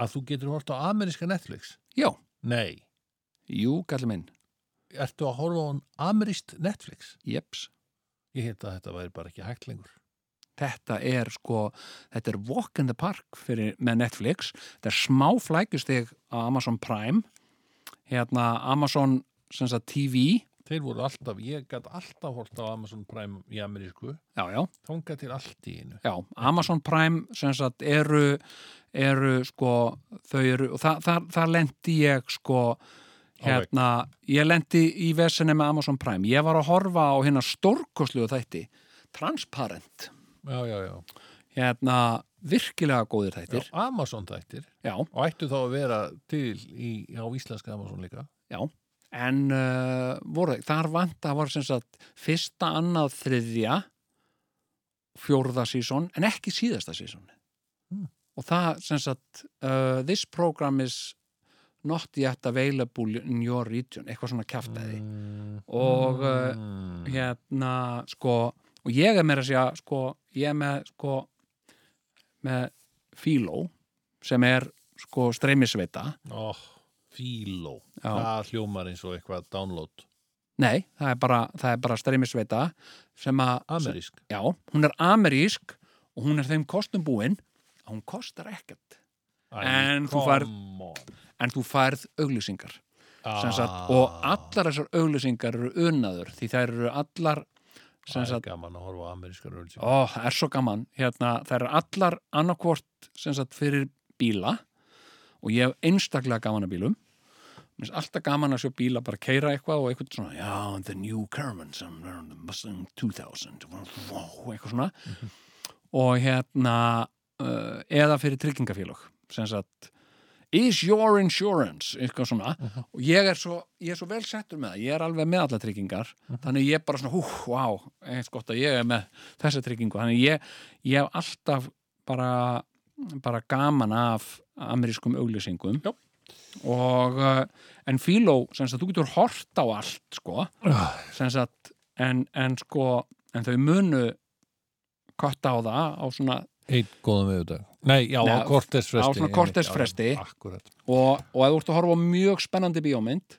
B: að þú getur hort á ameríska Netflix
C: já,
B: Nei,
C: jú, kallar minn
B: ertu að horfa á ameríst Netflix?
C: jeps,
B: Ég heit að þetta væri bara ekki hægt lengur
C: þetta er sko þetta er walk in the park fyrir, með Netflix, þetta er smá flækusteg á Amazon Prime hérna Amazon sem sagt TV,
B: Þeir voru alltaf, ég gæti alltaf hort á Amazon Prime í amerísku
C: já já,
B: þangað til allt í einu
C: já Amazon Prime sem sagt eru eru sko þau eru, og það, það, það lendi ég sko hérna, ég lendi í vesinni með Amazon Prime, ég var að horfa á hérna stórkosluðu þætti Transparent,
B: Já, já, já,
C: hérna virkilega góðir þættir,
B: já Amazon þættir
C: já.
B: og ættu þá að vera til í, á íslenska Amazon líka
C: Já, en uh, voru, þar vant að var sem sagt fyrsta, annað, þriðja fjórða sísón en ekki síðasta sísón og það sem sagt uh, this program is not yet available in your region eitthvað svona kjaftaði og uh, hérna sko, og ég er meira að segja sko, ég er með sko með Filo sem er sko streymisveita
B: oh, Fíló
C: Já.
B: það hljómar eins og eitthvað download
C: Nei, það er bara, það er bara streymisveita sem að...
B: amerísk
C: Já, hún er amerísk og hún er þeim kostum búin að hún kostar ekkert. En þú færð- En þú færð auglýsingar.
B: Ah,
C: sem Sagt, og allar þessar auglýsingar eru unnaður því þær eru allar... sem
B: það er
C: Sagt,
B: gaman að horfa á amerískar röldsing
C: ó, það er svo gaman. Hérna, þær eru allar annarkvort sem sagt, fyrir bíla og ég hef einstaklega gaman að bílum. Mér finnst alltaf gaman að sjá bíla bara keira eitthvað og eitthvað svona, já, the new Carmen some around the Mustang 2000 wow, eitthvað svona og hérna uh, eða fyrir tryggingafélag sem sagt, is your insurance eitthvað svona, og ég er svo ég er svo vel settur með það, ég er alveg með alla tryggingar, þannig ég er bara svona hú, wow, eins gott að ég er með þessa tryggingu, þannig ég, ég hef alltaf bara, bara gaman af amerískum auglýsingum Jó. og uh, en Fíló, sem sagt, þú getur hort á allt, sko
B: Ah.
C: sem sagt, en, en sko en þau munu kotta á það á svona
B: Eitt góðan miðudag. Nei, já,
C: Nei,
B: á kortesfresti.
C: á svona kortersfresti.
B: Akkurat.
C: og, og ef þú ert að horfa á mjög spennandi bíómynd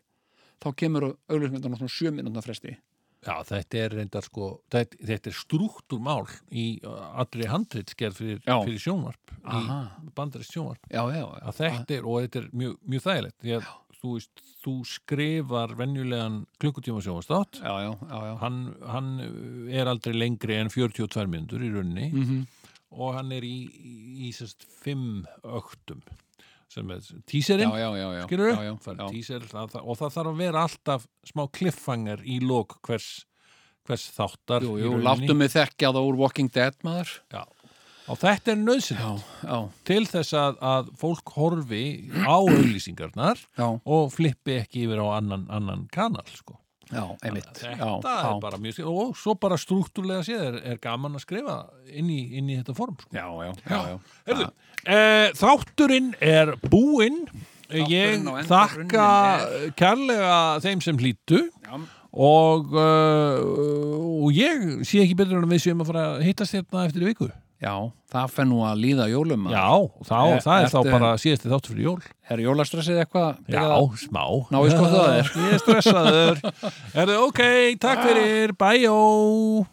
C: þá kemur auðvitað svona sjö minúnda fresti
B: Já, þetta er reyndar sko, þetta, þetta er struktúrmál í uh, allri handritsgerð fyrir,
C: Já.
B: fyrir sjónvarp,
C: Aha.
B: í bandarist sjónvarp.
C: já, já,
B: Að þetta er, og þetta er mjög, mjög þægilegt, því að þú, veist, þú skrifar venjulegan klukkutíma sjónvarstátt,
C: já, já, já, já.
B: hann, hann uh, er aldrei lengri en 42 minnundur í rauninni
C: Mhm.
B: og hann er í, í, í sérst fimm öktum sem er
C: já,
B: tíserinn
C: já, já, já.
B: skilur
C: já, já, já.
B: Tísel, það, það, og það þarf að vera alltaf smá kliffangar í lók hvers, hvers þáttar
C: Jú,
B: í
C: jú,
B: rauninni.
C: láttu mig þekkja það úr Walking Dead maður
B: Já. og þetta er nöðsinn
C: já, já,
B: til þess að, að fólk horfi á
C: <clears throat>
B: auglýsingarnar
C: já,
B: og flippi ekki yfir á annan, annan kanal sko.
C: já, einmitt
B: þetta
C: já,
B: er
C: já,
B: bara mjög skil og svo bara struktúrlega séð er, er gaman að skrifa inn í, inn í þetta form sko.
C: já, já, já, já.
B: Herðu, eh, þátturinn er búinn Ég
C: Þátturinn á enda
B: þakka
C: runninn
B: kærlega þeim sem hlýttu
C: Já.
B: og, uh, og ég sé ekki betur en að við séum að fara að hittast hérna eftir viku
C: já, það fenn nú að líða jólum maður.
B: Já, þá,
C: Eh,
B: það er þá
C: ertu-
B: bara síðasti þáttur fyrir jól
C: er jólastressið eitthvað
B: Já,
C: byrjað að-
B: smá
C: Ná, ég skoða það <laughs>
B: Ég er stressaður Herðu, ok, takk fyrir, bæjó